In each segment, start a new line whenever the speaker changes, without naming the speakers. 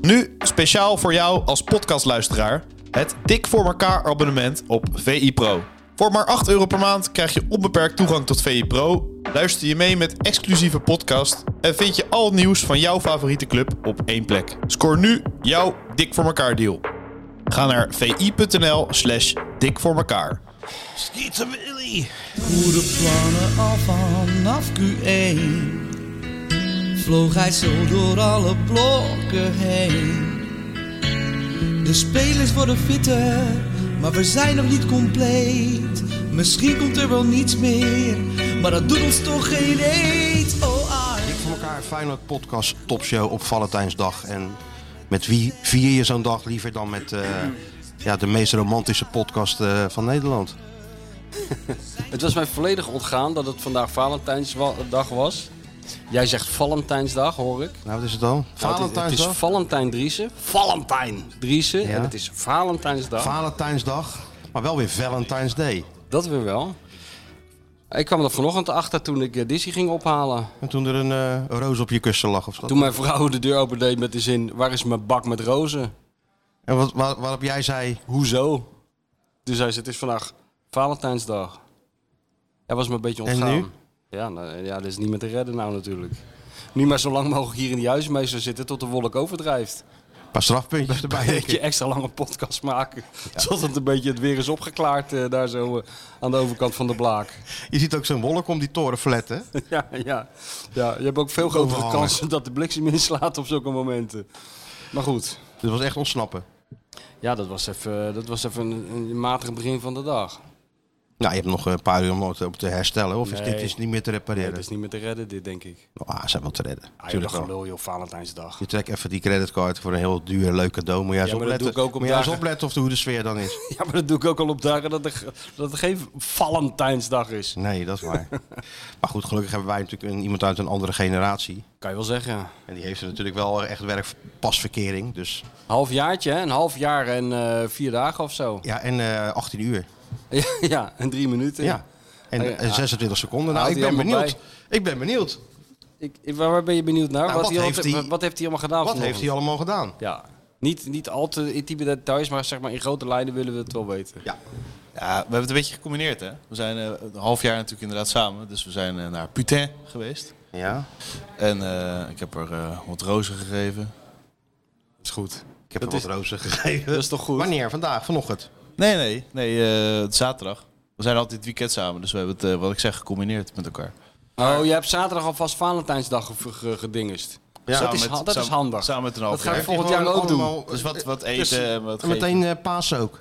Nu speciaal voor jou als podcastluisteraar het Dik voor elkaar abonnement op VI Pro. Voor maar 8 euro per maand krijg je onbeperkt toegang tot VI Pro, luister je mee met exclusieve podcast en vind je al het nieuws van jouw favoriete club op één plek. Scoor nu jouw Dik voor elkaar deal. Ga naar vi.nl slash dik voor elkaar.
Schieten Willy.
Goede plannen al vanaf Q1 Vloog hij zo door alle blokken heen De spelers worden fitter, maar we zijn nog niet compleet Misschien komt er wel niets meer, maar dat doet ons toch geen eet Oh Arne,
Ik voor elkaar Feyenoord podcast topshow op Valentijnsdag. En met wie vier je zo'n dag liever dan met eh, ja, de meest romantische podcast eh, van Nederland?
Het was mij volledig ontgaan dat het vandaag Valentijnsdag was. Jij zegt Valentijnsdag, hoor ik.
Nou, wat is het dan?
Nou, het is- Het
Valentijnsdag?
is Valentijn Driessen. Valentijn Driessen. En het is Valentijnsdag.
Valentijnsdag, maar wel weer Valentine's Day.
dat weer wel. Ik kwam er vanochtend achter toen ik eh, Dizzy ging ophalen.
En toen er een eh, een roos op je kussen lag of zo.
Toen mijn vrouw de deur opendeed met de zin... Waar is mijn bak met rozen?
En wat, waar- waarop jij zei,
Hoezo? Toen zei ze, het is vandaag Valentijnsdag. Hij was me een beetje
En
ontgaan.
nu?
Ja, nou, ja, dat is niet meer te redden nou natuurlijk. Nu maar zo lang mogelijk hier in die huismeester zitten tot de wolk overdrijft.
een paar strafpuntjes erbij.
Een beetje extra lange podcast maken. Tot het een beetje het weer is opgeklaard eh, daar zo eh, aan de overkant van de blaak.
Je ziet ook zo'n wolk om die toren flatten.
ja, ja, ja, je hebt ook veel grotere
Overhangen.
kansen dat de bliksem inslaat op zulke momenten. Maar goed,
Dus het was echt ontsnappen.
ja, dat was even, dat was even een, een matig begin van de dag.
Nou, je hebt nog een paar uur om het op te herstellen. Of is
Nee.
dit is niet meer te
Nee,
repareren?
dat is niet meer te redden dit, denk ik.
Ah, ze zijn wel te redden.
Eigenlijk
Tuurlijk wel.
een lul, joh, Valentijnsdag.
Je trekt even die creditcard voor een heel duur leuk cadeau. Moet jij eens
Ja, maar dat
opletten,
doe ik ook op
Moet jij eens
dagen.
opletten of de, hoe de sfeer dan is.
Ja, maar dat doe ik ook al op dagen dat er, ge- dat er geen Valentijnsdag is.
Nee, dat is waar. maar goed, gelukkig hebben wij natuurlijk een, iemand uit een andere generatie.
Kan je wel zeggen.
En die heeft er natuurlijk wel echt werk pasverkering. Dus
Halfjaartje, hè? Een half jaar en eh, vier dagen of zo.
ja, en eh 18 uur.
Ja, en drie minuten.
Ja. En,
Hey,
en 26 seconden. Nou,
Oh houdt
ik
hij
ben
allemaal
benieuwd. Ik ben benieuwd.
Ik, ik- waar, waar ben je benieuwd naar?
Nou,
wat,
wat
hij al-
heeft hij-
wat heeft hij allemaal gedaan?
Wat
vanochtend?
heeft hij allemaal gedaan?
Ja. Niet, niet al te intieme details, maar zeg maar in grote lijnen willen we het wel weten.
Ja.
Ja, we hebben het een beetje gecombineerd hè. We zijn eh, een half jaar natuurlijk inderdaad samen. Dus we zijn eh, naar Putain geweest.
Ja.
En eh, ik heb er eh, wat rozen gegeven.
Dat is goed.
Ik heb
Dat
hem
is-
wat rozen gegeven.
Dat is toch goed?
Wanneer? Vandaag? Vanochtend?
Nee, nee, nee, eh, het zaterdag. We zijn altijd het weekend samen, dus we hebben het, eh, wat ik zeg, gecombineerd met elkaar.
Oh, je hebt zaterdag alvast Valentijnsdag ge- ge- gedingest. Dus
Ja,
dat
Samen
is,
met-
ha- dat
samen-
is handig.
Samen met een
Dat
half
ga ik
jaar.
volgend jaar ook doen.
doen.
Dus wat, wat eten, en wat
Eh, En
geven.
meteen eh Pasen ook.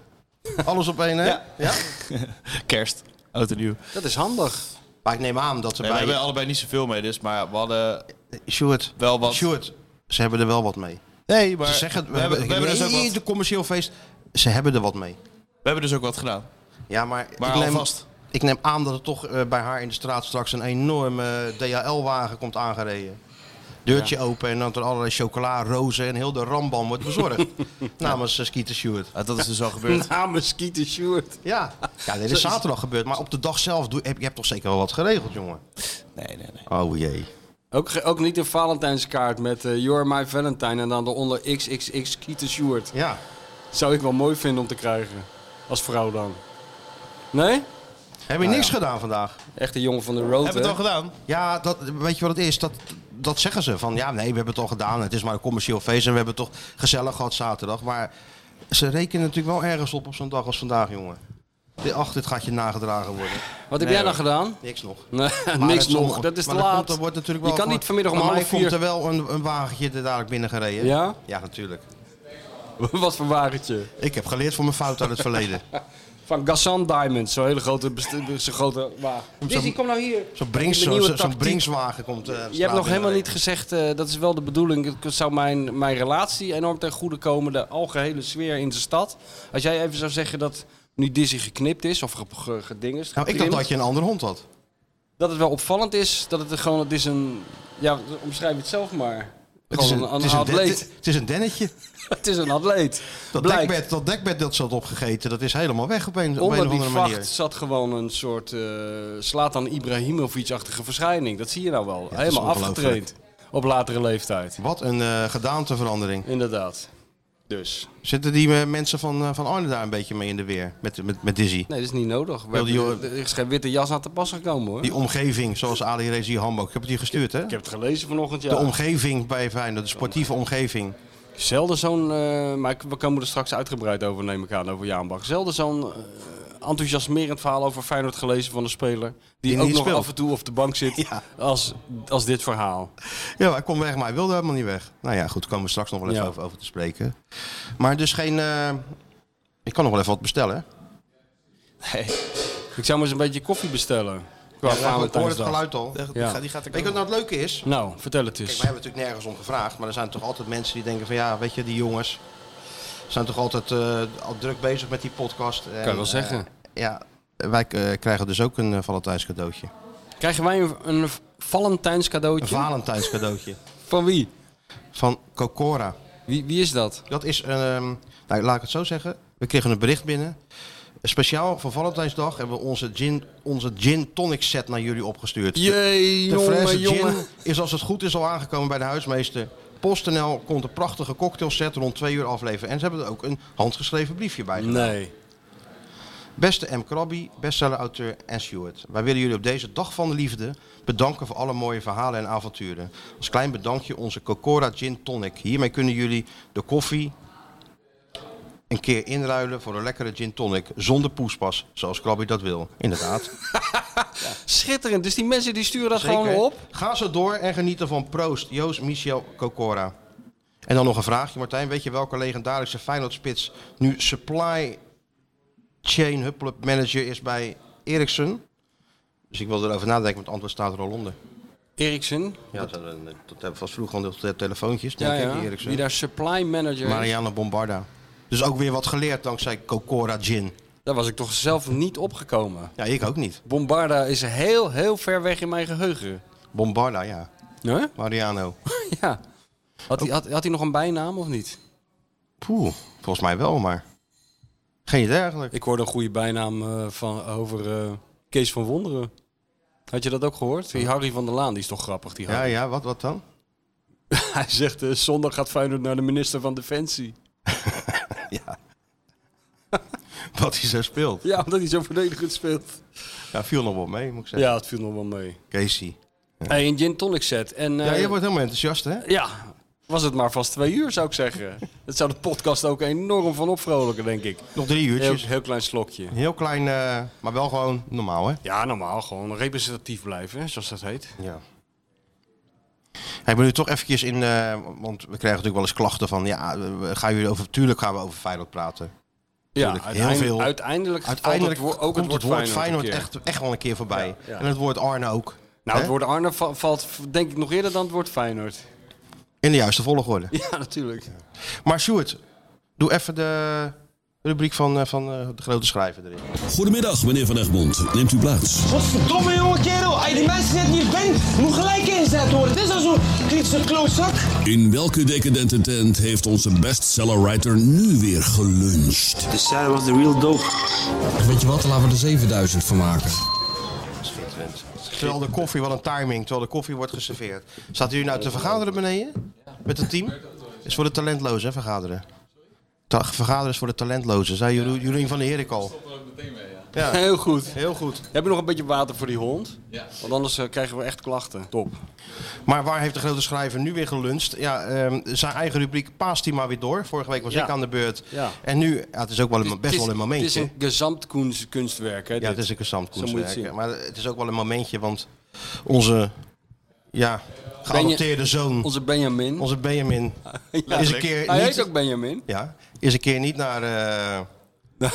Alles op één, hè?
Ja.
ja?
kerst, oud en nieuw.
Dat is handig.
Maar ik neem aan dat ze
Nee, we
bij...
hebben allebei niet zoveel mee, dus, maar we hadden
Sjoerd,
wel wat...
Sjoerd, ze hebben er wel wat mee.
Nee, maar
Ze zeggen,
we, hebben, we, hebben dus ook
nee,
wat,
de commercieel feest. Ze hebben er wat mee.
we hebben dus ook wat gedaan.
Ja, maar,
Maar
ik, neem,
alvast.
ik neem aan dat er toch eh, bij haar in de straat straks een enorme eh, DHL-wagen komt aangereden. Deurtje open en dan er allerlei chocola, rozen en heel de rambam wordt bezorgd. Namens uh, Skeeter Stewart.
Ah, dat is dus al gebeurd.
Nou,
Namens Kieter Sjoerd.
Ja, ja dit is
Zoiets.
zaterdag gebeurd. Maar op de dag zelf doe, heb je hebt toch zeker wel wat geregeld, jongen?
Nee, nee, nee.
Oh jee.
Ook, ge- ook niet een Valentijnskaart met eh You're My Valentine en dan daaronder XXX Kieter Sjoerd.
Ja.
Zou ik wel mooi vinden om te krijgen. Als vrouw dan. Nee?
Heb je
Nou
niks gedaan vandaag?
Echt een jongen van de road,
Hebben we
hè?
het al gedaan?
Ja, dat, weet je wat het is? Dat, dat zeggen ze. Van ja, nee, we hebben het al gedaan. Het is maar een commercieel feest en we hebben het toch gezellig gehad zaterdag. Maar ze rekenen natuurlijk wel ergens op op zo'n dag als vandaag, jongen. Dit- Ach, dit gaat je nagedragen worden.
Wat heb jij nou gedaan?
Niks nog.
Nee,
Maar
Eh, niks
het
nog. Dat is te
maar er
laat.
komt- er wordt natuurlijk wel
je kan
gewoon-
niet vanmiddag om
bij
half
mij komt
vier...
er wel een, een wagentje er dadelijk binnen gereden.
Ja?
Ja, natuurlijk.
Wat voor wagentje?
Ik heb geleerd van mijn fout uit het verleden.
Van Gassan Diamond, zo'n hele grote, best- zo'n grote wagen. Dizzy, kom nou hier.
Zo'n Brinks,
Ik heb een nieuwe
zo, zo'n
tactiek.
Brinkswagen komt. eh,
Je
straat
hebt nog helemaal
binnenrijden.
niet gezegd, eh, dat is wel de bedoeling. Het zou mijn, mijn relatie enorm ten goede komen, de algehele sfeer in de stad. Als jij even zou zeggen dat nu Dizzy geknipt is of ge, ge, gedingest,
Nou, ik dacht
getrimd,
dat je een andere hond had.
dat het wel opvallend is, dat het gewoon, het is een, ja, omschrijf het zelf maar.
Het is
Gewoon
een, het
een, een
is een, den-
atleet.
het is een dennetje.
Het is een atleet.
Dat
Blijkt.
dekbed, dat dekbed dat ze had opgegeten, dat is helemaal weg op een, op een
Onder
of
die
andere manier.
vacht zat gewoon een soort eh Slatan Ibrahimovic-achtige verschijning. Dat zie je nou wel.
is
Helemaal
ongelooflijk.
afgetraind. op latere leeftijd.
Wat een eh, gedaanteverandering.
Inderdaad. Dus.
Zitten die eh, mensen van, eh, van Arnhem daar een beetje mee in de weer? Met, met, met Dizzy.
Nee, dat is niet nodig. We
Wel, die
hebben-
jongen-
er is geen witte jas aan te pas gekomen hoor.
Die omgeving, zoals Ali Rezi Hamburg. Ik heb het hier gestuurd, hè?
Ik heb het gelezen vanochtend, ja.
De omgeving bij Feyenoord, de sportieve omgeving.
Zelden zo'n, eh, maar ik- we komen er straks uitgebreid over, neem ik aan, over Jaanbach. Zelden zo'n eh, enthousiasmerend verhaal over Feyenoord gelezen van een speler. Die,
Die
ook
niet
nog
speelt.
af en toe op de bank zit,
Ja.
als, als dit verhaal.
Ja, hij kon weg, maar hij wilde helemaal niet weg. Nou ja, goed, komen we straks nog wel even
Ja.
over, over te spreken. Maar dus geen... eh, ik kan nog wel even wat bestellen.
Nee. Ik zou maar eens een beetje koffie bestellen. Qua
Ja,
ja,
ik hoor het geluid al.
Die,
Ja.
gaat, die gaat er
Weet je wat nou het leuke is?
Nou, vertel het
Kijk,
eens.
wij hebben natuurlijk nergens om gevraagd, maar er zijn toch altijd mensen die denken van ja, weet je, die jongens zijn toch altijd eh, al druk bezig met die podcast. En,
Kan je wel
eh,
zeggen.
ja, wij eh, krijgen dus ook een eh, Valentijns cadeautje.
Krijgen wij een, een Valentijns
Een
cadeautje?
Valentijns cadeautje
van wie?
van Cocora.
wie? Wie is dat?
Dat is, een, ehm, nou, laat ik het zo zeggen, we kregen een bericht binnen. Speciaal voor Valentijnsdag hebben we onze gin, onze gin tonic set naar jullie opgestuurd.
Jee,
De Franse
jongen,
gin
jongen.
is als het goed is al aangekomen bij de huismeester. PostNL komt een prachtige cocktailset rond twee uur afleveren. En ze hebben er ook een handgeschreven briefje bij.
Nee.
Beste M. Krabby, bestseller-auteur en Stuart. Wij willen jullie op deze dag van de liefde bedanken voor alle mooie verhalen en avonturen. Als klein bedankje onze Cocora Gin Tonic. Hiermee kunnen jullie de koffie een keer inruilen voor een lekkere gin tonic. Zonder poespas, zoals Krabby dat wil. Inderdaad.
Schitterend. Dus die mensen die sturen dat
Zeker.
gewoon op.
Ga zo door en genieten van Proost, Joost, Michel, Cocora. En dan nog een vraagje, Martijn. Weet je welke legendarische Feyenoord-spits nu supply chain hubplub manager is bij Ericsson? Dus ik wil erover nadenken, want het antwoord staat er al onder.
Eriksen.
Ja, dat, dat hebben we vast vroeger al de telefoontjes, denk
Ja,
ik,
ja.
die
Die
Ericsson.
daar supply manager is.
Marianne Bombarda. Dus ook weer wat geleerd dankzij Cocora Gin.
Daar was ik toch zelf niet opgekomen.
Ja, ik ook niet.
Bombarda is heel, heel ver weg in mijn geheugen.
Bombarda, ja.
Huh?
Mariano.
Ja. Had hij had, had hij nog een bijnaam of niet?
Poeh, volgens mij wel, maar... Geen idee eigenlijk.
Ik hoorde een goede bijnaam eh, van, over eh, Kees van Wonderen. Had je dat ook gehoord? Die Harry van der Laan, die is toch grappig, die
Ja,
Harry.
ja, wat, wat dan?
Hij zegt, eh, zondag gaat Feyenoord naar de minister van Defensie.
Ja. Wat hij zo speelt.
Ja, omdat hij zo verdedigend speelt.
Ja, viel nog wel mee, moet ik zeggen.
Ja, het viel nog wel mee.
Casey.
Hey, een gin tonic set. En,
Ja,
eh,
je wordt helemaal enthousiast, hè?
Ja, was het maar vast twee uur zou ik zeggen. Dat zou de podcast ook enorm van opvrolijken, denk ik.
Nog drie
Heel,
uurtjes.
heel klein slokje.
Heel klein, eh, maar wel gewoon normaal, hè?
Ja, normaal gewoon representatief blijven, hè, zoals dat heet.
Ja. Ik ben nu toch eventjes in, eh, want we krijgen natuurlijk wel eens klachten van, ja, we- gaan jullie over, tuurlijk gaan we over Feyenoord praten.
Ja,
Tuurlijk, heel
uiteindelijk,
veel.
uiteindelijk, valt
Uiteindelijk
het woord- ook
komt
het woord Feyenoord, een keer.
echt, echt wel een keer voorbij.
Ja, ja.
En het woord Arne ook.
Nou, het
hè?
woord Arne va- valt denk ik nog eerder dan het woord Feyenoord.
In de juiste volgorde.
Ja, natuurlijk.
Maar Sjoerd, doe even de rubriek van, eh, van eh, de grote schrijver erin.
Goedemiddag, meneer Van Egmond. Neemt u plaats.
Godverdomme jonge kerel, als je die mensen net niet bent, moet gelijk ingezet worden. Het is al zo'n kritische klootzak.
In welke decadente tent heeft onze bestseller-writer nu weer geluncht?
The Sarah was the real dope.
Weet je wat, laten we er 7000 van maken.
Terwijl de koffie, wat een timing, terwijl de koffie wordt geserveerd. Staat u nou te vergaderen beneden? Met het team? Is voor de talentlozen, hè, vergaderen. Ta- vergaderen is voor de talentlozen, zei Jeroen Jeroen van de Herik al. Ja,
Heel goed.
heel goed.
Heb je nog een beetje water voor die hond? Ja. Want anders eh, krijgen we echt klachten. Top.
Maar waar heeft de grote schrijver nu weer gelunst? Ja, ehm, zijn eigen rubriek paast hij maar weer door. Vorige week was
Ja.
ik aan de beurt.
Ja.
En nu, ja, het is ook wel een, best
Het is-
wel een
Het is
momentje.
een gezamtkunst- kunstwerk, hè?
Ja,
dit.
het is een gesamt
Zo moet je het zien.
Maar het is ook wel een momentje, want onze ja, geadopteerde zoon,
Onze Benjamin.
onze Benjamin, is een keer
Hij
niet...
heet ook Benjamin.
Ja, is een keer niet naar eh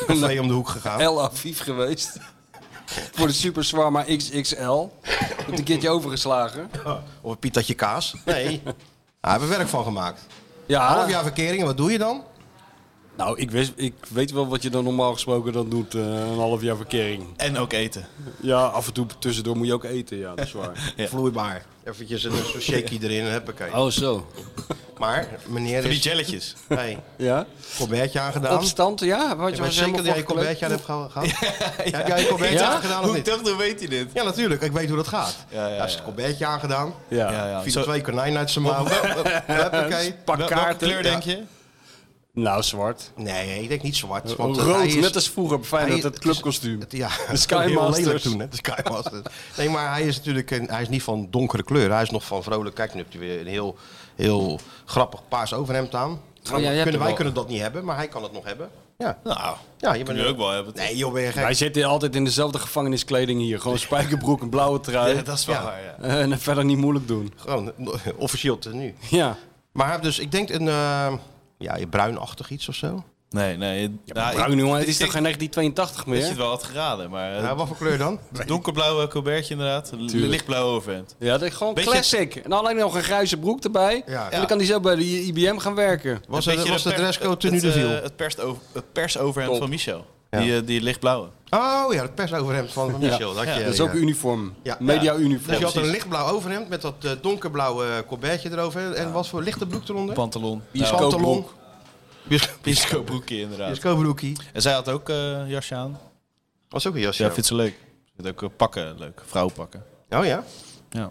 Café om de hoek gegaan.
El Aviv geweest. Voor de Super Swarma XXL. Heb een keertje overgeslagen.
Of een pitatje kaas. Nee. Daar hebben we werk van gemaakt. Half
Ja,
jaar verkeringen, wat doe je dan?
Nou, ik, wist, ik weet wel wat je dan normaal gesproken dan doet, eh, een half jaar verkering.
En ook eten.
Ja, af en toe tussendoor moet je ook eten, ja, dat is waar.
Vloeibaar. Eventjes een zo'n shaky erin, huppakee.
Oh, zo.
Maar, meneer
Van die
is...
jelletjes.
Hey,
Ja?
colbertje aangedaan.
Opstand, ja. Wat
Ik
je
weet
was
zeker dat jij een
helemaal
colbertje aan hebt geha- gehad. Heb jij een colbertje
Ja?
aangedaan of
Hoe
niet?
dacht, weet hij dit?
Ja, natuurlijk. Ik weet hoe dat gaat.
Ja, ja,
Hij heeft
ja.
een colbertje aangedaan.
Ja.
Ja, ja.
Viel
Zo-
twee konijnen uit zijn mouw. Huppakee.
Pak
Wel- welke
kaarten.
kleur denk je?
Nou, zwart.
Nee, ik denk niet zwart. Want eh, hij
Rood,
is-
net als vroeger bij Feyenoord,
hij-
het clubkostuum.
Het- Ja,
De Sky
heel
Masters.
lelijk toen, hè? De Sky Masters. Nee, maar hij is natuurlijk een, hij is niet van donkere kleur. Hij is nog van vrolijk. Kijk, nu heeft hij weer een heel, heel grappig paars overhemd aan.
jij hebt
kunnen,
hem
wij
wel.
kunnen dat niet hebben, maar hij kan het nog hebben. Ja,
Nou,
ja je bent
kun je ook wel hebben.
Nee, joh, ben je gek.
Wij zitten altijd in dezelfde gevangeniskleding hier. Gewoon spijkerbroek, een blauwe trui. Eh,
Ja, dat is wel
Ja.
waar, ja.
En het verder niet moeilijk doen.
Gewoon eh, officieel tenue.
Ja.
Maar hij heeft dus, ik denk een eh, ja, een bruinachtig iets of zo.
Nee, nee. nou,
Bruin, jongen, het is
ik
toch geen 1982
denk dat je het
meer?
wel had geraden, maar... eh,
Ja, wat voor kleur dan?
Donkerblauwe colbertje inderdaad. Lichtblauw overhemd.
Ja, dat is gewoon
Beetje-
classic. En alleen nog een grijze broek erbij.
Ja.
En dan kan hij zo bij de I- IBM gaan werken.
Was,
Een
het,
beetje
was de
per-
dresscode tenue
het,
de
eh,
viel?
Het, pers over, het persoverhemd
Top.
van Michel.
Ja.
Die, eh, die lichtblauwe.
Oh ja, het persoverhemd van van Michel. Dat, je,
dat is ook
ja. dus-
uniform.
Ja.
Media-uniform.
Dus je had een
precies.
lichtblauw overhemd met dat eh, donkerblauwe eh, colbertje erover. En wat voor lichte broek eronder?
Pantalon.
Bioscoop.
Pantalon.
Pisco broekje inderdaad.
Discobroekie.
En zij had ook eh, jasje aan.
Was ook een jasje.
Ja, vindt ze leuk. Vindt ook eh, pakken leuk. Vrouwenpakken.
Oh ja?
Ja.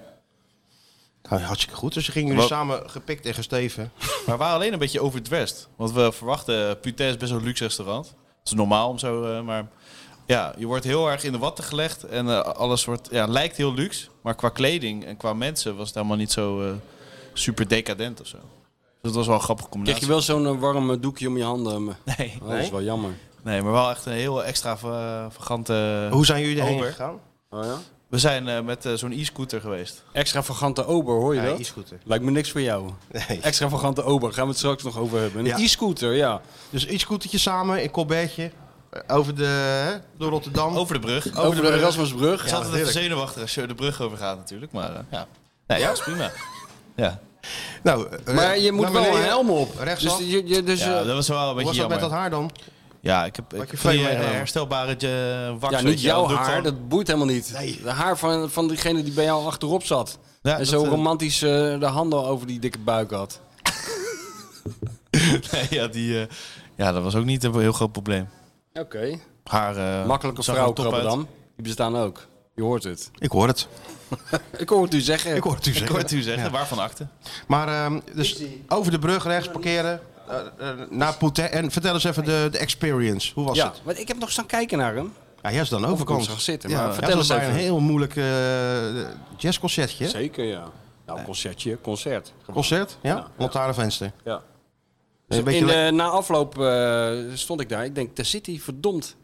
Nou, hartstikke goed. Dus ze gingen jullie
Wat-
samen gepikt en gesteven.
Maar we waren alleen een beetje overdressed. Want we verwachten, Putain is best wel een luxe restaurant. Het is normaal om zo, eh, maar... Ja, je wordt heel erg in de watten gelegd. En eh, alles wordt, ja, lijkt heel luxe. Maar qua kleding en qua mensen was het helemaal niet zo eh, super decadent of zo. Dus dat was wel een grappige
Krijg
combinatie.
je wel zo'n eh, warm eh, doekje om je handen? eh,
Nee,
Oh, dat is wel jammer.
nee, maar wel echt een heel extravagante...
Hoe zijn jullie erheen
Over.
gegaan?
Oh, ja?
We zijn eh, met eh, zo'n e-scooter geweest.
Extravagante ober, hoor je
Ja,
dat?
iets goed. hè.
Lijkt me niks voor jou.
Nee.
Extravagante ober, gaan we het straks nog over hebben. Een
Ja.
e-scooter, ja.
Dus iets scootertje samen, een colbertje. eh, Over de, hè, door Rotterdam.
Over de brug. Oh,
Over, de, Erasmusbrug.
Ik zat altijd
heerlijk.
even zenuwachtig als je de brug over gaat natuurlijk, maar eh, ja. Nee, ja, dat is prima. Ja.
Nou, eh,
Maar je moet
naar
wel
beneden.
een helm op.
Rechtsaf.
Dus, je, je- dus, eh,
ja, dat was wel een
Hoe
beetje
was dat
jammer.
met dat haar dan?
Ja, ik heb, ik
Had je
heb die
frame
eh,
meegenomen?
herstelbare eh, wax.
ja,
weet
niet
je wel.
jouw
Doe ik
haar,
gewoon-
dat boeit helemaal niet. De haar van, van diegene die bij jou achterop zat.
Ja,
en
dat,
zo
eh,
romantisch eh, de handen over die dikke buik had.
Nee, ja, die, eh, ja, dat was ook niet een heel groot probleem.
Oké.
Haar, eh,
Makkelijke
zag er top
vrouwkrabben
uit.
dan. Die bestaan ook. Je hoort het.
Ik hoor het.
Ik hoor het u zeggen.
Ik hoor het u
Ik
zeggen.
hoor het u zeggen, waarvan akte?
Maar ehm, dus over de brug rechts parkeren. eh, eh, naar Poutet. En vertel eens even de, de experience. Hoe was
ja,
het?
want ik heb nog staan kijken naar hem.
Ja, jij is dan
ik
overkant.
zag zitten,
Ja,
maar
jij
vertel
was
eens
bij
even.
Een heel moeilijk eh jazzconcertje. hè?
Zeker, ja. Nou, concertje, concert.
Concert, ja? Lantaarnvenster.
Ja.
Dus een beetje
In eh,
le-
de, na afloop eh, stond ik daar. Ik denk, daar zit hij, verdomd.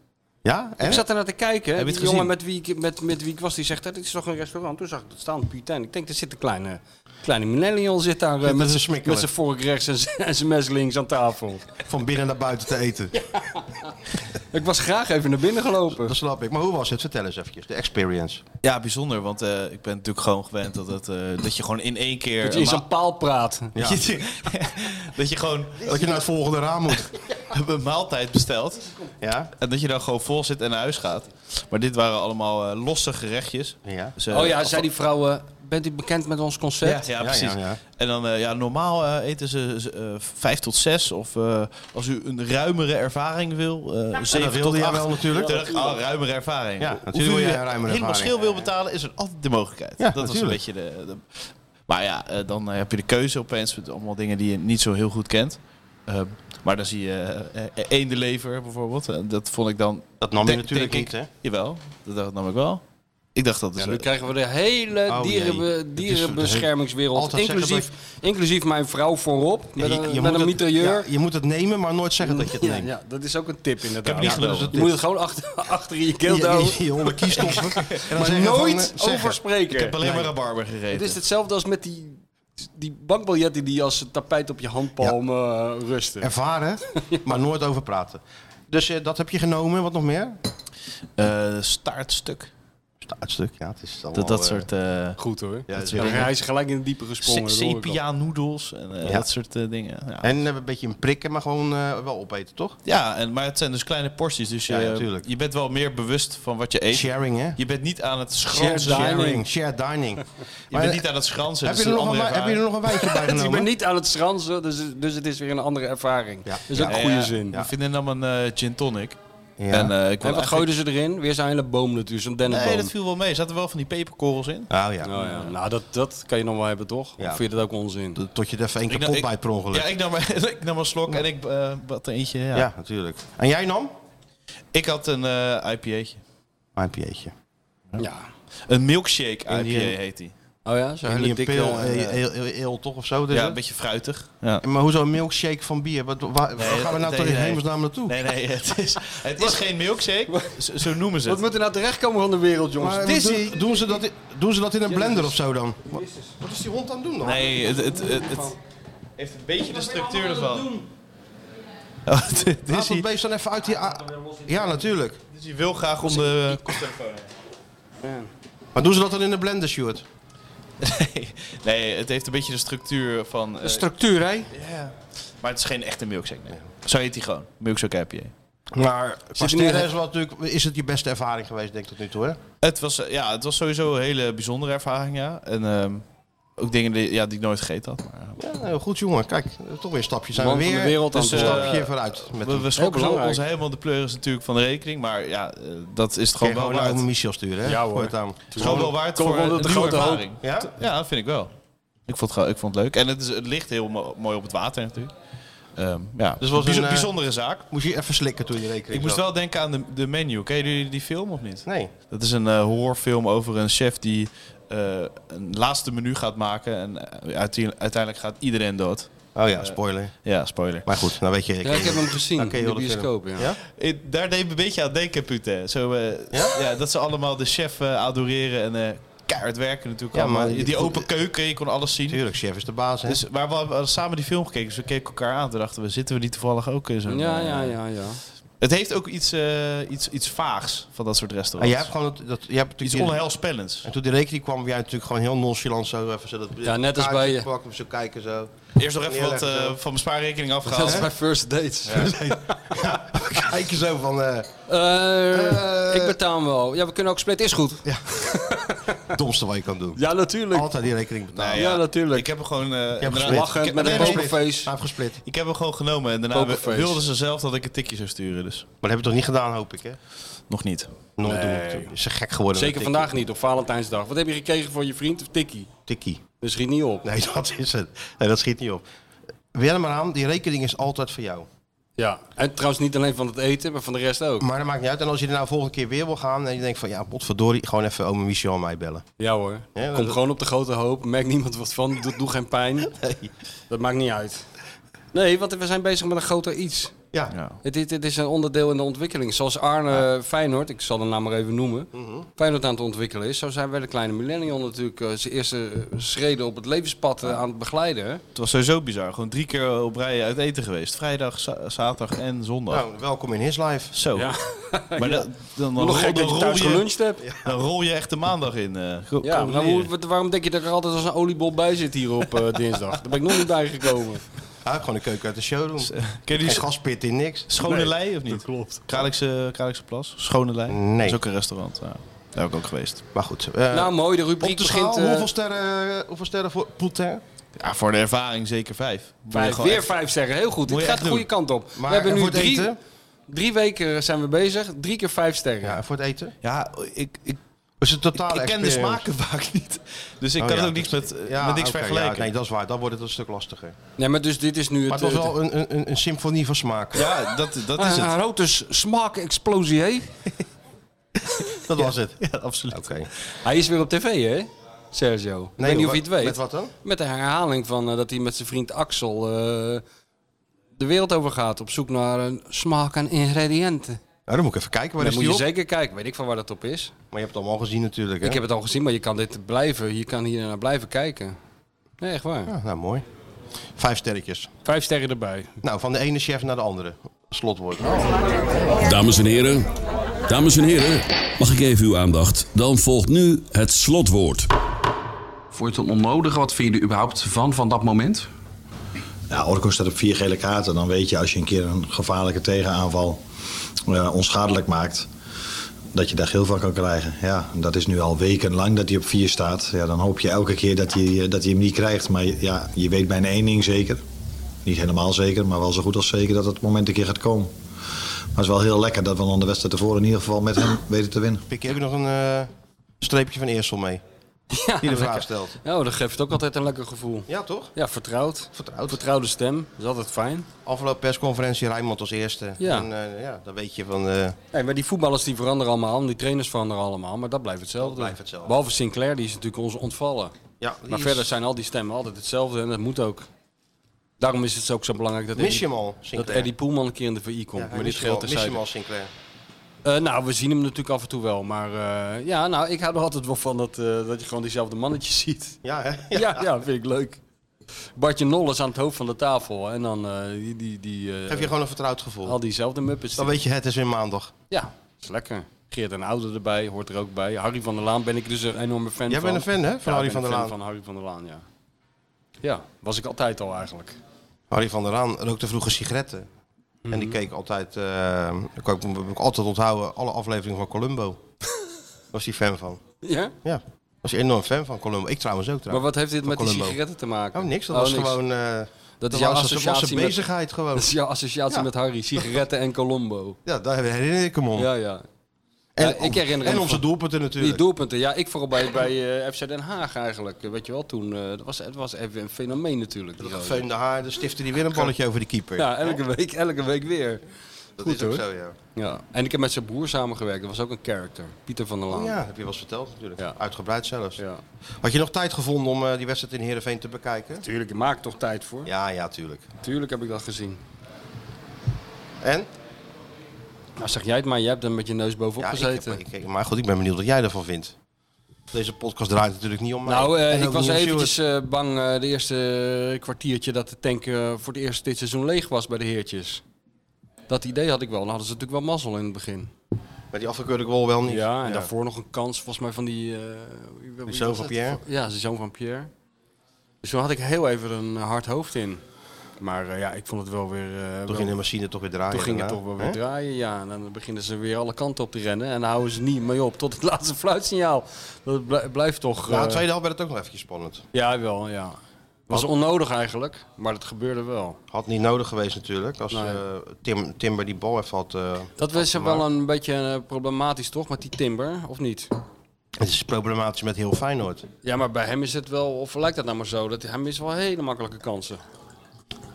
Ja, en?
Ik zat ernaar te kijken.
je
die
het
jongen
gezien?
met wie, ik, met, met wie ik was, die zegt, dat is toch een restaurant. Toen zag ik dat staan, Putain. Ik denk, er zit een kleine, kleine millennial zit daar eh,
Zit
met
te
zijn
smikkelen.
met zijn vork rechts en zijn- en zijn mes links aan tafel.
van binnen naar buiten te eten.
Ik was graag even naar binnen gelopen.
Dat snap ik. Maar hoe was het? Vertel eens eventjes. De experience.
Ja, bijzonder, want eh, ik ben natuurlijk gewoon gewend dat, het, eh, dat je gewoon in één keer...
Dat je in
een
zo'n paal praat.
ma- dat, je, dat je gewoon
Dat je naar het volgende raam moet.
een maaltijd bestelt
Ja?
en dat je dan gewoon vol zit en naar huis gaat. Maar dit waren allemaal eh, losse gerechtjes.
Ja.
Dus, eh,
Oh ja, zei die vrouw, eh, bent u bekend met ons
Ja,
concept?
ja,
Ja,
precies.
ja, ja.
En dan, eh, ja, normaal eh, eten ze z- eh, vijf tot zes. Of eh, als u een ruimere ervaring wil, eh zeven
Nou, dat wilde
tot
jij
acht.
wel natuurlijk.
Toen dacht ik, ah, ruimere ervaring.
Ja,
Of
natuurlijk
u
wil jij een ruimere
helemaal
ervaring.
schil wil betalen, is er altijd de mogelijkheid.
Ja,
dat was een
natuurlijk.
beetje de... de- maar ja, eh, dan eh, heb je de keuze opeens met allemaal dingen die je niet zo heel goed kent. Ehm, maar dan zie je eh, eh, eendenlever bijvoorbeeld. En dat vond ik dan...
Dat nam je
denk-
natuurlijk
denk ik-
niet, hè?
Jawel, dat dacht- nam ik wel. Ik dacht dat... is
Ja, nu krijgen we de hele
Oh,
dieren,
jee. Het is-
dierenbeschermingswereld.
Altijd zeggen
Inclusief, inclusief mijn vrouw voorop. Met
Je-
een,
je
met
moet
een
het-
mitrailleur.
ja, je moet het nemen, maar nooit zeggen dat je het
Ja,
neemt.
ja, dat is ook een tip
heb
inderdaad.
het niet
Ja,
gedaan.
je moet het gewoon achter, achter in je keel
Je,
doen.
je, je onder kies stoppen. En dan
Maar
zeggen van,
nooit
eh, zeggen.
over spreken.
Ik heb alleen maar rabarber gegeten.
Het is hetzelfde als met die, die bankbiljetten die als een tapijt op je handpalm eh, rusten.
Ervaren, maar nooit over praten. Dus eh, dat heb je genomen. Wat nog meer?
Eh, staartstuk.
Nou, het stuk, ja. Het is allemaal,
Dat, dat
eh,
soort... eh
Goed hoor.
ja,
dat
ja.
soort dingen.
hij is gelijk in de diepe gesprongen. dat hoor ik al.
Sepia noedels en eh,
Ja.
dat soort eh, dingen. Ja.
En eh, een beetje een prikken, maar gewoon eh, wel opeten, toch?
Ja, en, maar het zijn dus kleine porties. Dus je,
Ja, ja, tuurlijk.
je bent wel meer bewust van wat je eet.
Sharing, hè?
Je bent niet aan het
Shared
schransen.
dining.
Shared dining.
Je
Maar,
bent
eh,
niet aan het schransen.
heb,
dat
je
is
er
een
nog een,
andere
wijn- heb je er
ervaring.
nog een wijntje bij
Ik ben
genomen?
niet aan het schransen, dus, dus het is weer een andere ervaring.
Ja.
Dus ook
Ja,
een
Ja,
goede
ja.
zin.
We vinden dan een eh, gin tonic.
Ja.
En, eh, ik wil
En wat
eigenlijk-
gooiden ze erin? Weer zo'n hele boom natuurlijk, zo'n dennenboom.
Nee, dat viel wel mee. Er zaten wel van die peperkorrels in.
Oh ja.
Nou ja, nou, dat, dat kan je nog wel hebben, toch?
Ja.
Of vind je dat ook onzin?
Tot je er even één
Ik
keer
nam-
pot bij per ongeluk.
Ja, ik nam, ik nam een slok en ik eh wat eentje. Ja.
Ja, natuurlijk. En jij nam?
Ik had een eh IPA'tje.
Mijn pieetje.
Ja.
Een milkshake IPA
Indian-
heet die.
Oh ja, zo'n
Een
hele dikke...
pil,
eh,
toch of zo? Dus
Ja,
ja,
een beetje fruitig.
Maar hoezo een milkshake van bier? Wat, waar, waar
Nee,
gaan we nou
nee,
toch in
nee.
hemelsnaam naartoe?
Nee, nee, het is, het is geen milkshake. Zo zo noemen ze
Wat
het.
moet er nou terechtkomen van de wereld, jongens?
Maar
Dizzy.
doen, doen ze dat in, doen ze dat in een blender of zo dan? Wat, wat is die hond aan het doen dan?
Nee, het, het, het, het heeft een beetje de structuur ervan. Oh, dit- dit
Laat
is
dat
hij,
beest dan even uit die... a- Ja, natuurlijk.
dit is hij wil graag om de...
Maar doen ze dat dan in een blender, Stuart?
Nee, nee, het heeft een beetje de structuur van... eh,
Structuur, hè?
maar het is geen echte milkshake, nee. Zo heet hij gewoon. Milkshake IPA.
Maar qua
er nu-
sterren is, wel natuurlijk, is het je beste ervaring geweest, denk ik, tot nu toe, hè?
Het was, eh, ja, het was sowieso een hele bijzondere ervaring, ja. En ehm, ook dingen die, ja, die ik nooit gegeten had. Maar, eh,
Ja, nou, goed, jongen. Kijk, toch weer een stapje. Zijn
Man
we
van
weer
de wereld aan
dus,
het
een
doen.
stapje vooruit. Met
eh, we
een
we schrokken zo
belangrijk.
ons helemaal de pleuris natuurlijk van de rekening. Maar ja, eh, dat is het
Kun
gewoon
je
wel
gewoon
waard.
naar ome Michel sturen, hè?
Ja, hoor.
Voortaan.
Het is gewoon wel waard
Kom
voor
wel
een
met de
nieuwe
grote hoop.
ervaring.
Ja?
Ja, dat vind ik wel. Ik vond, het, gewoon- ik vond het leuk. En het, is, het ligt heel mo- mooi op het water natuurlijk. Ehm, ja,
Dus het was
Bijz-
een, eh,
bijzondere zaak.
Moest je even slikken toen je rekening
Ik moest
zag?
wel denken aan de, de menu. Ken jullie die film of niet?
Nee.
Dat is een eh, horrorfilm over een chef die eh, een laatste menu gaat maken. En eh, uite- uiteindelijk gaat iedereen dood.
Oh ja, spoiler.
Ja, spoiler.
Maar goed, nou weet je...
Ja, ik heb hem gezien.
Oké,
in de
joh, dat
bioscoop, ja.
Ja?
Ik- daar deed me een beetje aan denken, Putin. Zo, eh,
Ja?
ja? dat ze allemaal de chef eh, adoreren en eh, keihard werken natuurlijk.
Ja,
allemaal.
maar die-
die open keuken, je kon alles zien.
Tuurlijk, chef is de baas, hè?
Dus, maar we hadden samen die film gekeken, dus we keken elkaar aan. Toen dachten we, zitten we niet toevallig ook in zo'n...
Ja,
eh,
ja, ja, ja.
Het heeft ook iets, eh, iets, iets vaags van dat soort
en
Ah,
restaurants.
Ah, jij hebt gewoon... het- Dat, jij hebt
Iets
natuurlijk die-
onheilspellends.
en toen die rekening kwam, heb jij natuurlijk gewoon heel nonchalant zo even... Zo dat
Ja, net als
kaartje
bij je.
pakken, zo kijken, zo.
Eerst nog even wat
Neerleggen,
eh,
zo.
van mijn spaarrekening
Dat
afgehaald.
is bij first dates.
Kijken zo van... eh
Eh, ik betaal hem wel. Ja, we kunnen ook splitten. Is goed.
domste wat je kan doen.
Ja, natuurlijk.
Altijd die rekening betalen.
Nee,
ja, natuurlijk.
Ik heb hem gewoon... eh,
hebt
inderdaad- ik,
gespeeld.
Lachend
heb-
met een
nee, nee,
pokerface.
Hij heeft gesplit.
ik heb hem gewoon genomen en daarna
Pokerface.
wilden ze zelf dat ik een tikje zou sturen. Dus
Maar dat hebben we toch niet gedaan, hoop ik, hè?
nog niet.
Nooit doen. natuurlijk. Is ze gek geworden.
Zeker
met
vandaag niet, op Valentijnsdag. Wat heb je gekregen voor je vriend of tikkie?
Tikkie.
Dus schiet niet op.
Nee, dat is het. Nee, dat schiet niet op. Weer maar aan, die rekening is altijd voor jou.
Ja. En trouwens niet alleen van het eten, maar van de rest ook.
Maar dat maakt niet uit. En als je er nou volgende keer weer wil gaan en je denkt van ja, potverdorie, gewoon even ome Michel en mij bellen.
Ja hoor.
Ja,
Kom
dat-
gewoon op de grote hoop. Merk niemand wat van. Doe, doe geen pijn. Dat maakt niet uit. Nee, want we zijn bezig met een groter iets.
Ja.
Het, dit dit is een onderdeel in de ontwikkeling. Zoals Arne Feyenoord, ik zal de naam maar even noemen,
Mhm.
Feyenoord aan het ontwikkelen is. Zo zijn wij de kleine millennial natuurlijk eh, zijn eerste eh, schreden op het levenspad eh, aan het begeleiden. hè.
Het was sowieso bizar. Gewoon drie keer op rij uit eten geweest. Vrijdag, za- zaterdag en zondag.
Nou, welkom in his life.
Zo.
Ja.
Maar dat- dan, dan,
Nog
rol,
gek
dan
dat je
rol
thuis geluncht hebt. Ja,
dan rol je echt de maandag in. eh. Go- kom
maar
leren.
hoe- wat- waarom denk je dat ik er altijd als een oliebol bij zit hier op eh, dinsdag? Daar ben ik nog niet bij gekomen.
Hij heeft gewoon een keuken uit de showroom.
Ken je
Geen
die sch-
gaspit in niks.
Schone Lei of niet? Dat klopt. Kralikse, Kralikse Plas? Schone Lei?
Nee.
Dat is ook een restaurant. Ja. Daar ben ik ook geweest.
Maar goed. eh,
nou mooi, de
op
rubriek
de
begint...
schaal,
eh,
hoeveel, sterren, hoeveel sterren voor Poutin?
Ja, voor de ervaring zeker vijf. Moet je
Vijf,
gewoon
weer
echt-
vijf sterren, heel
Moet
goed. Het
je
gaat
echt
de goede
doen.
kant op.
Maar
we hebben
voor
nu
het
drie,
eten?
drie weken zijn we bezig, drie keer vijf sterren.
Ja, voor het eten.
Ja, ik, ik,
Is het
ik,
totale
ken de
experience.
smaken vaak niet. Dus ik
Oh
kan
ja,
het ook niks met, eh,
Ja,
met niks
oké, ja,
vergelijken. Ja,
nee, dat is waar. Dan wordt het een stuk lastiger.
Nee, maar dus dit is nu
Maar het was wel een, een, een, een symfonie van smaak.
dat, dat Eh, is
Een
het.
grote smaakexplosie, hè?
Dat was het.
Ja, absoluut.
Oké.
Hij is weer op tv, hè? Sergio. ik weet niet of je het weet.
Met wat dan?
Met de herhaling van eh, dat hij met zijn vriend Axel eh, de wereld over gaat. Op zoek naar een smaak en ingrediënten.
Nou, dan moet ik even kijken. Waar is
Dan moet
die
je
op?
zeker kijken. Weet ik van waar dat op is.
Maar je hebt het allemaal gezien natuurlijk. Hè?
Ik heb het al gezien, maar je kan dit blijven. Je kan hier naar blijven kijken. Nee, echt waar.
Ah, nou, mooi. Vijf sterretjes.
Vijf sterren erbij.
Nou, van de ene Oh. chef naar de andere. Slotwoord.
Dames en heren, dames en heren, Mag ik even uw aandacht? Dan volgt nu het slotwoord.
Vond je het onnodig? Wat vind je er überhaupt van, van dat moment?
Nou, Orko staat op vier gele kaarten. Dan weet je als je een keer een gevaarlijke tegenaanval eh, onschadelijk maakt. Dat je daar geel van kan krijgen. Ja, dat is nu al wekenlang dat hij op vier staat. Ja, dan hoop je elke keer dat hij, eh, dat hij hem niet krijgt. Maar ja, je weet bijna één ding zeker. Niet helemaal zeker, maar wel zo goed als zeker dat het moment een keer gaat komen. Maar het is wel heel lekker dat we dan de wedstrijd ervoor in ieder geval met hem weten te winnen.
Pik, heb je nog een eh, streepje van Eersel mee?
Ja,
Die de vraag
lekker.
stelt.
Nou, dat geeft ook altijd een lekker gevoel.
Ja, toch?
Ja, vertrouwd.
Vertrouwd.
Vertrouwde stem. Dat is altijd fijn.
Afgelopen persconferentie Rijnmond als eerste.
Ja.
En eh, ja, dan weet je van... eh,
Nee, maar die voetballers die veranderen allemaal. en Die trainers veranderen allemaal. Maar dat blijft hetzelfde.
Dat blijft hetzelfde.
Behalve Sinclair, die is natuurlijk ons ontvallen.
ja,
Maar
die
verder
is-
zijn al die stemmen altijd hetzelfde. En dat moet ook. Daarom is het ook zo belangrijk dat
Mis je
Eddie,
hem al,
dat
Sinclair?
Eddie Poelman een keer in de VI komt.
Ja,
maar dit
mis je hem al-
geldt
mis je hem
terzijde.
al, Sinclair.
Eh nou, we zien hem natuurlijk af en toe wel. Maar eh, ja, nou, ik hou er altijd wel van dat, eh, dat je gewoon diezelfde mannetjes ziet.
Ja, hè?
Ja, ja, vind ik leuk. Bartje Nol is aan het hoofd van de tafel. En dan eh, die, die, die, eh,
Geef je gewoon een vertrouwd gevoel.
al diezelfde muppets.
Dan
die-
weet je, het is weer maandag.
Ja, is lekker. Geert en Oude erbij, hoort er ook bij. Harry van der Laan ben ik dus een enorme fan
Jij
van.
bent een fan, hè, van
Ja,
Harry
ik
van
ben
der
een
Laan?
fan van Harry van der Laan, ja. Ja, was ik altijd al eigenlijk.
Harry van der Raan rookte vroeger sigaretten. En
Mhm.
die keek altijd, eh, ik kan ik me ook altijd onthouden, alle afleveringen van Columbo. was hij fan van.
Ja?
Ja, was hij enorm fan van Columbo. Ik trouwens ook
Maar
trouwens.
wat heeft dit met die
Columbo.
sigaretten te maken?
Oh, niks. Dat was
niks.
gewoon. eh,
Dat
was
is jouw
een- was een
associatie met-
bezigheid gewoon.
Dat is jouw associatie
Ja.
met Harry. Sigaretten en Colombo.
Ja, daar herinner ik hem om.
Ja, ja.
en
ja, ik herinner
en
me
onze
van-
doelpunten
Die
natuurlijk.
doelpunten, ja, ik vooral bij, bij eh, FC Den Haag eigenlijk. Weet je wel, toen eh, dat was het was even een fenomeen natuurlijk. die
de
rode.
geveunde haar, de stiften die weer een balletje over de keeper.
Ja, elke week, elke week weer.
dat
goed,
is ook
hoor.
zo, ja.
Ja. En ik heb met zijn broer samengewerkt, dat was ook een character. Pieter van der Laan.
Oh Ja, heb je wel eens verteld natuurlijk.
Oh. Ja.
Uitgebreid zelfs.
ja.
Had je nog tijd gevonden om eh, die wedstrijd in Heerenveen te bekijken?
Tuurlijk, ik maak er toch tijd voor.
Ja, ja, tuurlijk.
Tuurlijk heb ik dat gezien.
En?
Nou, zeg jij het maar, jij hebt er met je neus bovenop
Ja, ik heb-
gezeten.
ik heb- maar goed, ik ben benieuwd wat jij ervan vindt. Deze podcast draait natuurlijk niet om mij.
Nou, eh,
En ook
ik was
niet om
eventjes
Stuart.
eh, bang eh, de eerste kwartiertje dat de tank eh, voor het eerst dit seizoen leeg was bij de heertjes. Dat idee had ik wel. Dan hadden ze natuurlijk wel mazzel in het begin.
Maar die afgekeurde goal wel niet.
Ja, en daarvoor nog een kans volgens mij van die... eh, wie- wie
zoon
was
van
het?
Pierre?
Ja, de zoon van Pierre. Dus toen had ik heel even een eh, hard hoofd in. Maar eh, ja, ik vond het wel weer... eh,
Toen
wel-
ging de machine toch weer draaien.
Toen ging het
daarna.
toch wel
Hè?
weer draaien, ja. En dan beginnen ze weer alle kanten op te rennen. En dan houden ze niet mee op tot het laatste fluitsignaal. Dat bl- blijft toch...
Nou,
eh,
de tweede helft werd het ook nog eventjes spannend.
Ja, wel, ja. Was onnodig eigenlijk, maar dat gebeurde wel.
Had niet nodig geweest natuurlijk. Als
Nee.
eh, Tim, Timber die bal even had. eh,
Dat was wel een beetje eh, problematisch toch, met die timber, of niet?
het is problematisch met heel Feyenoord.
Ja, maar bij hem is het wel, of lijkt dat nou maar zo, dat hij mist wel hele makkelijke kansen.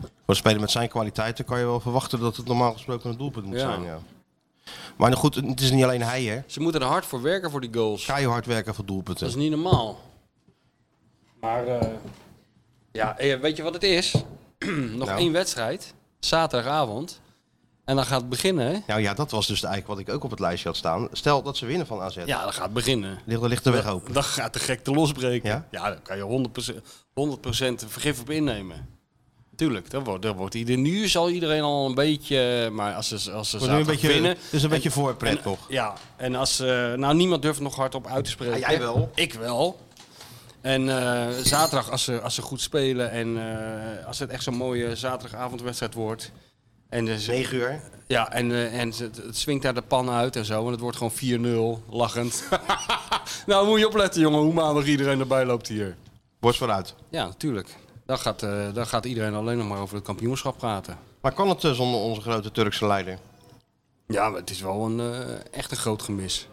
Voor een speler met zijn kwaliteiten kan je wel verwachten dat het normaal gesproken een doelpunt moet
Ja.
zijn. Ja. Maar nou goed, het is niet alleen hij hè.
Ze moeten er hard voor werken voor die goals.
Keihard werken voor
Dat is
doelpunten.
niet normaal. Maar, eh, ja, eh, weet je wat het is? Nog
Nou.
één wedstrijd, zaterdagavond. En dan gaat het beginnen, hè?
Nou ja, dat was dus eigenlijk wat ik ook op het lijstje had staan. Stel dat ze winnen van AZ.
Ja, dat gaat beginnen.
Ligt, ligt de weg open.
Dan gaat de gekte losbreken.
Ja?
Ja, daar kan je 100%, 100 vergif op innemen. Tuurlijk, dat wordt, dat wordt ieder, nu zal iedereen al een beetje... eh, Maar als ze, als ze
Wordt nu een
zaterdag
beetje,
winnen...
dus een beetje voorpret nog.
Ja, en als... eh, nou, niemand durft nog hardop uit te spreken.
Ja, Ah, jij wel.
Ik wel. En eh, zaterdag, als ze, als ze goed spelen en eh, als het echt zo'n mooie zaterdagavondwedstrijd wordt... En eh, ze-
9 uur.
ja, en, eh, en het, het swingt daar de pan uit en zo. En het wordt gewoon 4-0, lachend. nou, moet je opletten, jongen, hoe maandag iedereen erbij loopt hier.
Wordt vooruit.
Ja, natuurlijk. Dan gaat, eh, dan gaat iedereen alleen nog maar over het kampioenschap praten.
Maar kan het eh, zonder onze grote Turkse leider?
Ja, maar het is wel een, eh, echt een groot gemis.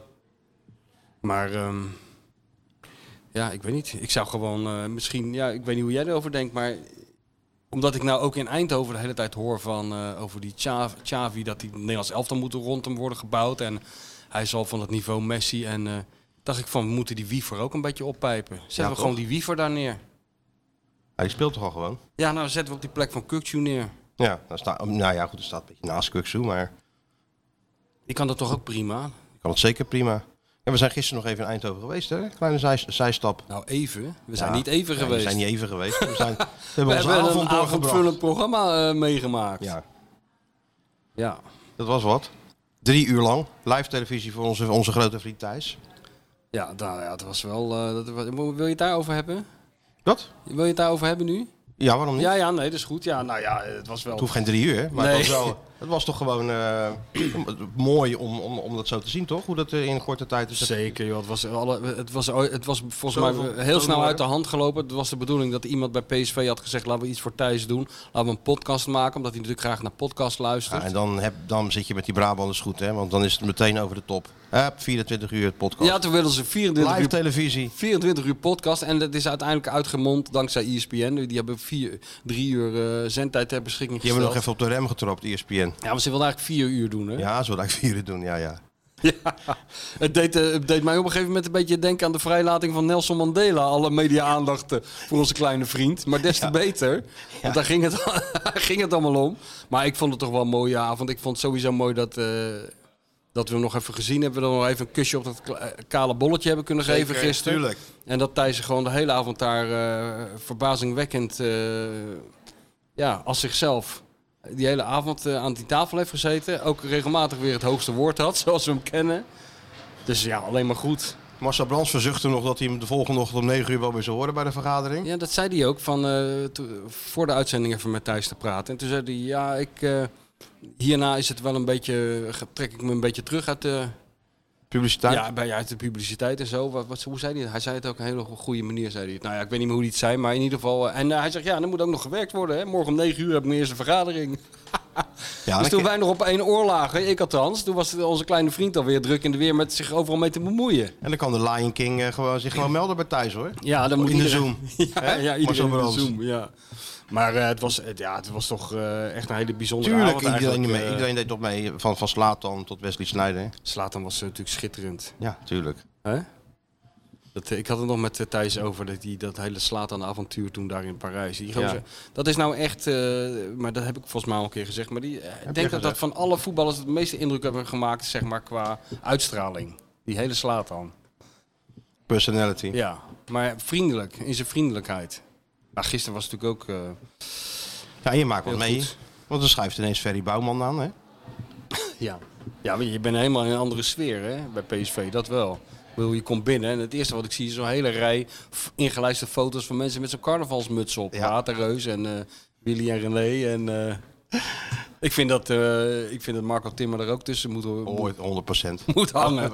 Maar ehm, ja, ik weet niet. Ik zou gewoon eh, misschien, ja, ik weet niet hoe jij erover denkt, maar omdat ik nou ook in Eindhoven de hele tijd hoor van eh, over die Xav- Xavi, dat die Nederlands elftal moet rond hem worden gebouwd en hij zal van het niveau Messi en eh, dacht ik van, we moeten die wiever ook een beetje oppijpen. Zetten we
toch?
gewoon die wiever daar neer.
Hij speelt toch al gewoon?
Ja, nou zetten we op die plek van Kukcu neer.
Ja, daar staat, nou ja, goed, er staat een beetje naast Kuksu, maar
Die kan dat toch ook prima?
ik kan het zeker prima. Ja, we zijn gisteren nog even in Eindhoven geweest, hè? Kleine zij, zijstap.
Nou, even. We zijn
Ja.
niet even
Ja,
geweest.
We zijn niet even geweest. We, zijn, we
We
hebben onze
hebben
avond
een
doorgebracht.
avondvullend programma eh, meegemaakt.
Ja,
ja.
dat was wat. Drie uur lang. Live televisie voor onze, onze grote vriend Thijs.
Ja, nou ja, dat was wel. eh, dat, wa- wil je het daarover hebben?
Wat?
Wil je het daarover hebben nu?
Ja, waarom niet?
Ja, ja, nee, dat is goed. Ja, nou ja, het was wel.
Het hoeft geen drie uur, hè, maar
Nee.
het, was wel, het was toch gewoon eh, mooi om, om, om dat zo te zien, toch? Hoe dat eh, in een korte tijd is.
Zeker, joh. Het, was alle, het, was, ooit- het was volgens
Zoveel-
mij heel
zoveel
snel uit
werk.
de hand gelopen. Het was de bedoeling dat iemand bij PSV had gezegd: laten we iets voor Thijs doen. Laten we een podcast maken, omdat hij natuurlijk graag naar podcast luistert.
Ja, en dan, heb, dan zit je met die Brabanders goed, hè? Want dan is het meteen over de top. Hup, 24 uur het podcast.
Ja, toen wilden ze 24
Live
uur,
televisie.
24 uur podcast. En dat is uiteindelijk uitgemond dankzij E ESPN. Die hebben vier, drie uur eh, zendtijd ter beschikking
Die
gesteld.
hebben nog even op de rem getrapt, E ESPN.
Ja, want ze wilden eigenlijk vier uur doen, hè?
Ja, zo dat ik vieren doen, ja, ja.
Ja, het deed, eh, het deed mij op een gegeven moment een beetje denken aan de vrijlating van Nelson Mandela. Alle media-aandacht eh, voor onze kleine vriend. Maar des te beter, want daar ging, het, daar ging het allemaal om. Maar ik vond het toch wel een mooie avond. Ik vond het sowieso mooi dat, eh, dat we hem nog even gezien hebben. Dat we nog even een kusje op dat kla- eh, kale bolletje hebben kunnen geven gisteren.
tuurlijk.
En dat Thijs gewoon de hele avond daar eh, verbazingwekkend eh, ja, als zichzelf die hele avond eh, aan die tafel heeft gezeten. Ook regelmatig weer het hoogste woord had, zoals we hem kennen. Dus ja, alleen maar goed.
Marcel Brands verzuchtte nog dat hij hem de volgende ochtend om 9 uur wel weer zou horen bij de vergadering.
Ja, dat zei hij ook van, eh, to- voor de uitzending even met Thijs te praten. En toen zei hij, ja, ik, eh, hierna is het wel een beetje, ge- trek ik me een beetje terug uit de,
Publiciteit.
ja, bij, uit de publiciteit en zo. Wat, wat, hoe zei hij het? Hij zei het ook op een hele goede manier, zei hij het. Nou ja, ik weet niet meer hoe hij het zei, maar in ieder geval... eh, en eh, hij zegt, ja, er moet ook nog gewerkt worden, hè. Morgen om negen uur heb ik mijn eerste vergadering.
Ja, dan
dus toen wij nog op één oor lagen, ik althans, toen was onze kleine vriend alweer druk in de weer met zich overal mee te bemoeien.
En dan kan de Lion King eh, gewoon, zich gewoon melden bij Thijs hoor.
Ja, dan
In
moet
de
iedereen-
Zoom. Hè?
ja, ja,
Marcel
iedereen in de
Brands.
Zoom, ja. Maar eh, het, was, het, ja, het was toch eh, echt een hele bijzondere
Tuurlijk,
avond
iedereen,
eigenlijk,
mee,
eh.
iedereen deed toch mee. Van, van Slatan tot Wesley Snijder.
Zlatan was eh, natuurlijk schitterend.
Ja, tuurlijk.
Hè? Dat, eh, ik had het nog met eh, Thijs over dat, die, dat hele slaat aan avontuur toen daar in Parijs. Die gozer,
Ja.
Dat is nou echt, eh, maar dat heb ik volgens mij al een keer gezegd. Maar die, eh, ik denk dat dat
gezegd.
van alle voetballers het meeste indruk hebben gemaakt, zeg maar, qua uitstraling. Die hele slaat aan.
Personality.
Ja, maar vriendelijk, in zijn vriendelijkheid. Maar gisteren was het natuurlijk ook. eh,
Ja, je maakt wat
Heel
mee.
goed.
Want dan schuift ineens Ferry Bouwman aan. Hè?
ja. ja, maar je bent helemaal in een andere sfeer hè, bij PSV, dat wel. Ik bedoel, je komt binnen en het eerste wat ik zie is zo'n hele rij f- ingelijste foto's van mensen met zo'n carnavalsmuts op.
Ja.
Waterreus en eh, Willy en René. En, eh, ik, vind dat, eh, ik vind dat Marco Timmer er ook tussen moet, moet,
Ooit 100%.
moet hangen.
100%.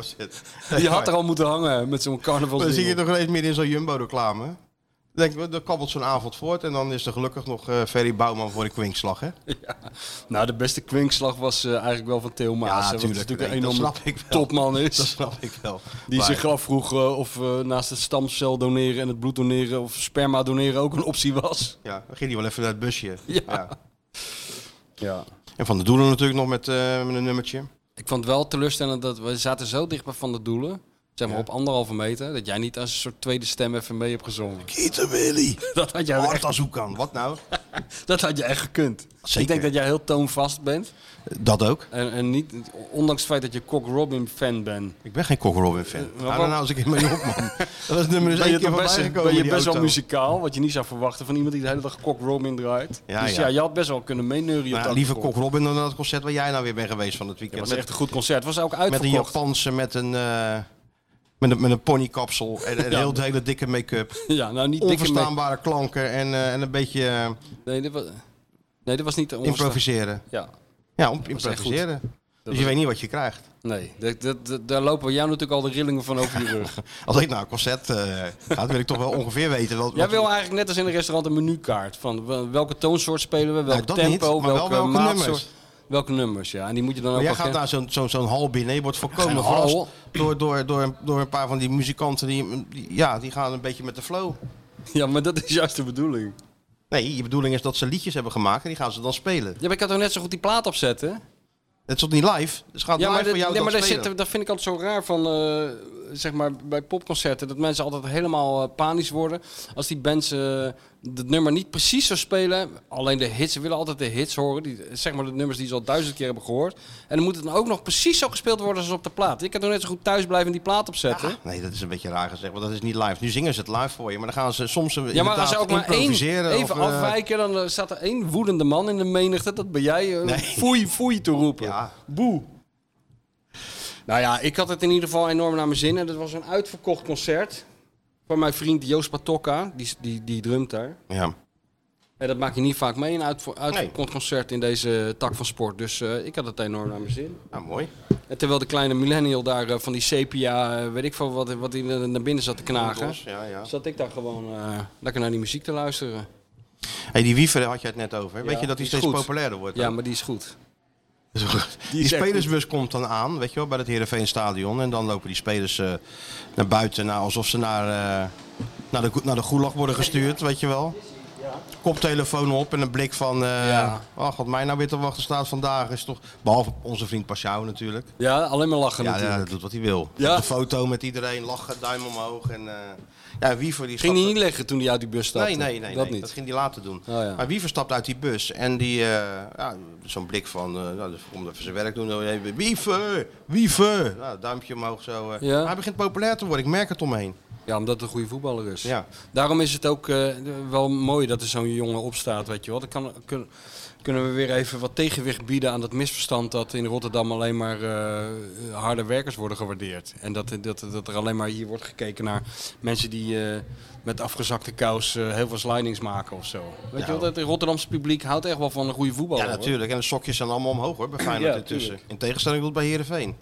Oh. Die had er al moeten hangen met zo'n
Oh, Dan zie je
carnavalsmuts.
toch ineens meer in zo'n Jumbo-reclame. Denk, we- dan kabbelt zo'n avond voort en dan is er gelukkig nog eh Ferry Bouwman voor een kwinkslag. Hè?
Nou, de beste kwinkslag was eh, eigenlijk wel van Theo Maas. hè, want het is
tuurlijk.
natuurlijk een
Nee, dat
enorme
snap ik wel.
topman is.
Dat snap ik wel.
Die
Maar-
zich afvroeg eh, of eh, naast het stamcel doneren en het bloed doneren of sperma doneren ook een optie was.
Ja, dan ging hij wel even naar het busje.
Ja. Ja.
En Van de Doelen natuurlijk nog met, eh, met een nummertje.
Ik vond het wel teleurstellend dat we zaten zo dicht bij Van de Doelen. Zeg maar op anderhalve meter. Dat jij niet als een soort tweede stem even mee hebt gezongen.
Eten Willy.
Dat had jij, echt,
Hard kan. Wat nou?
dat had je echt gekund. Ik
Zeker.
denk dat jij heel toonvast bent.
Dat ook.
En, en niet, ondanks het feit dat je Cock Robin fan bent.
Ik ben geen Cock Robin fan.
waarom?
Hou er nou eens een keer mee op, man. Dat is nummer eens
Ben je,
één keer
toch
voorbij
best,
gekomen.
ben je
die
best wel
auto.
muzikaal, wat je niet zou verwachten van iemand die de hele dag Cock Robin draait.
Ja,
dus ja.
ja.
je had best wel kunnen meeneuren.
Nou,
dat
liever
akkoord.
Cock Robin dan dat concert waar jij nou weer bent geweest van het
Het
weekend.
was
Met-
echt een goed concert. Het was ook
met een
uitverkocht.
Japanse, met een, eh, met een, met een ponykapsel en, en
Ja.
heel, hele dikke make-up.
ja, nou niet dikke mee.
Onverstaanbare klanken en, eh, en een beetje eh,
Nee, dat was, nee, dat was niet de
improviseren.
Ja,
Ja, om,
was echt goed.
improviseren. Dus je weet niet wat je krijgt.
nee. Dat, dat, dat- daar lopen jou natuurlijk al de rillingen van over je rug.
Als ik naar een concert eh, ga, dan wil ik toch wel ongeveer weten. Wat,
Jij
wat-
wil eigenlijk net als in een restaurant een menukaart. Van wel- welke toonsoort spelen we, welk
dat
tempo,
niet, maar wel
welke,
welke
maatsoort.
nummers.
Welke nummers, ja. En die moet je dan
Maar
ook
jij
al
gaat
kennen.
naar zo'n zo'n zo'n hal binnen. Je wordt
Geen
voorkomen
hal.
verrast door, door, door, een, door een paar van die muzikanten. Die, die- ja, die gaan een beetje met de flow.
Ja, maar dat is juist de bedoeling.
Nee, je bedoeling is dat ze liedjes hebben gemaakt en die gaan ze dan spelen.
Ja, maar ik kan toch net zo goed die plaat opzetten?
Het is toch niet live? Dus gaat
Ja,
live
maar,
voor
dat-
jou
nee, maar
dat
daar
spelen.
zit, dat vind ik altijd zo raar van, eh, zeg maar, bij popconcerten. Dat mensen altijd helemaal eh, panisch worden. Als die bands eh het nummer niet precies zo spelen. Alleen de hits, ze willen altijd de hits horen. Die, zeg maar de nummers die ze al duizend keer hebben gehoord. En dan moet het dan ook nog precies zo gespeeld worden als op de plaat. Ik kan toch net zo goed thuis blijven en die plaat opzetten.
Ah, nee, dat is een beetje raar gezegd, want dat is niet live. Nu zingen ze het live voor je, maar dan gaan ze soms eh,
Ja, maar als ze
inderdaad
ook maar één
improviseren.
even
of, eh,
afwijken, dan eh, staat er één woedende man in de menigte. Dat ben jij. eh,
Nee.
Foei, foei te roepen.
Ja.
Boe. Nou ja, ik had het in ieder geval enorm naar mijn zin. En dat was een uitverkocht concert. Van mijn vriend Joost Patokka, die, die, die drumt daar.
Ja.
En dat maak je niet vaak mee, een uitvo- uitverkocht concert in deze tak van sport. Dus eh, ik had het enorm naar mijn zin.
Nou, mooi.
En terwijl de kleine millennial daar eh, van die sepia, eh, weet ik veel wat, wat die eh, naar binnen zat te knagen.
Los, Ja, ja.
Zat ik daar gewoon eh, lekker naar die muziek te luisteren.
Hey, die wiever daar had je het net over. hè? Weet
Ja,
je dat
die
die
is
steeds
goed.
populairder wordt?
Ja,
ook?
maar die is goed.
Dus Die,
is echt
spelersbus komt dan aan, weet je wel, bij het Heerenveenstadion. En dan lopen die spelers eh, naar buiten, nou, alsof ze naar, eh, naar, de, go- naar de gulag worden gestuurd, weet je wel. Koptelefoon op en een blik van, eh
Ja.
ach, wat mij nou weer te wachten staat vandaag is toch... Behalve onze vriend Pashao natuurlijk.
Ja, alleen maar lachen
Ja, ja,
natuurlijk.
dat doet wat hij wil.
Ja.
Op de foto met iedereen, lachen, duim omhoog. En, eh, ja, Wiever die
Ging
stapte-
die niet leggen toen hij uit die bus stapte?
Nee, nee, nee.
Dat
nee,
niet.
Dat ging hij later doen.
Oh, ja.
Maar Wiever stapt uit die bus en die, eh, ja, zo'n blik van, eh nou, dus komt even zijn werk doen. Dan even, Wiever, Wiever. Nou, duimpje omhoog zo. eh.
Ja.
Hij begint populair te worden, ik merk het omheen.
Ja, omdat het een goede voetballer is.
Ja.
Daarom is het ook eh, wel mooi dat er zo'n jongen opstaat, weet je wel. Dan kan, kun- kunnen we weer even wat tegenwicht bieden aan dat misverstand dat in Rotterdam alleen maar eh, harde werkers worden gewaardeerd. En dat, dat, dat er alleen maar hier wordt gekeken naar mensen die eh, met afgezakte kous eh, heel veel slidings maken of zo. Weet je
Nou.
wel, dat het Rotterdamse publiek houdt echt wel van een goede voetballer.
Ja,
hoor.
natuurlijk. En de sokjes zijn allemaal omhoog hoor, bij Feyenoord
Ja,
intussen.
tuurlijk.
In tegenstelling tot bij Heerenveen.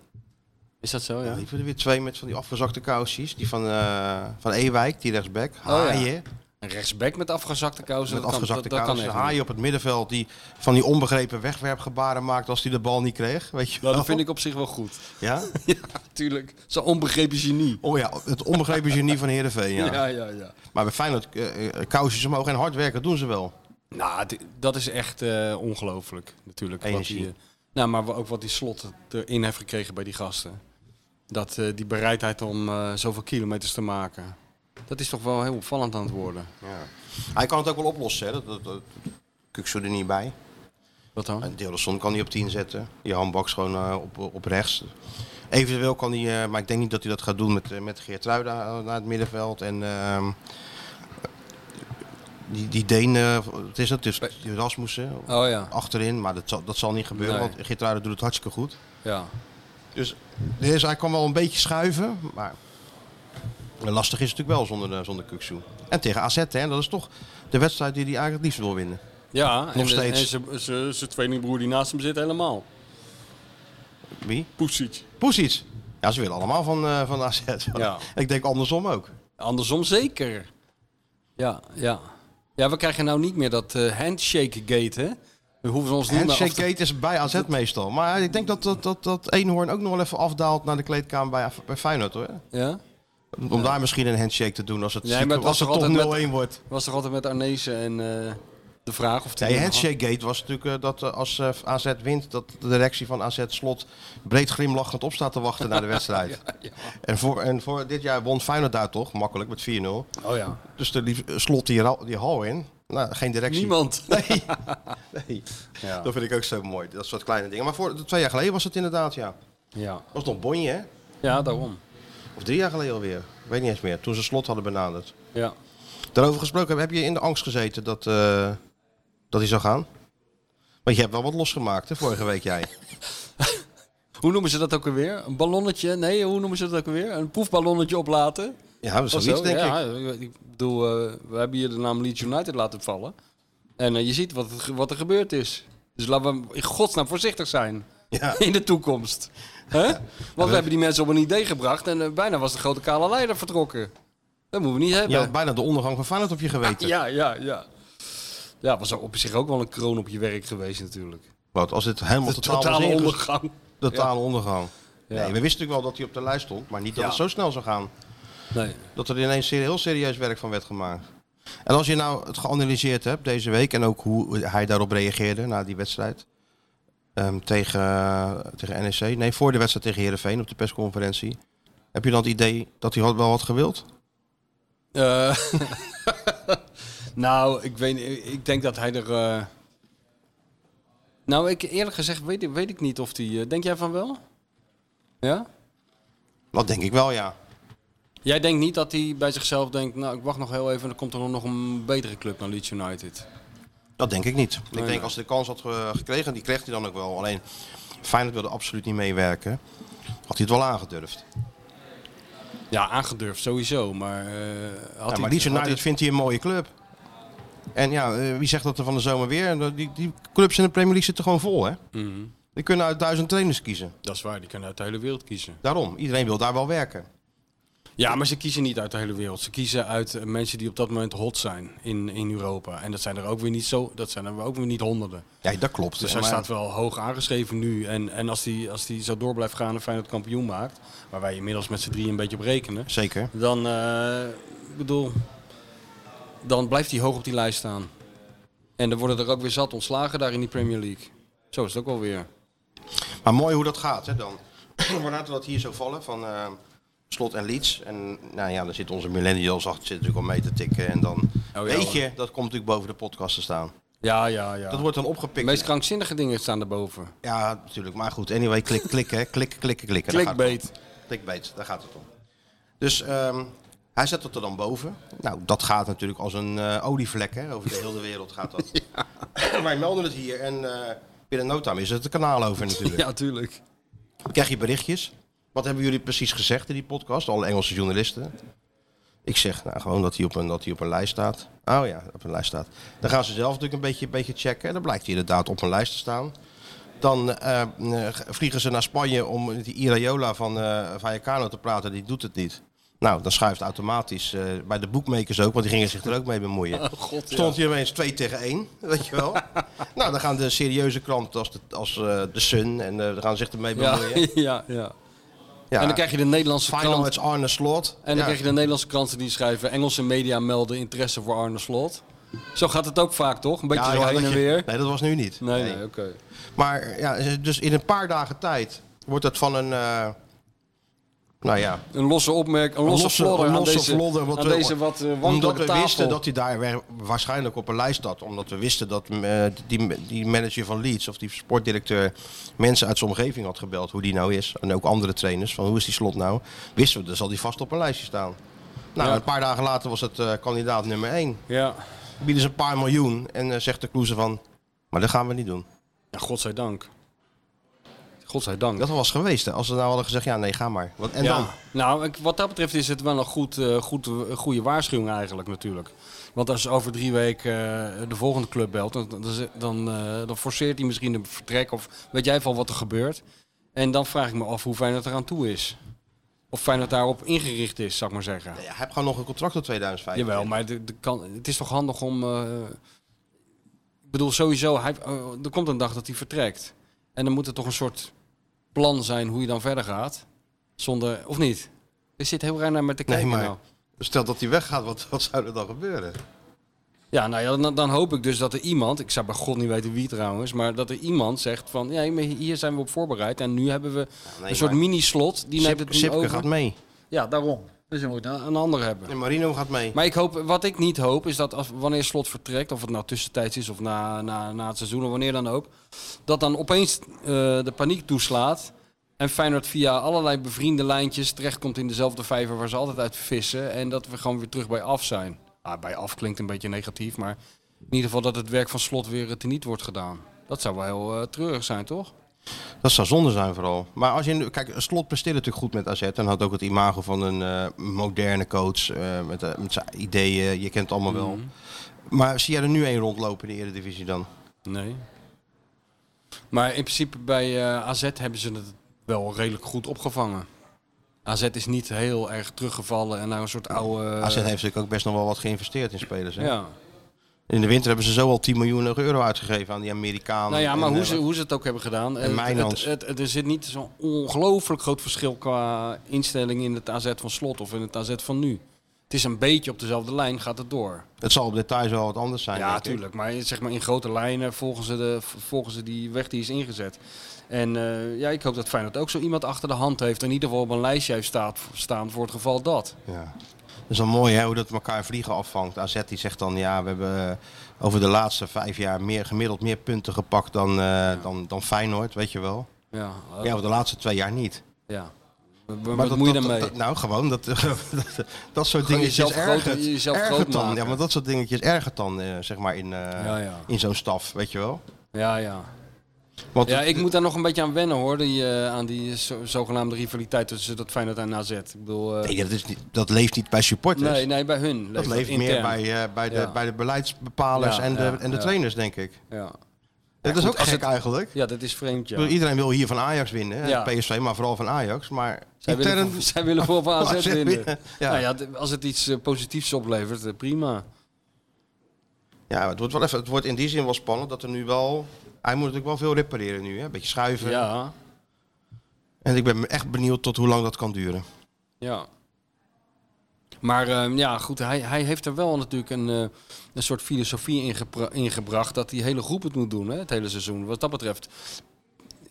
Is dat zo, ja?
Ja. Liepen er weer twee met van die afgezakte kousjes. Die van, eh van Ewijk, die rechtsback. Haaien.
Een rechtsback met afgezakte kousen,
Met
Oh, dat, kan,
afgezakte
dat, dat kan
kousen.
echt niet.
Haaien op het middenveld die van die onbegrepen wegwerpgebaren maakt als hij de bal niet kreeg. Weet je
Nou,
wel?
dat vind ik op zich wel goed.
Ja?
ja, tuurlijk. Zo'n onbegrepen genie.
Oh ja, het onbegrepen genie van Heerenveen. Ja.
Ja, ja, ja.
Maar bij Feyenoord, eh, eh, kousjes omhoog en hard werken doen ze wel.
Nou, d- dat is echt eh, ongelooflijk natuurlijk. Wat
Energie.
die, eh, nou, maar wa- ook wat die slot erin heeft gekregen bij die gasten. Dat eh, die bereidheid om eh, zoveel kilometers te maken. Dat is toch wel heel opvallend aan het worden.
Hij kan het ook wel oplossen, hè. Dat, dat, dat, Kuksu er niet bij. Eh,
Wat dan?
En Deelderson kan hij op 10 zetten. Die handbaks gewoon eh, op, op rechts. Eventueel kan hij, eh, maar ik denk niet dat hij dat gaat doen met, eh, met Geertruida naar het middenveld. En ehm, die, die Deen, eh, wat is dat? Dus die Rasmussen
Oh ja,
achterin. Maar dat zal, dat zal niet gebeuren,
Nee.
want Geertruida doet het hartstikke goed.
ja.
Dus dus hij kan wel een beetje schuiven, maar lastig is het natuurlijk wel zonder, eh, zonder Kuksu. En tegen AZ, hè, dat is toch de wedstrijd die hij eigenlijk het liefst wil winnen.
Ja, en,
steeds.
en zijn- zijn- zijn tweelingbroer die naast hem zit helemaal.
Wie?
Poetsic.
Poesic. Ja, ze willen allemaal van, eh, van AZ.
Ja.
Ik denk andersom ook.
Andersom zeker. Ja, ja. Ja, we krijgen nou niet meer dat eh, handshake gate, hè? We hoeven ons niet meer af
Handshake
te
Gate is bij AZ meestal. Maar ik denk dat, dat, dat, dat Eenhoorn ook nog wel even afdaalt naar de kleedkamer bij, bij Feyenoord. Hoor.
Ja?
Om daar misschien een handshake te doen als het,
Nee,
zieke-
maar het
als
was
het
toch
toch 0-1
altijd met-
wordt.
Was toch altijd met Arnezen en eh, de vraag of die-
Nee, handshake gate was natuurlijk eh, dat eh, als eh, AZ wint, dat de directie van AZ slot breed glimlachend op staat te wachten naar de wedstrijd. En, voor, en voor dit jaar won Feyenoord daar toch, makkelijk, met 4-0.
Oh ja.
Dus de lief, eh, slot die, ra- die hal in, nou, geen directie.
Niemand.
Nee, nee.
Ja.
dat vind ik ook zo mooi, dat soort kleine dingen. Maar voor, twee jaar geleden was het inderdaad, ja.
Ja.
was nog Bonje, hè?
ja, daarom.
Of drie jaar geleden alweer, Ik weet niet eens meer, toen ze slot hadden benaderd.
Ja.
Daarover gesproken, heb je in de angst gezeten dat, eh, dat hij zou gaan? Want je hebt wel wat losgemaakt, hè, vorige week jij.
Hoe noemen ze dat ook alweer? Een ballonnetje? Nee, hoe noemen ze dat ook alweer? Een proefballonnetje oplaten?
Ja,
Of
zoiets
zo?
denk ik.
ja, ik. bedoel, eh, we hebben hier de naam Leeds United laten vallen. En eh, je ziet wat, het ge- wat er gebeurd is. Dus laten we in godsnaam voorzichtig zijn
Ja.
in de toekomst. Hè? Want we hebben die mensen op een idee gebracht en eh, bijna was de grote kale leider vertrokken. Dat moeten we niet
Je
hebben.
had bijna de ondergang van Feyenoord op je geweten.
Ja, ja, ja. Ja, was op zich ook wel een kroon op je werk geweest natuurlijk.
Wat, als het helemaal totaal was
Totale
inges-
ondergang.
Totale ondergang.
Ja.
Nee, we wisten natuurlijk wel dat hij op de lijst stond, maar niet dat
Ja.
het zo snel zou gaan.
Nee.
Dat er ineens serie- heel serieus werk van werd gemaakt. En als je nou het geanalyseerd hebt deze week en ook hoe hij daarop reageerde na die wedstrijd ehm, tegen, tegen NEC, nee, voor de wedstrijd tegen Herenveen op de persconferentie, heb je dan het idee dat hij had wel wat gewild?
Eh, nou, ik, weet, niet, ik denk dat hij er... eh, Nou, ik, eerlijk gezegd weet, ik- weet ik niet of hij... eh, Denk jij van wel? Ja?
Dat denk ik wel, ja.
Jij denkt niet dat hij bij zichzelf denkt... Nou, ik wacht nog heel even en dan komt er nog een betere club naar Leeds United.
Dat denk ik niet.
Nee,
ik denk
nee.
als hij de kans had ge- gekregen, die kreeg hij dan ook wel. Alleen Feyenoord wilde absoluut niet meewerken. Had hij het wel aangedurfd.
Ja, aangedurfd sowieso, maar... eh, had
Ja,
hij-
maar Leeds
had hij-
United vindt hij een mooie club. En ja, eh, wie zegt dat er van de zomer weer? En dat- Die, die clubs in de Premier League zitten gewoon vol, hè?
Mhm.
Die kunnen uit duizend trainers kiezen.
Dat is waar, die kunnen uit de hele wereld kiezen.
Daarom, iedereen wil daar wel werken.
Ja, maar ze kiezen niet uit de hele wereld. Ze kiezen uit eh, mensen die op dat moment hot zijn in, in Europa. En dat zijn er ook weer niet zo, dat zijn er ook weer niet honderden.
Ja, dat klopt.
Dus
Ja,
hij
maar-
staat wel hoog aangeschreven nu. En, en als hij als die zo door blijft gaan en Feyenoord kampioen maakt, waar wij inmiddels met z'n drieën een beetje op rekenen,
Zeker.
dan, eh, ik bedoel, dan blijft hij hoog op die lijst staan. En dan worden er ook weer zat ontslagen daar in die Premier League. Zo is het ook wel weer.
Maar mooi hoe dat gaat, hè, dan. Maar laten we dat hier zo vallen van eh, Slot en Leeds. En nou ja, daar zitten onze millennials achter zitten natuurlijk al mee te tikken. En dan
Oh, ja,
weet
hoor.
je, dat komt natuurlijk boven de podcast te staan.
Ja, ja, ja.
Dat wordt dan
De
opgepikt.
meest krankzinnige dingen staan daarboven.
Ja, natuurlijk. Maar goed, anyway, klik, klik, hè. Klik, klikken, klikken. Daar gaat het
Clickbait.
om. Clickbait, daar gaat het om. Dus ehm, hij zet het er dan boven. Nou, dat gaat natuurlijk als een eh, olievlek, hè. Over de hele wereld gaat dat. Wij melden het hier en eh binnen no time is het de kanaal over natuurlijk.
Ja, tuurlijk.
krijg je berichtjes. Wat hebben jullie precies gezegd in die podcast? Alle Engelse journalisten. Ik zeg nou, gewoon dat hij, op een, dat hij op een lijst staat. Oh ja, op een lijst staat. Dan gaan ze zelf natuurlijk een beetje, een beetje checken. En dan blijkt hij inderdaad op een lijst te staan. Dan eh, eh, vliegen ze naar Spanje om met die Iraola van eh Vallecano te praten. Die doet het niet. Nou, dan schuift automatisch eh, bij de boekmakers ook, want die gingen zich er ook mee bemoeien.
Oh,
Stond hier ineens 2 tegen 1, weet je wel. nou, dan gaan de serieuze kranten als de, als, eh, de Sun en eh, dan gaan ze zich ermee
Ja,
bemoeien.
ja, ja. En dan krijg je de Nederlandse
Final
krant.
met Arne Slot.
En dan
Ja.
krijg je de Nederlandse kranten die schrijven... Engelse media melden interesse voor Arne Slot. Zo gaat het ook vaak, toch? Een beetje
Ja,
zo
ja,
heen
dat
en
je-
weer.
Nee, dat was nu niet.
Nee, nee, oké.
Maar ja, dus in een paar dagen tijd wordt het van een... eh, nou ja,
Een losse opmerking, een
Een
losse,
losse-
flodder
een
aan
losse
deze,
flodder, want
aan
we-
deze wat eh,
omdat
wankelijke
we
tafel.
wisten dat hij daar weer- waarschijnlijk op een lijst zat. Omdat we wisten dat eh, die, die manager van Leeds of die sportdirecteur mensen uit zijn omgeving had gebeld. Hoe die nou is. En ook andere trainers. Van hoe is die slot nou? Wisten we, dan zal die vast op een lijstje staan. Nou,
Ja.
een paar dagen later was het eh, kandidaat nummer 1.
Ja.
Bieden ze een paar miljoen en eh, zegt de Kloeze van... Maar dat gaan we niet doen.
ja, godzijdank. Godzijdank.
Dat was geweest, hè? Als ze nou hadden gezegd, ja, nee, ga maar. Want, en
ja.
dan?
Nou, ik- wat dat betreft is het wel een goed, eh, goed, een goede waarschuwing eigenlijk natuurlijk. Want als over drie weken eh, de volgende club belt, dan, dan, dan, eh, dan forceert hij misschien een vertrek of weet jij van wat er gebeurt. En dan vraag ik me af hoe fijn dat eraan toe is. Of fijn dat daarop ingericht is, zou ik maar zeggen.
Ja, heb gewoon nog een contract tot 2005.
Jawel, maar de, de kan, het is toch handig om. eh, ik bedoel, sowieso, hij, eh, er komt een dag dat hij vertrekt. En dan moet er toch een soort plan zijn hoe je dan verder gaat. Zonder, of niet? Er zit heel raar naar met te
Nee,
kijken.
maar-
nou.
Dus Stel dat hij weggaat, wat, wat zou er dan gebeuren?
Ja, nou ja, dan, dan hoop ik dus dat er iemand, ik zou bij God niet weten wie trouwens, maar dat er iemand zegt van, ja, maar hier zijn we op voorbereid en nu hebben we een soort mini-slot. Die neemt het nu over.
gaat mee.
Ja, daarom. Dus je moet een, een ander hebben.
En Marino gaat mee.
Maar ik hoop, wat ik niet hoop, is dat als, wanneer slot vertrekt, of het nou tussentijds is of na, na, na het seizoen of wanneer dan ook, dat dan opeens eh, de paniek toeslaat. En Feyenoord via allerlei bevriende lijntjes terechtkomt in dezelfde vijver waar ze altijd uit vissen. En dat we gewoon weer terug bij af zijn. Ah, bij af klinkt een beetje negatief, maar in ieder geval dat het werk van slot weer eh, teniet wordt gedaan. Dat zou wel heel eh, treurig zijn, toch?
Dat zou zonde zijn vooral. Maar als je nu, kijk, Slot presteerde natuurlijk goed met AZ en had ook het imago van een eh, moderne coach eh, met, eh, met zijn ideeën. Je kent het allemaal wel.
Mhm.
Maar zie jij er nu één rondlopen in de Eredivisie dan?
Nee. Maar in principe bij eh, AZ hebben ze het wel redelijk goed opgevangen. AZ is niet heel erg teruggevallen en naar een soort oude...
AZ heeft natuurlijk ook best nog wel wat geïnvesteerd in spelers. Hè?
Ja.
In de winter hebben ze zo al 10 miljoen euro uitgegeven aan die Amerikanen.
Nou ja, maar
En,
hoe
eh,
ze, hoe ze het ook hebben gedaan. eh, het,
Mijnans.
het, het- het- er zit niet zo'n ongelooflijk groot verschil qua instelling in het AZ van slot of in het AZ van nu. Het is een beetje op dezelfde lijn, gaat het door.
Het zal op details wel wat anders zijn.
Ja,
denk ik.
natuurlijk. Maar zeg maar in grote lijnen volgen ze, de, volgen ze die weg die is ingezet. En eh, ja, ik hoop dat Feyenoord ook zo iemand achter de hand heeft. In ieder geval op een lijstje heeft staat, staan voor het geval dat.
Ja. Dat is wel mooi hè, hoe dat elkaar vliegen afvangt. AZ die zegt dan, ja, we hebben eh, over de laatste vijf jaar meer, gemiddeld meer punten gepakt dan, eh, dan, dan Feyenoord, weet je wel.
Ja, eh,
Ja, over de laatste twee jaar niet.
ja. W- w- wat moet je
dat-
daarmee?
dat- nou, gewoon, dat, dat, dat soort dingetjes
jezelf groot-
ergert,
jezelf
ergert
groot
dan.
maken.
Ja, maar dat soort dingetjes ergert dan, eh, zeg maar, in, eh,
Ja, ja.
in zo'n staf, weet je wel.
Ja, ja.
Want
ja, ik moet daar nog een beetje aan wennen hoor, die, eh, aan die zo- zogenaamde rivaliteit tussen dat Feyenoord en AZ. Ik bedoel, eh,
Nee, dat, is niet, dat leeft niet bij supporters.
nee, nee, bij hun.
dat leeft meer
intern.
bij, eh, bij, de,
Ja.
bij de beleidsbepalers
Ja,
en de,
ja,
en de
ja.
trainers, denk ik.
Ja.
dat
Ja,
is
goed,
ook
als
gek
het-
eigenlijk.
Ja, dat is vreemd.
Ik
Ja.
bedoel, Iedereen wil hier van Ajax winnen. en
Ja.
PSV, maar vooral van Ajax. Maar
Zij willen,
intern-
voor- zij willen voor van AZ winnen.
winnen. Ja.
Nou ja, d- als het iets eh, positiefs oplevert, eh, prima.
Ja, het wordt, wel even, het wordt in die zin wel spannend dat er nu wel... Hij moet natuurlijk wel veel repareren nu, hè? Een beetje schuiven.
Ja,
En ik ben echt benieuwd tot hoe lang dat kan duren.
ja. Maar ehm, ja, goed, hij, hij heeft er wel natuurlijk een, eh, een soort filosofie ingepra- ingebracht dat die hele groep het moet doen, hè, het hele seizoen. Wat dat betreft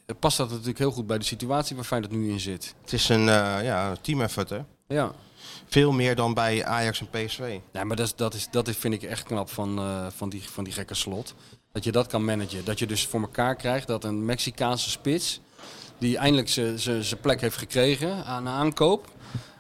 eh, past dat natuurlijk heel goed bij de situatie waar Feyenoord nu in zit.
Het is een eh ja, team effort, hè?
Ja,
Veel meer dan bij Ajax en PSV.
nee, maar dat, is, dat, is, dat is, vind ik echt knap van, eh, van, die, van die gekke slot. Dat je dat kan managen. Dat je dus voor elkaar krijgt dat een Mexicaanse spits, die eindelijk zijn plek heeft gekregen aan aankoop,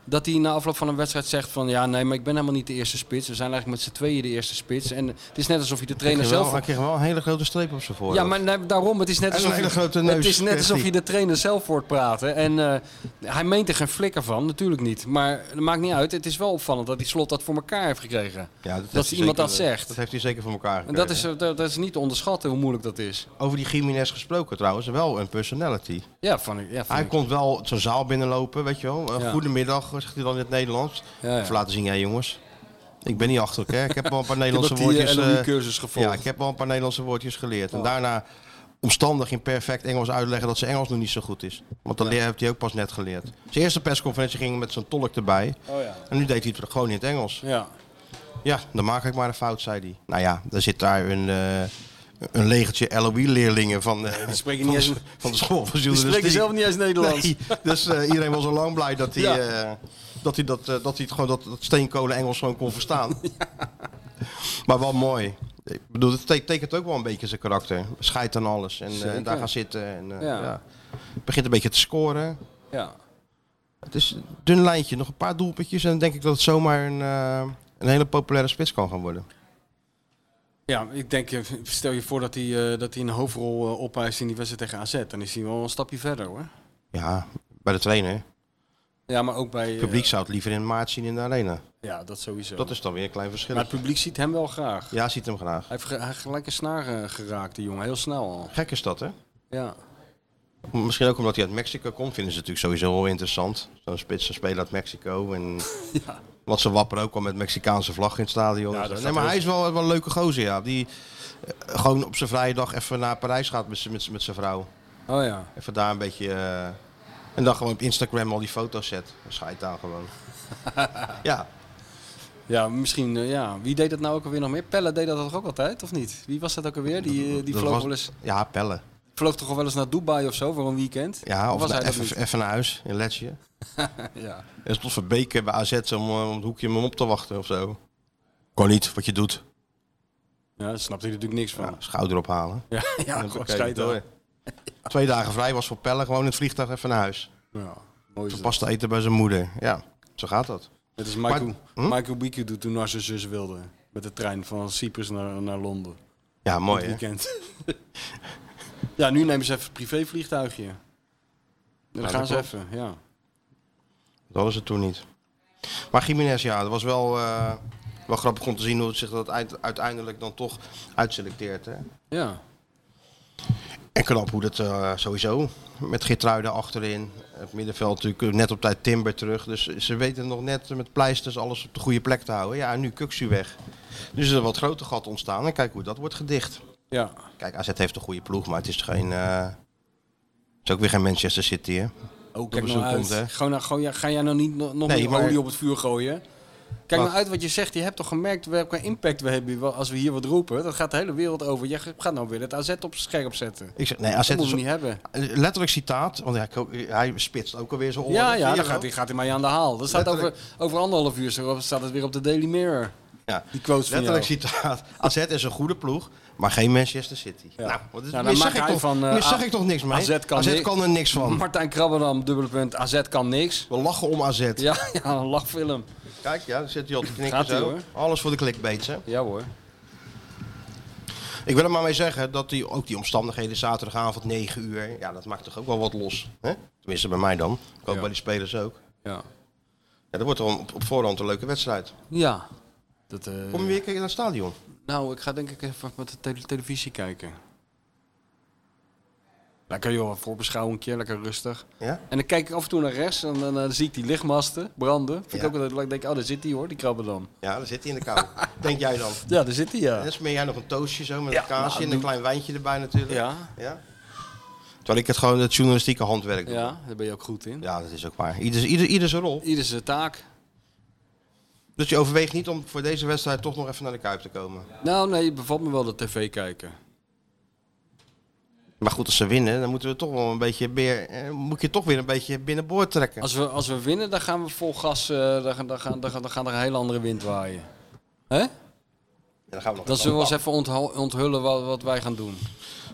dat hij na afloop van een wedstrijd zegt van ja, nee, maar ik ben helemaal niet de eerste spits. We zijn eigenlijk met z'n tweeën de eerste spits. En het is net alsof je de trainer
Hij kreeg wel-
zelf...
Hij kreeg wel een hele grote streep op zijn voorhoofd.
Ja, maar nee, daarom, het is net
En een
alsof,
hele
je,
grote
het
neus
is net
kreeg
alsof
hij.
je de trainer zelf hoort praten. En eh, hij meent er geen flikker van, natuurlijk niet. Maar dat maakt niet uit. Het is wel opvallend dat die slot dat voor elkaar heeft gekregen.
Ja,
dat
heeft hij zeker-
iemand dat zegt.
Dat heeft hij zeker voor elkaar
En
gekregen.
dat is, eh, dat, dat is niet te onderschatten hoe moeilijk dat is.
Over die Jiménez gesproken trouwens, wel een personality.
Ja, van, ja, van
Hij komt wel zo'n zaal binnenlopen, weet je wel. Eh,
Ja.
Goedemiddag, zegt hij dan in het Nederlands.
Ja, ja.
Even laten zien, jij jongens. Ik ben niet achterlijk, hè. Ik heb wel een paar Nederlandse
Ik heb die, eh,
woordjes... eh,
LOE-cursus gevolgd. Oh.
Ja, ik heb wel een paar Nederlandse woordjes geleerd. En daarna omstandig in perfect Engels uitleggen dat zijn Engels nog niet zo goed is. Want dan heeft hij ook pas net geleerd. Zijn eerste persconferentie ging met zo'n tolk erbij.
Oh ja.
En nu deed hij het gewoon in het Engels.
Ja.
Ja, dan maak ik maar een fout, zei hij. Nou ja, daar zit daar een, eh, een legertje LOE-leerlingen van, eh,
Die spreken
van,
niet
de-
eens-
van de school van
Die spreken zelf niet eens Nederlands.
dus Nee, dus eh, iedereen was al lang blij dat hij,
Ja.
eh, dat, hij dat, eh, dat hij het gewoon dat, dat steenkolen Engels gewoon kon verstaan. Maar wel mooi. Ik bedoel, het te- tekent ook wel een beetje zijn karakter. Scheidt aan alles en, eh,
Zeker.
daar gaan zitten. En, eh,
Ja.
ja. Begint een beetje te scoren.
Ja.
Het is een dun lijntje, nog een paar doelpuntjes en dan denk ik dat het zomaar een, eh, een hele populaire spits kan gaan worden.
ja, ik denk, eh, stel je voor dat hij, eh, dat hij een hoofdrol eh, opeist in die wedstrijd tegen AZ. Dan is hij wel een stapje verder hoor.
Ja, bij de trainer. Het
Ja, maar ook bij... eh,
publiek zou het liever in maart zien in de arena.
ja, dat sowieso.
Dat is dan weer een klein verschil.
Maar het publiek ziet hem wel graag.
Ja, ziet hem graag.
Hij heeft, ge- hij heeft gelijk een snaar eh, geraakt, die jongen. Heel snel al.
Gek is dat, hè?
Ja.
Misschien ook omdat hij uit Mexico komt, vinden ze het natuurlijk sowieso wel interessant. Zo'n spits, een speler uit Mexico. En
Ja.
wat ze wapper ook al met Mexicaanse vlag in het stadion.
Ja,
en zo.
dat staat
nee, maar
er
hij is wel, wel een leuke gozer, ja. Die eh, gewoon op zijn vrije dag even naar Parijs gaat met, z'n- met, z'n- met zijn vrouw.
Oh ja.
Even daar een beetje... eh, en dan gewoon op Instagram al die foto's zet. Schijt aan gewoon. ja,
Ja, misschien, eh, ja. Wie deed dat nou ook alweer nog meer? Pelle deed dat toch ook altijd, of niet? Wie was dat ook alweer? Die, eh, die
dat
vloog,
was-
wel eens,
ja, pellen.
vloog toch al wel eens naar Dubai of zo voor een weekend?
Ja, of
was
na-
hij dat
even,
niet?
even naar huis in Letje.
Ja.
Er stond Verbeke bij AZ om, eh, om het hoekje om hem op te wachten of zo. Kan niet, wat je doet.
ja, daar snapte hij natuurlijk niks van.
Ja, schouder ophalen.
Ja, ja,
En
gewoon
huppakee,
schijt
door.
hoor.
Twee dagen vrij was voor Pelle gewoon in het vliegtuig even naar huis.
Ja, mooi is dat.
Pasta eten bij zijn moeder. Ja, zo gaat dat.
Net als Michael,
hm?
Michael Biku doet toen naar zijn zus wilde. Met de trein van Cyprus naar, naar Londen.
Ja, mooi
Het
hè.
weekend. ja, nu nemen ze even een privévliegtuigje. En dan
dat
gaan ze
klopt.
even, ja.
Dat hadden ze toen niet. Maar Jiménez, ja, dat was wel, eh, wel grappig om te zien hoe het zich dat eind- uiteindelijk dan toch uitselecteert. Hè?
Ja,
En knap hoe dat eh, sowieso. Met Gitruiden achterin. Het middenveld natuurlijk eh, net op tijd Timber terug. Dus ze weten nog net met pleisters alles op de goede plek te houden. Ja, en nu Kuxu weg. Dus er is een wat groter gat ontstaan. En kijk hoe dat wordt gedicht.
ja.
Kijk, AZ heeft een goede ploeg, maar het is geen. eh, het is ook weer geen Manchester City, hè?
Oh, kijk
bezoek
nou uit.
komt, hè?
Gewoon, nou, gewoon, ja, ga jij nou niet no- nog
Nee,
meer
maar-
olie op het vuur gooien?
Wat?
Kijk nou uit wat je zegt. Je hebt toch gemerkt welke impact we hebben wel- als we hier wat roepen. Dat gaat de hele wereld over. Je gaat nou weer het AZ op scherp zetten.
Ik zeg, nee, AZ
dat moeten
is Eh,
we niet hebben.
letterlijk citaat, want hij, hij spitst ook alweer zijn oren.
Ja,
Zie
ja,
je
dan
wel?
gaat hij, gaat hij mij aan de haal. Dat staat over, over anderhalf uur zo- staat het weer op de Daily Mirror.
Ja.
Die quotes van
Letterlijk
jou.
citaat. AZ is een goede ploeg, maar geen Manchester City.
Ja.
Nou, wat is,
Nou, dan
nu
maakt
zeg ik
hij
toch,
van, eh,
nu
A-
zeg ik toch niks mee.
AZ kan ni-
er niks van.
Martijn Krabbenam, dubbele punt. AZ kan niks.
We lachen om AZ.
Ja, ja, een lachfilm.
Kijk, ja, daar zit hij al te knikken
Gaat-ie,
zo.
hoor.
Alles voor de clickbaits, hè.
Ja hoor.
Ik wil er maar mee zeggen dat die, ook die omstandigheden zaterdagavond 9 uur, ja, dat maakt toch ook wel wat los. Hè? Tenminste, bij mij dan. Ik hoop bij die spelers ook.
Ja.
Ja, dat wordt toch op, op voorhand een leuke wedstrijd.
Ja. Dat, eh,
Kom je weer een keer naar het stadion?
Nou, ik ga denk ik even met de tele- televisie kijken. Lekker joh, voorbeschouwingje, lekker rustig.
Ja?
En dan kijk ik af en toe naar rechts en dan, eh, zie ik die lichtmasten branden. Vind
Ja.
ik ook altijd leuk. denk ik, oh, daar zit die hoor, die krabben dan.
Ja, daar zit hij in de kou. Denk jij dan?
Ja, daar zit die ja.
Dan smeer jij nog een toastje zo met
Ja,
een kaasje
nou,
en een
doe-
klein wijntje erbij natuurlijk.
Ja.
ja? Terwijl ik het gewoon het journalistieke handwerk doe.
Ja, daar ben je ook goed in.
Ja, dat is ook waar. Ieder, ieder, ieder zijn rol.
Ieder zijn taak.
Dus je overweegt niet om voor deze wedstrijd toch nog even naar de Kuip te komen.
Nou nee, bevalt me wel de tv kijken.
Maar goed, als ze winnen, dan moeten we toch wel een beetje meer, eh, moet je toch weer een beetje binnenboord trekken.
Als we, als we winnen, dan gaan we vol gas, eh, dan, gaan- dan, gaan, dan, gaan, dan gaan er een hele andere wind waaien. Hè?
En dan gaan we nog
Dan zullen we eens even onthul- onthullen wat, wat wij gaan doen.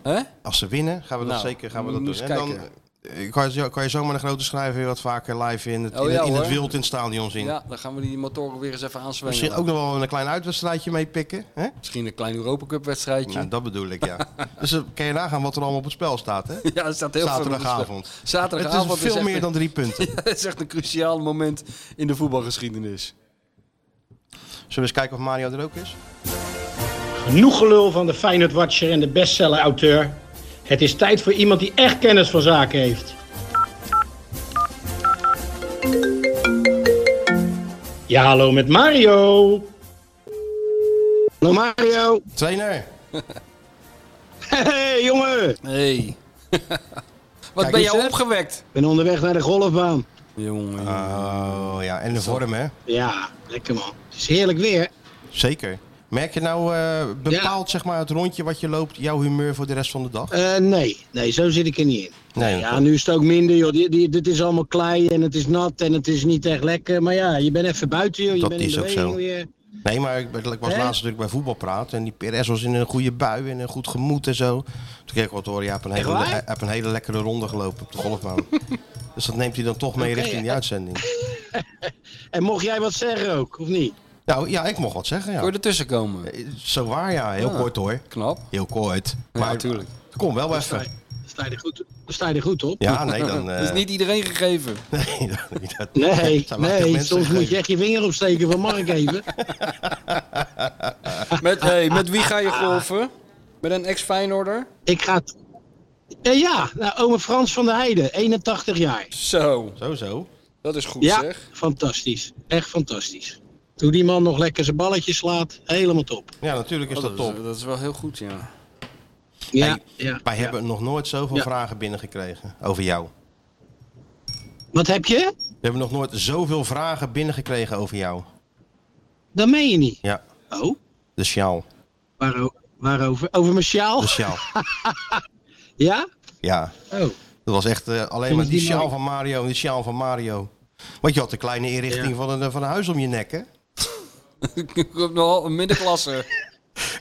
Hè?
Als ze winnen, gaan we dat
Nou,
zeker gaan we
we
dat doen.
moeten
En
eens
dan
kijken.
eh, kan je, zo- kan je zomaar een grote schrijver weer wat vaker live in het,
Oh
in,
ja,
het, in het
hoor.
wild in het stadion zien.
Ja, dan gaan we die motoren weer eens even aanzwengelen.
Misschien ook nog wel een klein uitwedstrijdje mee pikken. Hè?
Misschien een klein Europa Cup wedstrijdje.
Nou, dat bedoel ik, ja. dus dan kan je nagaan wat er allemaal op het spel staat, hè?
ja, er staat heel veel op het spel.
Zaterdagavond.
Zaterdagavond
Het is veel
echt
meer
een-
dan drie punten.
Ja, het is echt een cruciaal moment in de voetbalgeschiedenis.
Zullen we eens kijken of Mario er ook is?
Genoeg gelul van de Feyenoord Watcher en de bestseller-auteur. Het is tijd voor iemand die echt kennis van zaken heeft. Ja, hallo met Mario.
Hallo Mario.
Trainer.
Hey jongen.
Hey. Wat
Kijk
dus
ben
eens,
jij
hè?
opgewekt?
Ik ben onderweg naar de golfbaan.
Jongen.
Oh Ah, ja, en de vorm, hè?
Ja, lekker man. Het is heerlijk weer.
Zeker. Merk je nou eh, bepaald zeg maar, het rondje wat je loopt, jouw humeur voor de rest van de dag?
Eh, nee, nee, zo zit ik er niet in.
Nee,
ja, nu is het ook minder, joh. Die, die, dit is allemaal klei en het is nat en het is niet echt lekker. Maar ja, je bent even buiten, joh. Je
Dat
bent in
is ook
beweging
zo.
weer.
Nee, maar ik, ben- ik was
Hè?
laatst natuurlijk bij voetbalpraat en die PRS was in een goede bui en een goed gemoed en zo. Toen kreeg ik wat te horen, ja, heb een, hele,
waar?
hij heeft een hele lekkere ronde gelopen op de golfbaan. dus dat neemt hij dan toch mee
Oké,
richting die
hè?
uitzending.
En mocht jij wat zeggen ook, of niet?
Nou ja, ik mocht wat zeggen,
Kun
ja.
je ertussen komen?
Zo waar, ja. Heel
Ja.
kort hoor.
Knap.
Heel kort.
Ja, natuurlijk.
Kom wel
Dan sta, je-
even.
dan sta, je er goed, dan sta je er goed op.
Ja, nee, dan...
Dat is
eh,
niet iedereen gegeven.
Nee, dat- dat-
Nee,
dat zijn weinig
nee
mensen
soms moet je
gegeven.
echt je vinger opsteken van mag ik even?
Met, hey, met wie ga je golven? Met een ex-Feyenoorder?
Ik ga... het- Eh, ja, nou, ome Frans van der Heijden, 81 jaar.
Zo,
Zo, zo.
dat is goed
ja,
zeg.
fantastisch. Echt fantastisch. Hoe die man nog lekker zijn balletjes slaat, helemaal top.
Ja, natuurlijk is
Oh,
dat
dat,
top.
is, dat is wel heel goed, ja.
Ja,
Hey,
ja.
Wij hebben nog nooit zoveel
Ja.
vragen binnengekregen over jou.
Wat heb je?
We hebben nog nooit zoveel vragen binnengekregen over jou.
Dat meen je niet.
Ja,
Oh,
de sjaal.
waaro- waarover? Over mijn sjaal?
De sjaal.
Ja?
Ja,
Oh,
dat was echt eh, alleen
je
maar die
die
sjaal
mooi?
van Mario, die sjaal van Mario. Want je had de kleine inrichting
Ja.
van, een, eh, van een huis om je nek, hè?
Ik heb nogal een middenklasse.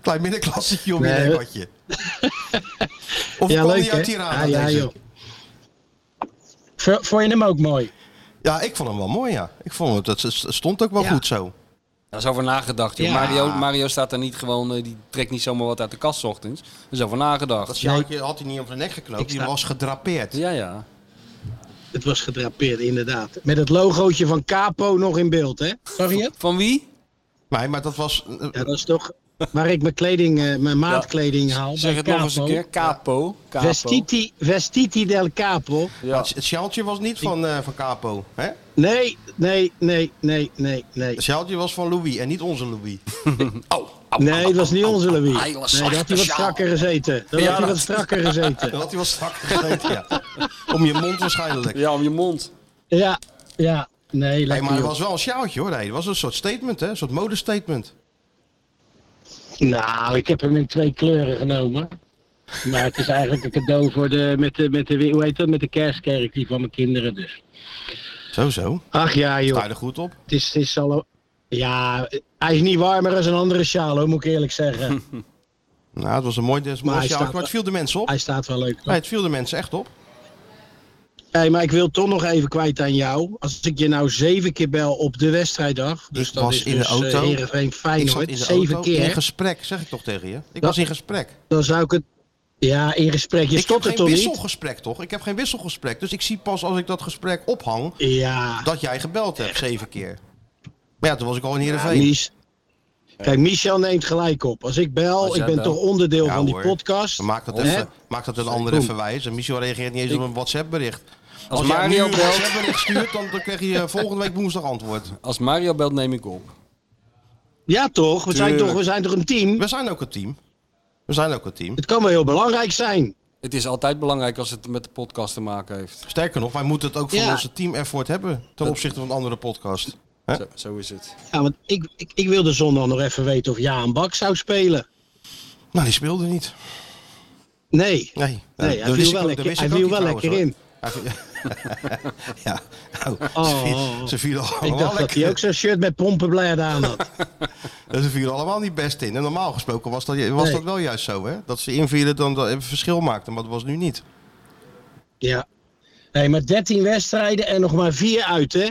Klein middenklassetje om je
Nee.
nek had je. Of
ja,
kwam
leuk
die
hè?
uit Tirana,
Ah, ja,
deze?
joh. V- Vond je hem ook mooi?
Ja, ik vond hem wel mooi, ja. Ik vond het, dat s- stond ook wel
Ja.
goed zo.
Daar is over nagedacht. joh.
Ja.
Mario, Mario staat daar niet gewoon, eh, die trekt niet zomaar wat uit de kast 's ochtends. Er is over
Dat
nagedacht.
sjaaltje had hij niet om zijn nek geknoopt,
Ik
die
sta-
was gedrapeerd.
Ja, ja.
Het was gedrapeerd, inderdaad. Met het logootje van Capo nog in beeld, hè? Zag je het?
Van wie?
Nee, maar dat was... eh,
Ja, dat is toch waar ik mijn kleding, eh, mijn maatkleding haal.
Zeg
bij
het
Capo.
nog eens een keer. Capo. Capo.
Vestiti, Vestiti del Capo.
Ja.
Het sjaaltje was niet van, eh, van Capo, hè?
Nee, nee, nee, nee, nee, nee.
Het sjaaltje was van Louis en niet onze Louis.
Nee, dat was niet onze Louis.
Hij
Nee,
was
dat had hij wat
speciaal.
strakker gezeten. Dat had hij wat strakker gezeten.
Dat had hij wel strak gegeten, ja. Om je mond waarschijnlijk.
Ja, om je mond.
Ja, ja. Nee,
Hey,
lekker.
maar het
joh.
was wel een sjaaltje hoor. Hey, het was een soort statement, hè? Een soort modestatement.
Nou, ik heb hem in twee kleuren genomen. Maar het is eigenlijk een cadeau voor de, met, de, met, de, hoe heet dat, met de kerstkerk die van mijn kinderen dus.
Zo, zo.
Ach ja joh,
Sta je er goed op?
het is, het is al... Ja, hij is niet warmer dan een andere sjaal hoor, moet ik eerlijk zeggen.
Nou, het was een mooi, het was een mooi
Maar
sjaaltje,
hij staat-
maar het viel de mensen op.
hij staat wel leuk.
Nee, het viel de mensen echt op.
Hé, maar ik wil toch nog even kwijt aan jou. Als ik je nou zeven keer bel op de wedstrijddag. Dus
ik
dat
was
is
in
dus,
de auto.
eh, Heerenveen
ik zat
Feyenoord.
in de
zeven
auto,
keer.
In gesprek, zeg ik toch tegen je? Ik
Dat-
was in gesprek.
Dan zou ik het. Ja, in gesprek. Je
ik heb
stopt
geen
het toch niet?
wisselgesprek, toch? Ik heb geen wisselgesprek. Dus ik zie pas als ik dat gesprek ophang...
Ja.
dat jij gebeld hebt, zeven keer. Maar ja, toen was ik al in
Ja,
Heerenveen.
Mies. Kijk, Michel neemt gelijk op. Als ik bel,
Als
ik
jij
ben
belt.
toch onderdeel
Ja,
van die
hoor.
podcast.
Maak dat,
Hè?
even, maak dat een ander
Kom.
even wijs. En Michel reageert niet eens op een WhatsApp-bericht.
Als
jij
Mario
nu een
belt-
WhatsApp-bericht stuurt, dan, dan krijg je eh, volgende week woensdag antwoord.
Als Mario belt, neem ik op.
Ja, toch? We zijn
Tuurlijk.
toch, we zijn toch een team?
We zijn ook een team. We zijn ook een team.
Het kan wel heel belangrijk zijn.
Het is altijd belangrijk als het met de podcast te maken heeft.
Sterker nog, wij moeten het ook van
Ja.
onze team-effort hebben... ten opzichte van andere podcast. Hè?
Zo, zo is het.
Ja, want ik, ik, ik wilde zondag nog even weten of Jaan Bak zou spelen.
Nou, die speelde niet.
Nee.
Nee, dus
Nee, hij viel wel lekker- hij viel wel lekker in.
ja, nou,
Oh,
ze, viel-
oh, oh.
ze vielen allemaal
ik dacht dat
lekker
hij ook zo'n shirt met pompenbladen aan had.
En Dus Ze vielen allemaal niet best in. En normaal gesproken was dat, was
Nee.
dat wel juist zo, hè? Dat ze invielen dan dat het verschil maakte, maar dat was nu niet.
Ja. Nee, maar 13 wedstrijden en nog maar 4 uit, hè?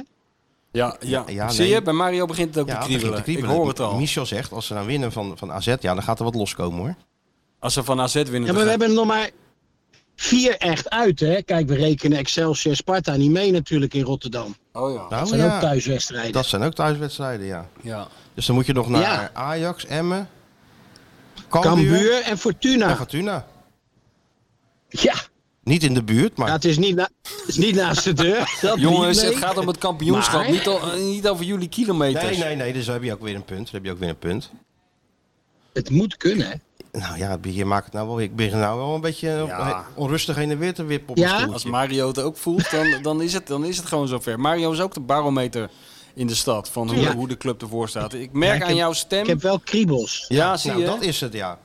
Ja, ja.
Ja,
zie
nee.
je, bij Mario begint het ook te,
het
kriebelen.
begint te
Ik hoor het al.
Michel zegt, als ze dan winnen van, van AZ, ja, dan gaat er wat loskomen, hoor.
Als ze van AZ winnen,
Ja,
dan
maar
gaat-
we hebben er nog maar 4 echt uit, hè? Kijk, we rekenen Excelsior Sparta niet mee natuurlijk in Rotterdam.
Oh ja.
Dat
Nou,
zijn
ja.
ook thuiswedstrijden.
Dat zijn ook thuiswedstrijden, ja.
ja.
Dus dan moet je nog naar
Ja.
Ajax, Emmen, Cambuur
Cambuur en Fortuna.
en Fortuna.
Ja,
Niet in de buurt,
ja,
maar...
het is niet, na- het is niet naast de deur. Dat
Jongens,
niet, nee.
het gaat om het kampioenschap,
Maar-
niet, al- eh, niet over jullie kilometers.
Nee, nee, nee, dus daar heb je ook weer een punt. Daar heb je ook weer een punt.
Het moet kunnen, hè?
Nou ja, je maakt het nou wel... Ik begin nou wel een beetje eh,
Ja.
onrustig heen en weer te wippen op
Ja?
mijn stoeltje.
Als Mario het ook voelt, dan, dan, is het, dan is het gewoon zover. Mario is ook de barometer in de stad van hoe,
Ja.
hoe de club ervoor staat. Ik merk
ik
aan
heb-
jouw stem.
Ik heb wel kriebels.
ja, zie
nou,
je?
dat is het, ja.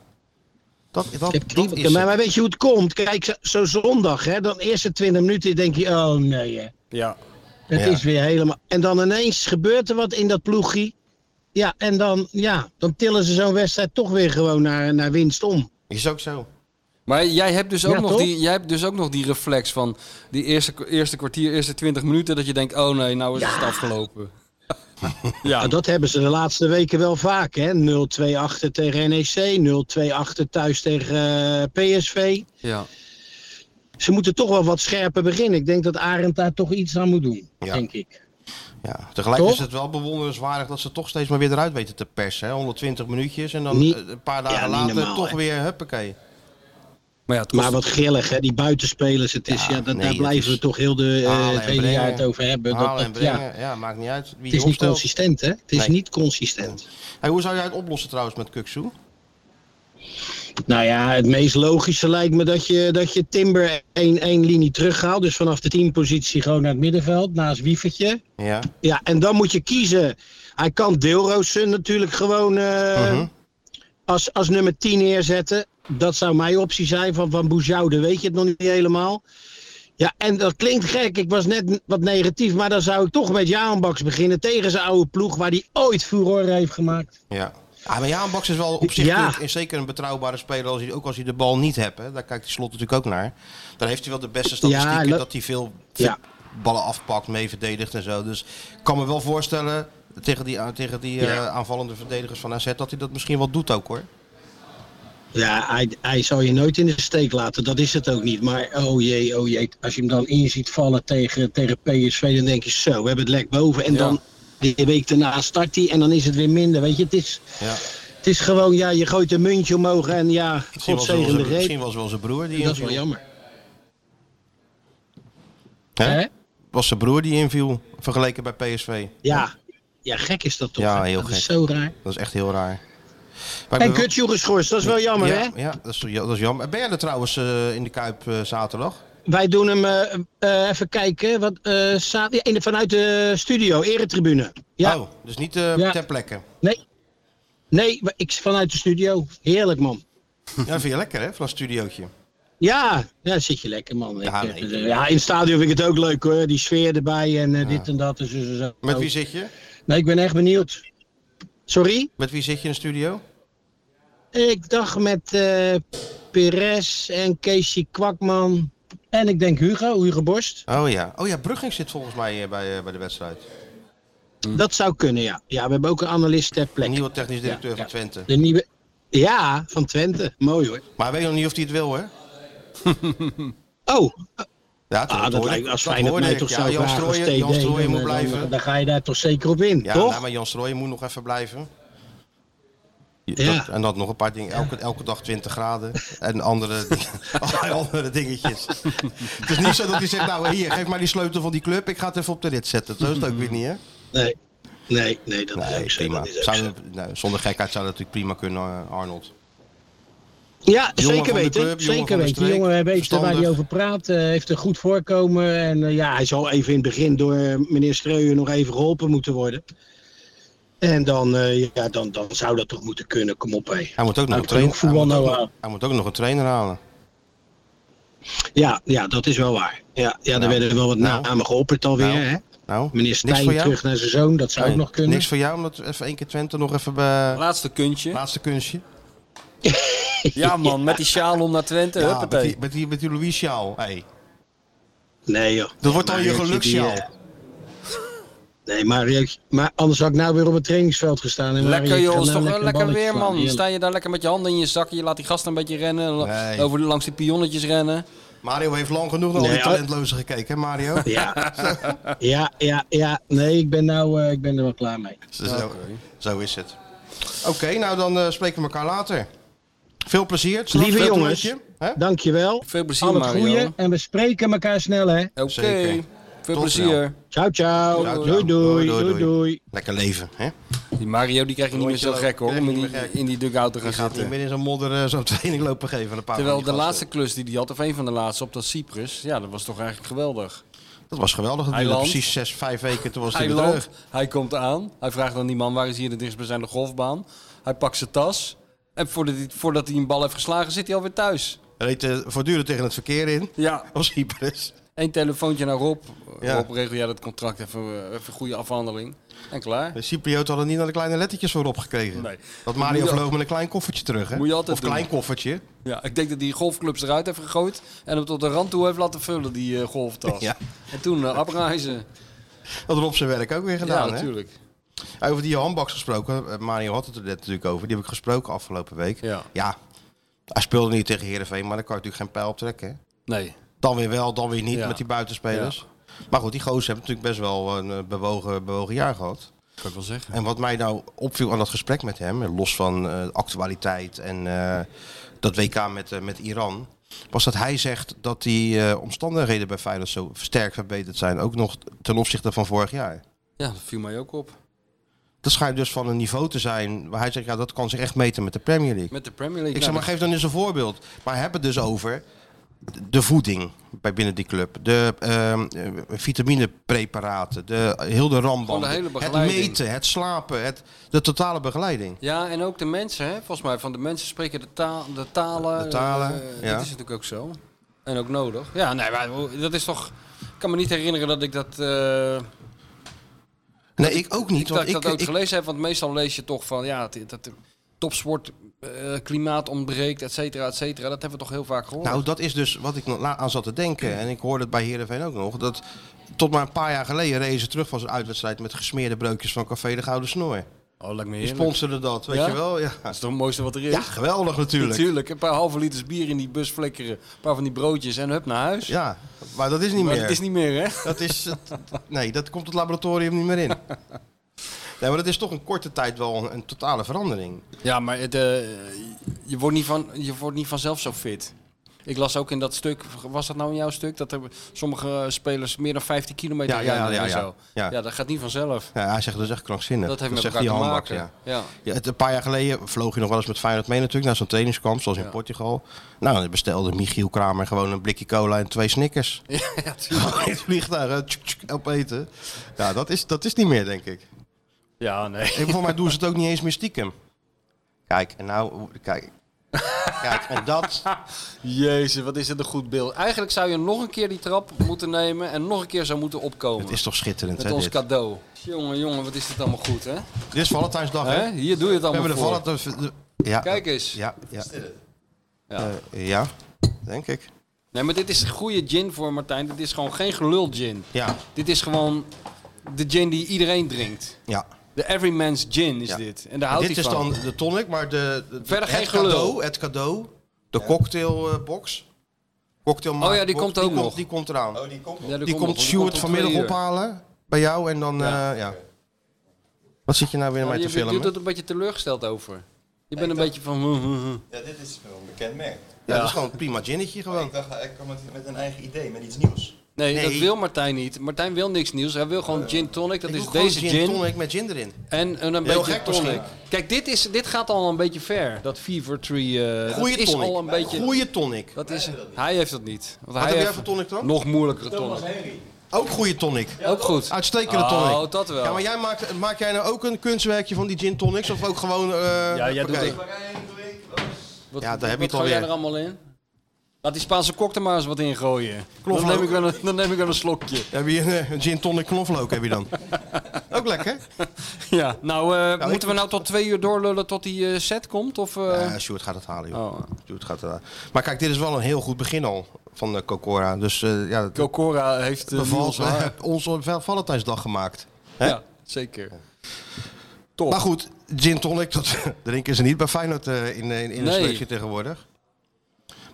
Dat, dat,
Ik heb
dat
kriebels.
is
maar,
het.
maar weet je hoe het komt? Kijk, zo, zo zondag, hè, dan eerste 20 minuten denk je, oh nee, hè,
Ja.
het
Ja.
is weer helemaal... En dan ineens gebeurt er wat in dat ploegie. Ja, en dan, ja, dan tillen ze zo'n wedstrijd toch weer gewoon naar, naar winst om.
Is ook zo.
Maar jij hebt, dus ook
Ja,
nog
toch?
die, jij hebt dus ook nog die reflex van die eerste, eerste kwartier, eerste 20 minuten, dat je denkt, oh nee, nou is het afgelopen. ja,
Nou, dat hebben ze de laatste weken wel vaak, hè. 0-2 achter tegen E NEC, 0-2 achter thuis tegen eh, PSV.
ja.
Ze moeten toch wel wat scherper beginnen. Ik denk dat Arend daar toch iets aan moet doen,
Ja.
denk ik.
Ja, tegelijk
Toch?
is het wel bewonderenswaardig dat ze toch steeds maar weer eruit weten te persen. Hè? 120 minuutjes en dan
Niet-
eh, een paar dagen
Ja, niet
later
normaal,
toch
hè.
weer huppakee.
Maar ja, het kost-
Maar wat grillig, hè? die buitenspelers. Het is,
Ja,
ja, dat,
nee,
daar
het
blijven
is-
we toch heel de, eh,
Halen en
het hele
brengen.
jaar het over hebben. Dat,
Halen en
dat- ja,
brengen. Ja. maakt niet uit wie
het
je
is niet
opstelt.
consistent, hè? Het is
Nee.
niet consistent.
Hey, hoe zou jij het oplossen trouwens met Kuksu?
Nou ja, het meest logische lijkt me dat je, dat je Timber één, één linie terughaalt. Dus vanaf de teampositie gewoon naar het middenveld, naast Wiefertje.
Ja.
Ja, en dan moet je kiezen. Hij kan Deelroosen natuurlijk gewoon eh,
Mhm.
als, als nummer 10 neerzetten. Dat zou mijn optie zijn. Van, van Boujoude weet je het nog niet helemaal. Ja, en dat klinkt gek. Ik was net n- wat negatief. Maar dan zou ik toch met Jaan Baks beginnen. Tegen zijn oude ploeg waar hij ooit furore heeft gemaakt.
ja. Ah, maar Jaan Baks is wel op zich
Ja.
natuurlijk en zeker een betrouwbare speler, als hij, ook als hij de bal niet hebt. Hè? Daar kijkt de slot natuurlijk ook naar. Dan heeft hij wel de beste statistieken
dat-
dat hij veel
Ja.
ballen afpakt, mee verdedigt en zo. Dus ik kan me wel voorstellen tegen die, tegen die eh, aanvallende verdedigers van AZ dat hij dat misschien wel doet ook hoor.
Ja, hij, hij zal je nooit in de steek laten. Dat is het ook niet. Maar oh jee, oh jee. Als je hem dan in ziet vallen tegen, tegen PSV, dan denk je zo, we hebben het lek boven. En
Ja.
dan de week daarna start hij en dan is het weer minder. Weet je, het is,
Ja.
het is gewoon, ja, je gooit een muntje omhoog en ja,
Misschien was,
God
wel
zegen de
zijn,
reep.
misschien was wel zijn broer die
Dat is wel
inviel.
jammer.
Hè?
Hè?
Was zijn broer die inviel vergeleken bij PSV.
Ja. ja, gek is dat toch?
Ja,
hè?
heel
dat is
gek.
zo raar.
Dat is echt heel raar. Maar ik
En
ben wel-
Kutjoe geschorst, dat is wel jammer,
ja,
hè?
Ja, dat is, ja, dat is jammer. Ben jij er trouwens eh, in de Kuip eh, zaterdag?
Wij doen hem, eh, eh, even kijken, wat, eh, za- ja, in de- vanuit de studio, eretribune. Ja.
Oh, dus niet eh,
Ja.
ter plekke.
Nee. Nee, maar ik vanuit de studio. Heerlijk, man.
Ja, dat vind je lekker hè, van een studiootje.
Ja, daar zit je lekker, man.
Ja,
Ik,
nee.
eh, ja, in het stadion vind ik het ook leuk, hoor. Die sfeer erbij en eh, dit en dat. en zo, zo, zo.
Met wie zit je?
Nee, ik ben echt benieuwd. Sorry?
Met wie zit je in de studio?
Ik dacht met eh Perez en Casey Kwakman En ik denk Hugo, Hugo Borst.
Oh ja. Oh ja, Brugging zit volgens mij eh, bij, eh, bij de wedstrijd.
Dat zou kunnen, ja. Ja, we hebben ook een analist ter
Hm.
plekke.
Nieuwe technisch directeur van Twente.
De nieuwe... Ja, van Twente. Mooi hoor.
Maar weet nog niet of hij het wil, hè?
Oh,
Ja,
ah, dat lijkt, als Feyenoord
hoorde
mij
ik.
toch
Ja,
zou
Jan
vragen als
Strooijen-
TD,
Jan Strooijen
dan,
moet
eh,
blijven.
Dan, dan ga je daar toch zeker op in,
Ja,
toch?
nou, maar Jan Strooijen moet nog even blijven.
Ja.
Dat- en dat nog een paar dingen. Elke, elke dag 20 graden. En andere, allerlei andere dingetjes. het is niet zo dat hij zegt, nou hier, geef maar die sleutel van die club. Ik ga het even op de rit zetten. Zo is het ook weer niet, hè?
Nee. Nee, nee, dat
Nee,
is ook zo,
prima.
dat is ook
Zou-
zo.
nou, zonder gekheid zou dat natuurlijk prima kunnen, eh, Arnold.
Ja,
Jongen
zeker
van de
weten.
club, jongen van
zeker
de
weten. Die
streek,
jongen weet waar
verstandig.
hij over praat. eh, heeft een goed voorkomen. En eh, ja, hij zal even in het begin door eh, meneer Streuer nog even geholpen moeten worden. En dan, eh, ja, dan, dan zou dat toch moeten kunnen. Kom op, hé.
Hij moet ook nog een
Hij kan ook
trainer hij
voetbal
moet ook
nou
nog- Hij moet ook nog een trainer halen.
Ja, ja, dat is wel waar. Ja, ja er
Nou,
werden wel wat
nou,
namen geopperd alweer,
nou,
hè?
Nou,
Meneer
niks voor
Stijn
jou?
terug naar zijn zoon, dat zou
Nee,
ook nog kunnen.
Niks voor jou, omdat even één keer Twente nog even... bij-
Laatste kuntje.
Laatste kunstje.
Ja man, met die sjaal om naar Twente.
Ja, met,
huppatee.
die, met, die, met die Louis Sjaal. Hey.
Nee, joh.
Dat wordt dan
Maar
je
Rukje, die,
geluksjaal.
eh, Nee, maar, Rukje- maar anders had ik nou weer op het trainingsveld gestaan. En
Lekker
Rukje
joh,
gaat
is
nou
toch wel
een
lekker
balletje
weer
slaan,
man.
heerlijk.
Sta je daar lekker met je handen in je zakken, je laat die gasten een beetje rennen, lo-
Nee.
over, langs die pionnetjes rennen.
Mario heeft lang genoeg naar al
Nee,
die talentlozen gekeken, hè Mario?
Ja. ja, ja, ja. Nee, ik ben, nou, eh, ik ben er wel klaar mee.
Dus zo, zo is het. Oké, nou dan eh, spreken we elkaar later. Veel plezier. het is
Lieve
een
jongens,
toernooitje, hè?
dankjewel.
Veel plezier
Al het
Mario.
goede. En we spreken elkaar snel, hè?
Oké,
Zeker.
veel
Tot
plezier.
Ciao,
Ciao,
ciao.
ciao.
Doei, doei,
Doei, doei,
doei, doei.
Lekker leven, hè?
Die Mario die krijg je niet meer
Rondje
zo
lopen,
gek hoor,
krijg
om
je
in
niet meer
die,
gek.
in die dugout te gaan
Je gaat niet
zitten.
meer in zo'n modder eh, zo'n training lopen geven aan een paar
Terwijl
van die
de
gasten.
laatste klus die hij had, of een van de laatste op dat Cyprus, ja dat was toch eigenlijk geweldig.
Dat was geweldig. Dat
Hij
duurde
landt.
precies zes, vijf weken. Toen was hij
Hij
weer
loopt,
terug.
hij komt aan, hij vraagt aan die man waar is hier de dichtstbijzijnde golfbaan. Hij pakt zijn tas en voordat hij, voordat hij een bal heeft geslagen zit hij alweer thuis.
Hij reed eh, voortdurend tegen het verkeer in.
Ja,
Als Cyprus.
Eén telefoontje naar Rob.
Ja.
Rob, regel jij dat contract even, eh, even goede afhandeling. En klaar.
De Cyprioten hadden niet naar de kleine lettertjes voor opgekregen.
Nee.
Dat
Moet
Mario
je al-
vloog met een klein koffertje terug, hè?
Moet je altijd
of klein
doen.
koffertje.
Ja, ik denk dat die golfclubs eruit heeft gegooid en hem tot de rand toe heeft laten vullen, die eh, golftas.
Ja.
En toen eh, abreizen.
Dat Rob zijn werk ook weer gedaan,
ja,
hè?
natuurlijk.
Hey, Over die Johan Baks gesproken. eh, Mario had het er net natuurlijk over. Die heb ik gesproken afgelopen week.
Ja.
Ja, hij speelde niet tegen Heerenveen, maar daar kan je natuurlijk geen pijl op trekken. hè?
Nee.
Dan weer wel, dan weer niet
Ja.
met die buitenspelers. Maar goed, die gozer hebben natuurlijk best wel een eh, bewogen, bewogen jaar gehad.
Kan ik wel zeggen.
En wat mij nou opviel aan dat gesprek met hem, eh, los van eh, actualiteit en eh, dat WK met, eh, met Iran, was dat hij zegt dat die eh, omstandigheden bij Feyenoord zo sterk verbeterd zijn. Ook nog ten opzichte van vorig jaar.
Ja, dat viel mij ook op.
Dat schijnt dus van een niveau te zijn waar hij zegt, ja, dat kan zich echt meten met de Premier League.
Met de Premier League.
Ik zeg maar,
Nou,
geef dan eens een voorbeeld. Maar we hebben het dus over de voeding bij binnen die club. De ehm, eh, vitaminepreparaten, de, heel de ramband.
Gewoon de hele
het
begeleiding.
meten, het slapen, het, de totale begeleiding.
Ja, en ook de mensen, hè? volgens mij. Van de mensen spreken de, taal, de talen.
De talen,
eh,
ja.
Dat is natuurlijk ook zo. En ook nodig. Ja, nee, maar oh, dat is toch... Ik kan me niet herinneren dat ik dat... eh,
Nee, ik ook niet.
Ik, dat
Want
ik
ik,
dat ook
ik-
gelezen heb, want meestal lees je toch van ja, het- dat de topsport eh, klimaat ontbreekt, et cetera, et cetera. Dat hebben we toch heel vaak gehoord.
nou, dat is dus wat ik nog la- aan zat te denken. En ik hoorde het bij Heerenveen ook nog. Dat tot maar een paar jaar geleden rezen ze terug van zijn uitwedstrijd met gesmeerde breukjes van Café de Gouden Snoor.
oh, lijkt me
Die
heerlijk.
sponsoren dat, weet
Ja?
je wel? Ja,
Dat is toch het mooiste wat er is.
ja geweldig natuurlijk.
Natuurlijk, een paar halve liters bier in die bus flikkeren, een paar van die broodjes en hup naar huis.
Ja, maar dat is niet
maar
meer.
dat is niet meer, hè?
Dat is het- nee, dat komt het laboratorium niet meer in. Nee, maar dat is toch een korte tijd wel een, een totale verandering.
Ja, maar het, eh, je, wordt niet van, je wordt niet vanzelf zo fit. Ik las ook in dat stuk, was dat nou in jouw stuk, dat er sommige spelers meer dan 15 kilometer
Ja, ja, ja,
rennen en
ja, ja.
zo.
Ja.
dat gaat niet vanzelf.
Ja, hij zegt dat is echt krankzinnig.
Dat heeft met
zegt
elkaar te
die handbak,
maken.
ja.
ja.
Ja, het, een paar jaar geleden vloog je nog wel eens met Feyenoord mee natuurlijk naar zo'n trainingskamp, zoals in
Ja.
Portugal. Nou, dan bestelde Michiel Kramer gewoon een blikje cola en twee Snickers.
Ja,
Gewoon in het vliegtuig, hè, tjuk, tjuk, opeten. Ja, dat is, dat is niet meer, denk ik.
ja, nee.
En voor mij doen ze het ook niet eens meer stiekem. Kijk, en nou, kijk. Kijk, en dat...
Jezus, wat is dit een goed beeld. Eigenlijk zou je nog een keer die trap moeten nemen en nog een keer zou moeten opkomen.
Het is toch schitterend,
Met
hè,
ons
dit?
cadeau. Jongen, jongen, wat is dit allemaal goed, hè?
Dit is Valentijnsdag, hè?
Hè? Hier doe je het
We
allemaal
hebben de
voor.
Valentijns... de- ja.
Kijk eens.
Ja, ja.
Ja.
Eh, ja, denk ik.
Nee, maar dit is goede gin voor Martijn. Dit is gewoon geen gelul gin.
Ja.
Dit is gewoon de gin die iedereen drinkt.
Ja.
De everyman's gin is
Ja.
dit. En daar houdt
dit
hij
is
van.
dan de tonic, maar de, de-
Verder
het
geen gelul.
cadeau, het cadeau, de cocktailbox. Cocktailmaakbox.
Oh ja, die komt ook
die
nog. Oh,
Komt, die komt eraan.
die komt,
die, komt Stuart vanmiddag ophalen bij jou en dan, ja. ja. Wat zit je nou weer
Ja,
mij te
je bent-
filmen?
je doet er een beetje teleurgesteld over. Je bent een beetje van... hm, hm, hm.
Ja, dit is wel een bekend merk.
Ja, dat is gewoon een prima ginnetje gewoon.
Ik dacht, ik kwam met, met een eigen idee, met iets nieuws.
Nee,
Nee. Eh,
dat wil Martijn niet. Martijn wil niks nieuws. Hij wil gewoon gin tonic. Dat
Ik
is
doe gewoon
deze gin.
gin tonic met gin erin.
En een,
Heel
beetje
gek
tonic.
misschien.
Kijk, dit, is, dit gaat al een beetje ver. Dat Fever Tree. eh
Goeie
dat is
tonic.
al een beetje.
Goeie tonic.
Dat is, hij heeft dat niet. Want
Wat
hij
heb jij
heeft
voor tonic dan?
Nog moeilijkere tonic.
Ook goede tonic.
Ook goed.
Uitstekende
Oh,
Ah, tonic.
dat wel.
Ja, maar jij maakt, maak jij nou ook een kunstwerkje van die gin tonics of ook gewoon... eh,
Ja, jij doet
hoppakee?
het. Wat,
Ja, daar heb je
wat
het alweer.
gooi jij er allemaal in? Laat die Spaanse kok er maar eens wat in gooien. Dan
Knoflook.
neem, ik wel een, dan neem ik wel een slokje.
Heb je een, eh, een gin tonic knoflook heb je dan. ook lekker.
Ja, nou, eh,
ik
moeten we nou tot twee uur doorlullen tot die eh, set komt? Of, eh?
Ja, Sjoerd gaat het halen,
Oh.
joh. Sjoerd gaat het halen. Maar kijk, dit is wel een heel goed begin al van de Cocora. Dus eh, ja, het
Cocora heeft eh,
bevalt,
Niels haar.
ons op Val- Valentijnsdag gemaakt. Hè?
Ja, zeker. Top.
Maar goed, gin tonic, dat drinken ze niet bij Feyenoord eh, in, in, in
Nee.
een selectie tegenwoordig.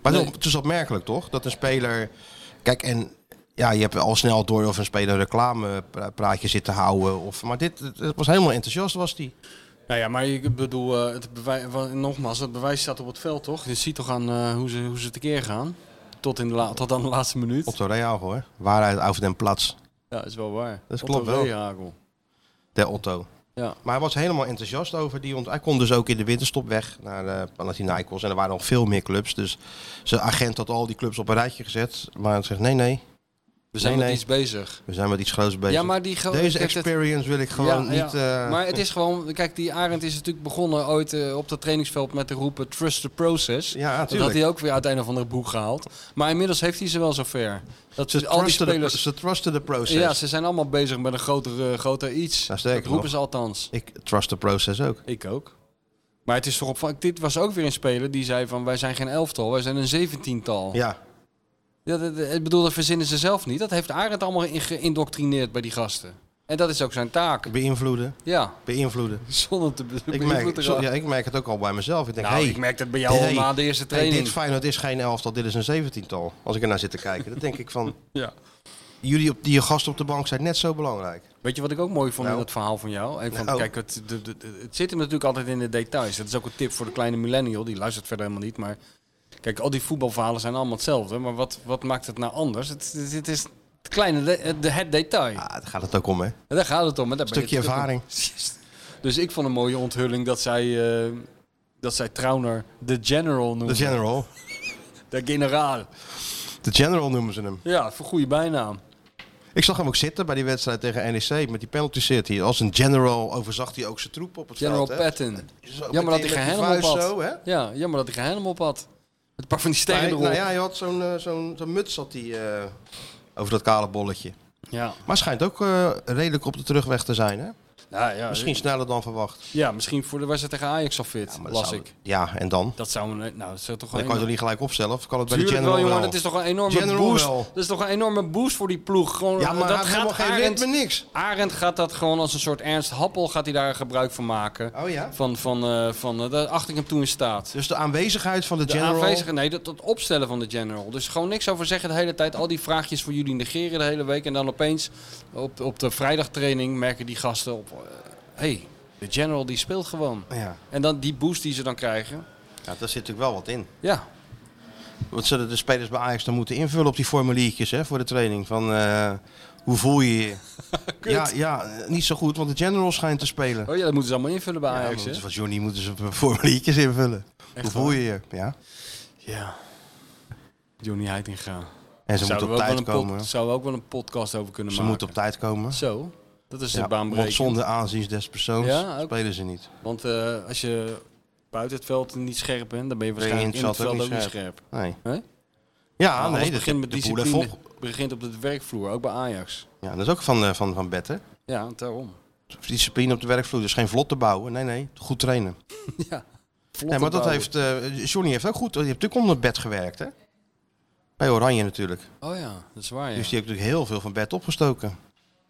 Maar het is op- het is opmerkelijk, toch? Dat een speler... Kijk, en ja, je hebt al snel door of een speler reclamepraatje zit te houden. Of, maar dit het- het was helemaal enthousiast, was die.
Nou ja, maar ik bedoel, eh, het bewijs, nogmaals, het bewijs staat op het veld, toch? Je ziet toch aan eh, hoe, ze, hoe ze tekeer gaan. Tot, in de la- tot aan de laatste minuut.
Op de Real, hoor. Waarheid over den plaats.
Ja, is wel waar.
Dat
Op
klopt
de
wel.
Weehagel.
Der Otto.
Ja.
Maar hij was helemaal enthousiast over die. ont- Hij kon dus ook in de winterstop weg naar eh Panathinaikos. En er waren nog veel meer clubs. Dus zijn agent had al die clubs op een rijtje gezet. Maar hij zegt nee, nee.
We zijn
nee,
met
nee.
iets bezig.
We zijn met iets groots bezig.
Ja, maar die gro-
Deze
kijk, het-
experience wil ik gewoon
Ja, ja.
niet... eh,
Maar het is gewoon, kijk, die Arend is natuurlijk begonnen ooit eh, op dat trainingsveld met de roepen Trust the Process.
Ja,
dat had
natuurlijk.
hij ook weer uit een of andere boek gehaald. Maar inmiddels heeft hij ze wel zover. Dat
Ze,
ze al die
trusten de-
spelers.
ze trusten de process.
Ja, ze zijn allemaal bezig met een groter, eh, groter iets.
Nou,
Dat
sterker
roepen
nog.
ze althans.
Ik trust the process ook.
Ik ook. Maar het is toch opvallend. Dit was ook weer een speler die zei van wij zijn geen elftal, wij zijn een zeventiental.
Ja.
Ja, dat- dat- ik bedoel, dat verzinnen ze zelf niet. Dat heeft Arend allemaal in- geïndoctrineerd bij die gasten. En dat is ook zijn taak.
Beïnvloeden.
Ja.
Beïnvloeden.
Zonder te be-
Ik
beïnvloeden
merk,
te
zo-
raken.
ja, ik merk het ook al bij mezelf. Ik denk,
Nou,
hey,
ik merk dat bij jou al
hey,
na de eerste
hey,
training.
dit Feyenoord is geen elftal, dit is een zeventiental. Als ik ernaar zit te kijken, dan denk ik van...
Ja.
Jullie op die gast op de bank zijn net zo belangrijk.
Weet je wat ik ook mooi vond in
Nou.
dat verhaal van jou? Even van,
Nou.
Kijk, het, de- de- de- het zit hem natuurlijk altijd in de details. Dat is ook een tip voor de kleine millennial. Die luistert verder helemaal niet. Maar kijk, al die voetbalverhalen zijn allemaal hetzelfde. Maar wat, wat maakt het nou anders? Het, het, het is het kleine, de- het, het detail.
Daar gaat het ook om, hè?
En Daar gaat het om. hè. Daar ben je
Ah. Stukje
natuurlijk
ervaring.
om. Dus ik vond een mooie onthulling dat zij, eh, dat zij Trauner de General noemde.
De general.
De generaal.
De general noemen ze hem.
Ja, voor goede bijnaam.
Ik zag hem ook zitten bij die wedstrijd tegen NEC met die penalty zit hier. Als een general overzag hij ook zijn troep op het
General
veld. hè.
Patton.
Zo
Jammer dat hij
meteen
geen
met die
helm op
vuist
had.
zo, hè?
ja, jammer dat hij geen helm op had. Met een paar van die
Nee,
sterren erop.
nou ja, hij had zo'n eh, zo'n zo'n muts had hij, eh, over dat kale bolletje.
Ja.
Maar schijnt ook eh, redelijk op de terugweg te zijn, hè?
Ja, ja,
Misschien sneller dan verwacht.
Ja, misschien voor de wedstrijd tegen Ajax al fit,
maar dat
las
zou-
ik.
Ja, en dan?
Dat zou me... Nou, dat
Dan
zou toch een
kan je toch
enorm-
niet gelijk opstellen? Of kan het bij de
Tuurlijk
general eh,
wel,
wel?
jongen. Dat is toch een enorme
General
boost.
wel.
Dat is toch een enorme boost voor die ploeg. Gewoon, eh,
Ja, maar
dat
hij heeft helemaal geen wind met niks.
Arend gaat dat gewoon als een soort Ernst Happel gaat hij daar gebruik van maken.
Oh ja?
Van, van, eh, van eh, daar acht ik hem toe in staat.
Dus de aanwezigheid van de,
De
general...
aanwezige, nee, dat, dat opstellen van de general. Dus gewoon niks over zeggen de hele tijd. Al die vraagjes voor jullie negeren de hele week. En dan opeens op, op de vrijdagtraining merken die gasten op... eh, hey, de general die speelt gewoon.
Ja.
En dan die boost die ze dan krijgen.
ja, daar zit natuurlijk wel wat in.
Ja.
Wat zullen de spelers bij Ajax dan moeten invullen op die formuliertjes hè, voor de training? Van eh, hoe voel je je? ja, ja, eh, niet zo goed, want de general schijnt te spelen.
Oh ja, dat moeten ze allemaal invullen bij
Ja,
Ajax,
maar
hè?
van Johnny moeten ze formuliertjes invullen.
Echt
hoe voel
waar?
je je? Ja.
Ja. Johnny Heitinga.
En ze moeten
Zouden
op
we ook wel
tijd
een pod-
komen. hè?
Zouden we ook wel een podcast over kunnen
Ze
maken.
moeten op tijd komen.
Zo, dat is
Ja,
de
want
baanbreking.
zonder aanzien des persoons
Ja, ook.
spelen ze niet.
Want eh, als je buiten het veld niet scherp bent, dan ben je
Ben je
waarschijnlijk in het veld ook niet scherp.
Nee.
Hè?
Ja,
Nou, alles
Ah, nee, dat
begint met
de boel
discipline.
heeft op.
begint op de werkvloer, ook bij Ajax.
Ja, dat is ook van, eh, van, van Bert, hè?
Ja, daarom.
Discipline op de werkvloer. Dus geen vlot te bouwen. Nee, nee. Goed trainen.
ja.
Nee, maar dat heeft, eh, Johnny heeft ook goed. Je hebt natuurlijk onder het bed gewerkt, hè? Bij Oranje natuurlijk.
Oh ja, dat is waar. Ja,
Dus die heeft natuurlijk heel veel van Bert opgestoken.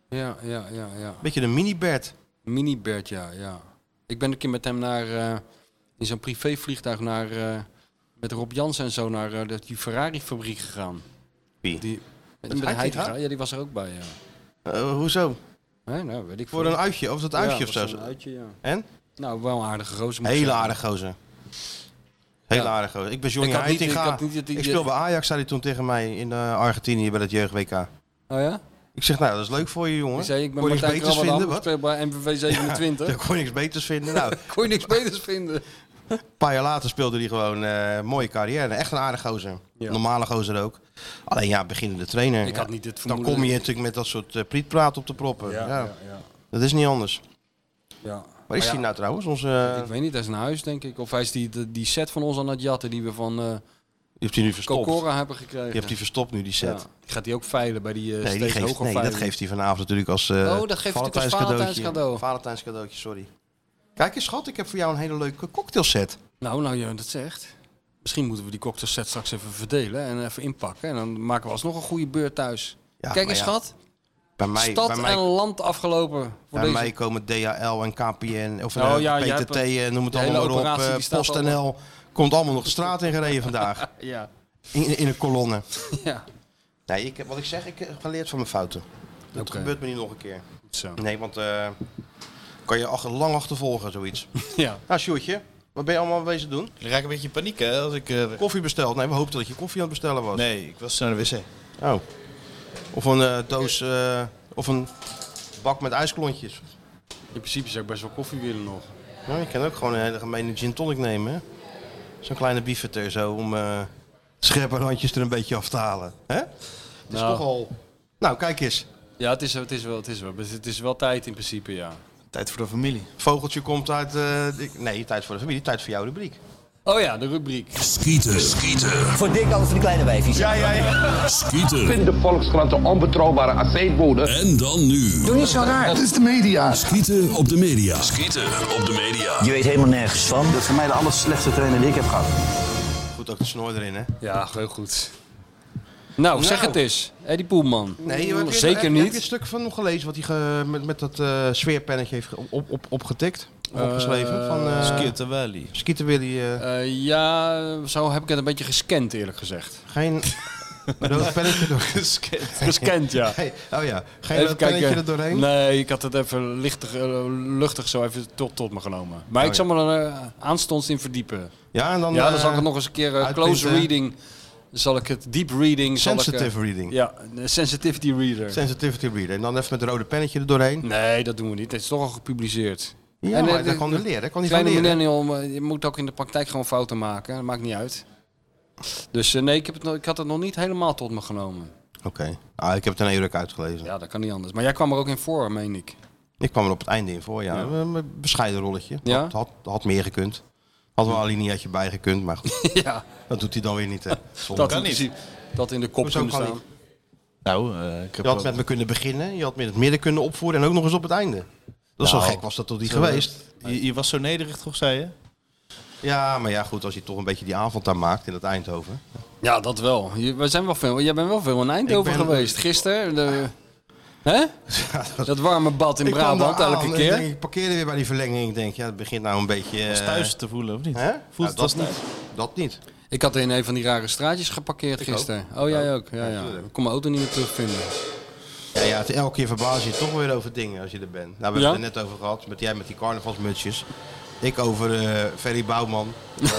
ja, ja, ja. ja.
Beetje de mini-Bert.
Mini Bert, ja, ja. Ik ben een keer met hem naar, eh, in zo'n privévliegtuig naar, eh, met Rob Jans en zo naar eh, die Ferrari-fabriek gegaan.
Wie?
Die,
Met
met met
Heitinga?
Heitinga? Ja, die was er ook bij, ja.
Eh, hoezo?
Nee, nou, weet ik
Voor
veel.
een uitje, of dat
Ja,
uitje of
was
zo?
een uitje, ja.
En?
Nou, wel een aardige gozer. moet ik
Hele
zeggen.
aardige gozer. Hele
Ja.
aardige gozer. Ik ben Johnny
Ik had niet- ik
Heitinga.
had niet dat die-
Ik speel bij Ajax, zei hij toen tegen mij in eh, Argentinië bij dat jeugd-WK.
Oh ja?
Ik zeg, nou, dat is leuk voor je, jongen.
Ik zei, ik ben
Kon je niks
Martijn
beters
Krabbenam,
vinden,
ik
wat?
speel bij MVV 27.
Ja, daar kon je niks beters vinden. Nou,
Kon je niks beters vinden.
een paar jaar later speelde hij gewoon eh, een mooie carrière. Echt een aardige gozer. Normale gozer ook. Alleen ja, beginnende trainer.
Ik had niet het
Dan
vermoeden.
kom je natuurlijk met dat soort eh, prietpraat op de proppen.
Ja,
Ja,
ja, ja.
Dat is niet anders.
Ja.
Waar is
Maar
hij
ja,
nou trouwens? Onze,
Ik weet niet, hij is naar huis, denk ik. Of hij is die, die- die set van ons aan het jatten die we van eh
die heeft hij nu verstopt.
Kokora hebben gekregen.
Die heeft hij verstopt nu, die set.
Ja, die gaat hij ook veilen bij die
nee,
eh
die
steeds
geeft,
hoger
nee, dat
veiling.
geeft hij vanavond natuurlijk als eh
oh, dat geeft hij natuurlijk
Valentijns
als Valentijns cadeau.
Valentijns cadeautje, sorry. Kijk eens, schat, ik heb voor jou een hele leuke cocktailset.
Nou, nou je dat zegt. Misschien moeten we die cocktailset straks even verdelen en even inpakken. En dan maken we alsnog een goede beurt thuis.
Ja,
Kijk
maar
eens,
ja,
schat.
Bij mij,
Stad
bij mij,
en land afgelopen. Voor
bij
deze.
mij komen DHL en KPN of
Oh,
eh,
ja, jij hebt
PTT,
een-
eh, noem het
de hele
allemaal maar op.
operatie,
eh,
die staat
PostNL
allemaal.
komt allemaal nog de straat in gereden vandaag.
Ja.
In, in een kolonne.
ja.
Nee, ik, heb- wat ik zeg, ik heb geleerd van mijn fouten. Dat
Oké.
gebeurt me niet nog een keer.
Zo.
Nee, want eh, kan je ach- lang achtervolgen, zoiets.
Ja.
Nou, Sjoerdje, wat ben je allemaal bezig doen?
Ik raak een beetje in paniek, hè, als ik... eh,
Koffie besteld? Nee, we hoopten dat je koffie aan het bestellen was.
Nee, ik was naar de wc.
Oh. Of een eh, doos, eh, of een bak met ijsklontjes.
In principe zou ik best wel koffie willen nog.
Nou, je kan ook gewoon een hele gemene gin tonic nemen. hè. Zo'n kleine bieferter zo om eh scherpe randjes er een beetje af te halen. Hè? Het is
Nou.
toch al... Nou, kijk eens.
Ja, het is, het is, wel, het is, wel, het is wel tijd in principe, ja.
Tijd voor de familie.
Vogeltje komt uit... eh, ik- nee, tijd voor de familie. Tijd voor jouw rubriek.
Oh ja, de rubriek.
Skieten. Skieten.
Voor dik alles voor de kleine wijfjes. Ja, ja, ja.
Skieten.
Vindt
de Volkskrant de onbetrouwbare aceetbode. En dan nu.
Doe niet zo raar.
Dat is de media. Skieten op de media. Skieten op de media.
Je weet helemaal nergens van. Dat is voor mij de aller slechtste trainer die ik heb gehad.
Goed ook de snor erin, hè?
Ja, heel goed. Nou, zeg het eens. Eddie Poelman.
Nee, heb je,
zeker
heb, Heb je
niet.
het stuk van nog gelezen wat hij ge- met, met dat eh sfeerpennetje heeft ge- op, op, opgetikt? Of opgeschreven?
Eh,
Van, eh
Skitten Wally.
Skieten Willy. eh,
Eh, ja, zo heb ik het een beetje gescand, eerlijk gezegd.
geen rood pennetje door.
Gescand, ja.
Hey, oh ja, geen
Even
rood
kijken.
pennetje er doorheen?
Nee, ik had het even lichtig, eh, luchtig zo even tot, tot me genomen. Maar
Oh,
ik zal me er eh, aanstonds in verdiepen.
Ja, en dan,
ja, dan
eh,
zal ik het nog eens een keer eh,
uitprinten.
close reading. Zal ik het deep reading. zal ik, eh,
Sensitive reading.
Ja, een sensitivity reader.
Sensitivity reader. En dan even met het rode pennetje er doorheen.
nee, dat doen we niet. Het is toch al gepubliceerd.
Ja,
Mm. En, eh,
maar
de-
daar kan
de-
hij leren. Kan hij van
Kleine
leren.
millennial, maar je moet ook in de praktijk gewoon fouten maken. Dat maakt niet uit. Dus eh, nee, ik, heb het, nog- ik had het nog niet helemaal tot me genomen.
Oké. Ah, ik heb het een Eurek uitgelezen.
Ja, dat kan niet anders. Maar jij kwam er ook in voor, meen ik.
Ik kwam er op het einde in voor, ja.
Ja.
Een bescheiden rolletje.
Ja?
Had, had, had meer gekund. Had wel een alineaatje bij gekund, maar goed.
ja,
Dat doet hij dan weer niet, hè. Zonde.
dat, in principe- dat in de kop
Hoezo
kunnen
kan
staan.
Nou, eh, ik heb
Je had
wel-
met me kunnen beginnen, je had me in het midden kunnen opvoeren en ook nog eens op het einde. Dat zo
Nou,
gek was dat toch niet
zo-
geweest?
Je, je was zo nederig, toch, zei je?
Ja, maar ja, goed, als je toch een beetje die avond daar maakt in dat Eindhoven.
Ja, dat wel. Je, we zijn wel veel, jij bent wel veel in Eindhoven
Ik ben-
geweest. Gisteren, de, hè? dat warme bad in
Ik kwam
Brabant
daar aan
elke
en
keer.
Ik, denk, ik parkeerde weer bij die verlenging. Ik denk, ja, het begint nou een beetje... eh,
Was thuis te voelen, of niet?
Hè?
Voelt
Nou, dat
het als thuis?
niet. Dat niet.
Ik had in een van die rare straatjes geparkeerd gisteren. Oh, jij ook? Ja, ja. Ik kon mijn auto niet meer terugvinden.
Ja, ja, het- elke keer verbaas je je toch weer over dingen als je er bent. Nou, we hebben
Ja?
het er net over gehad. Met jij met die carnavalsmutsjes. Ik over eh Ferry Bouwman. Eh,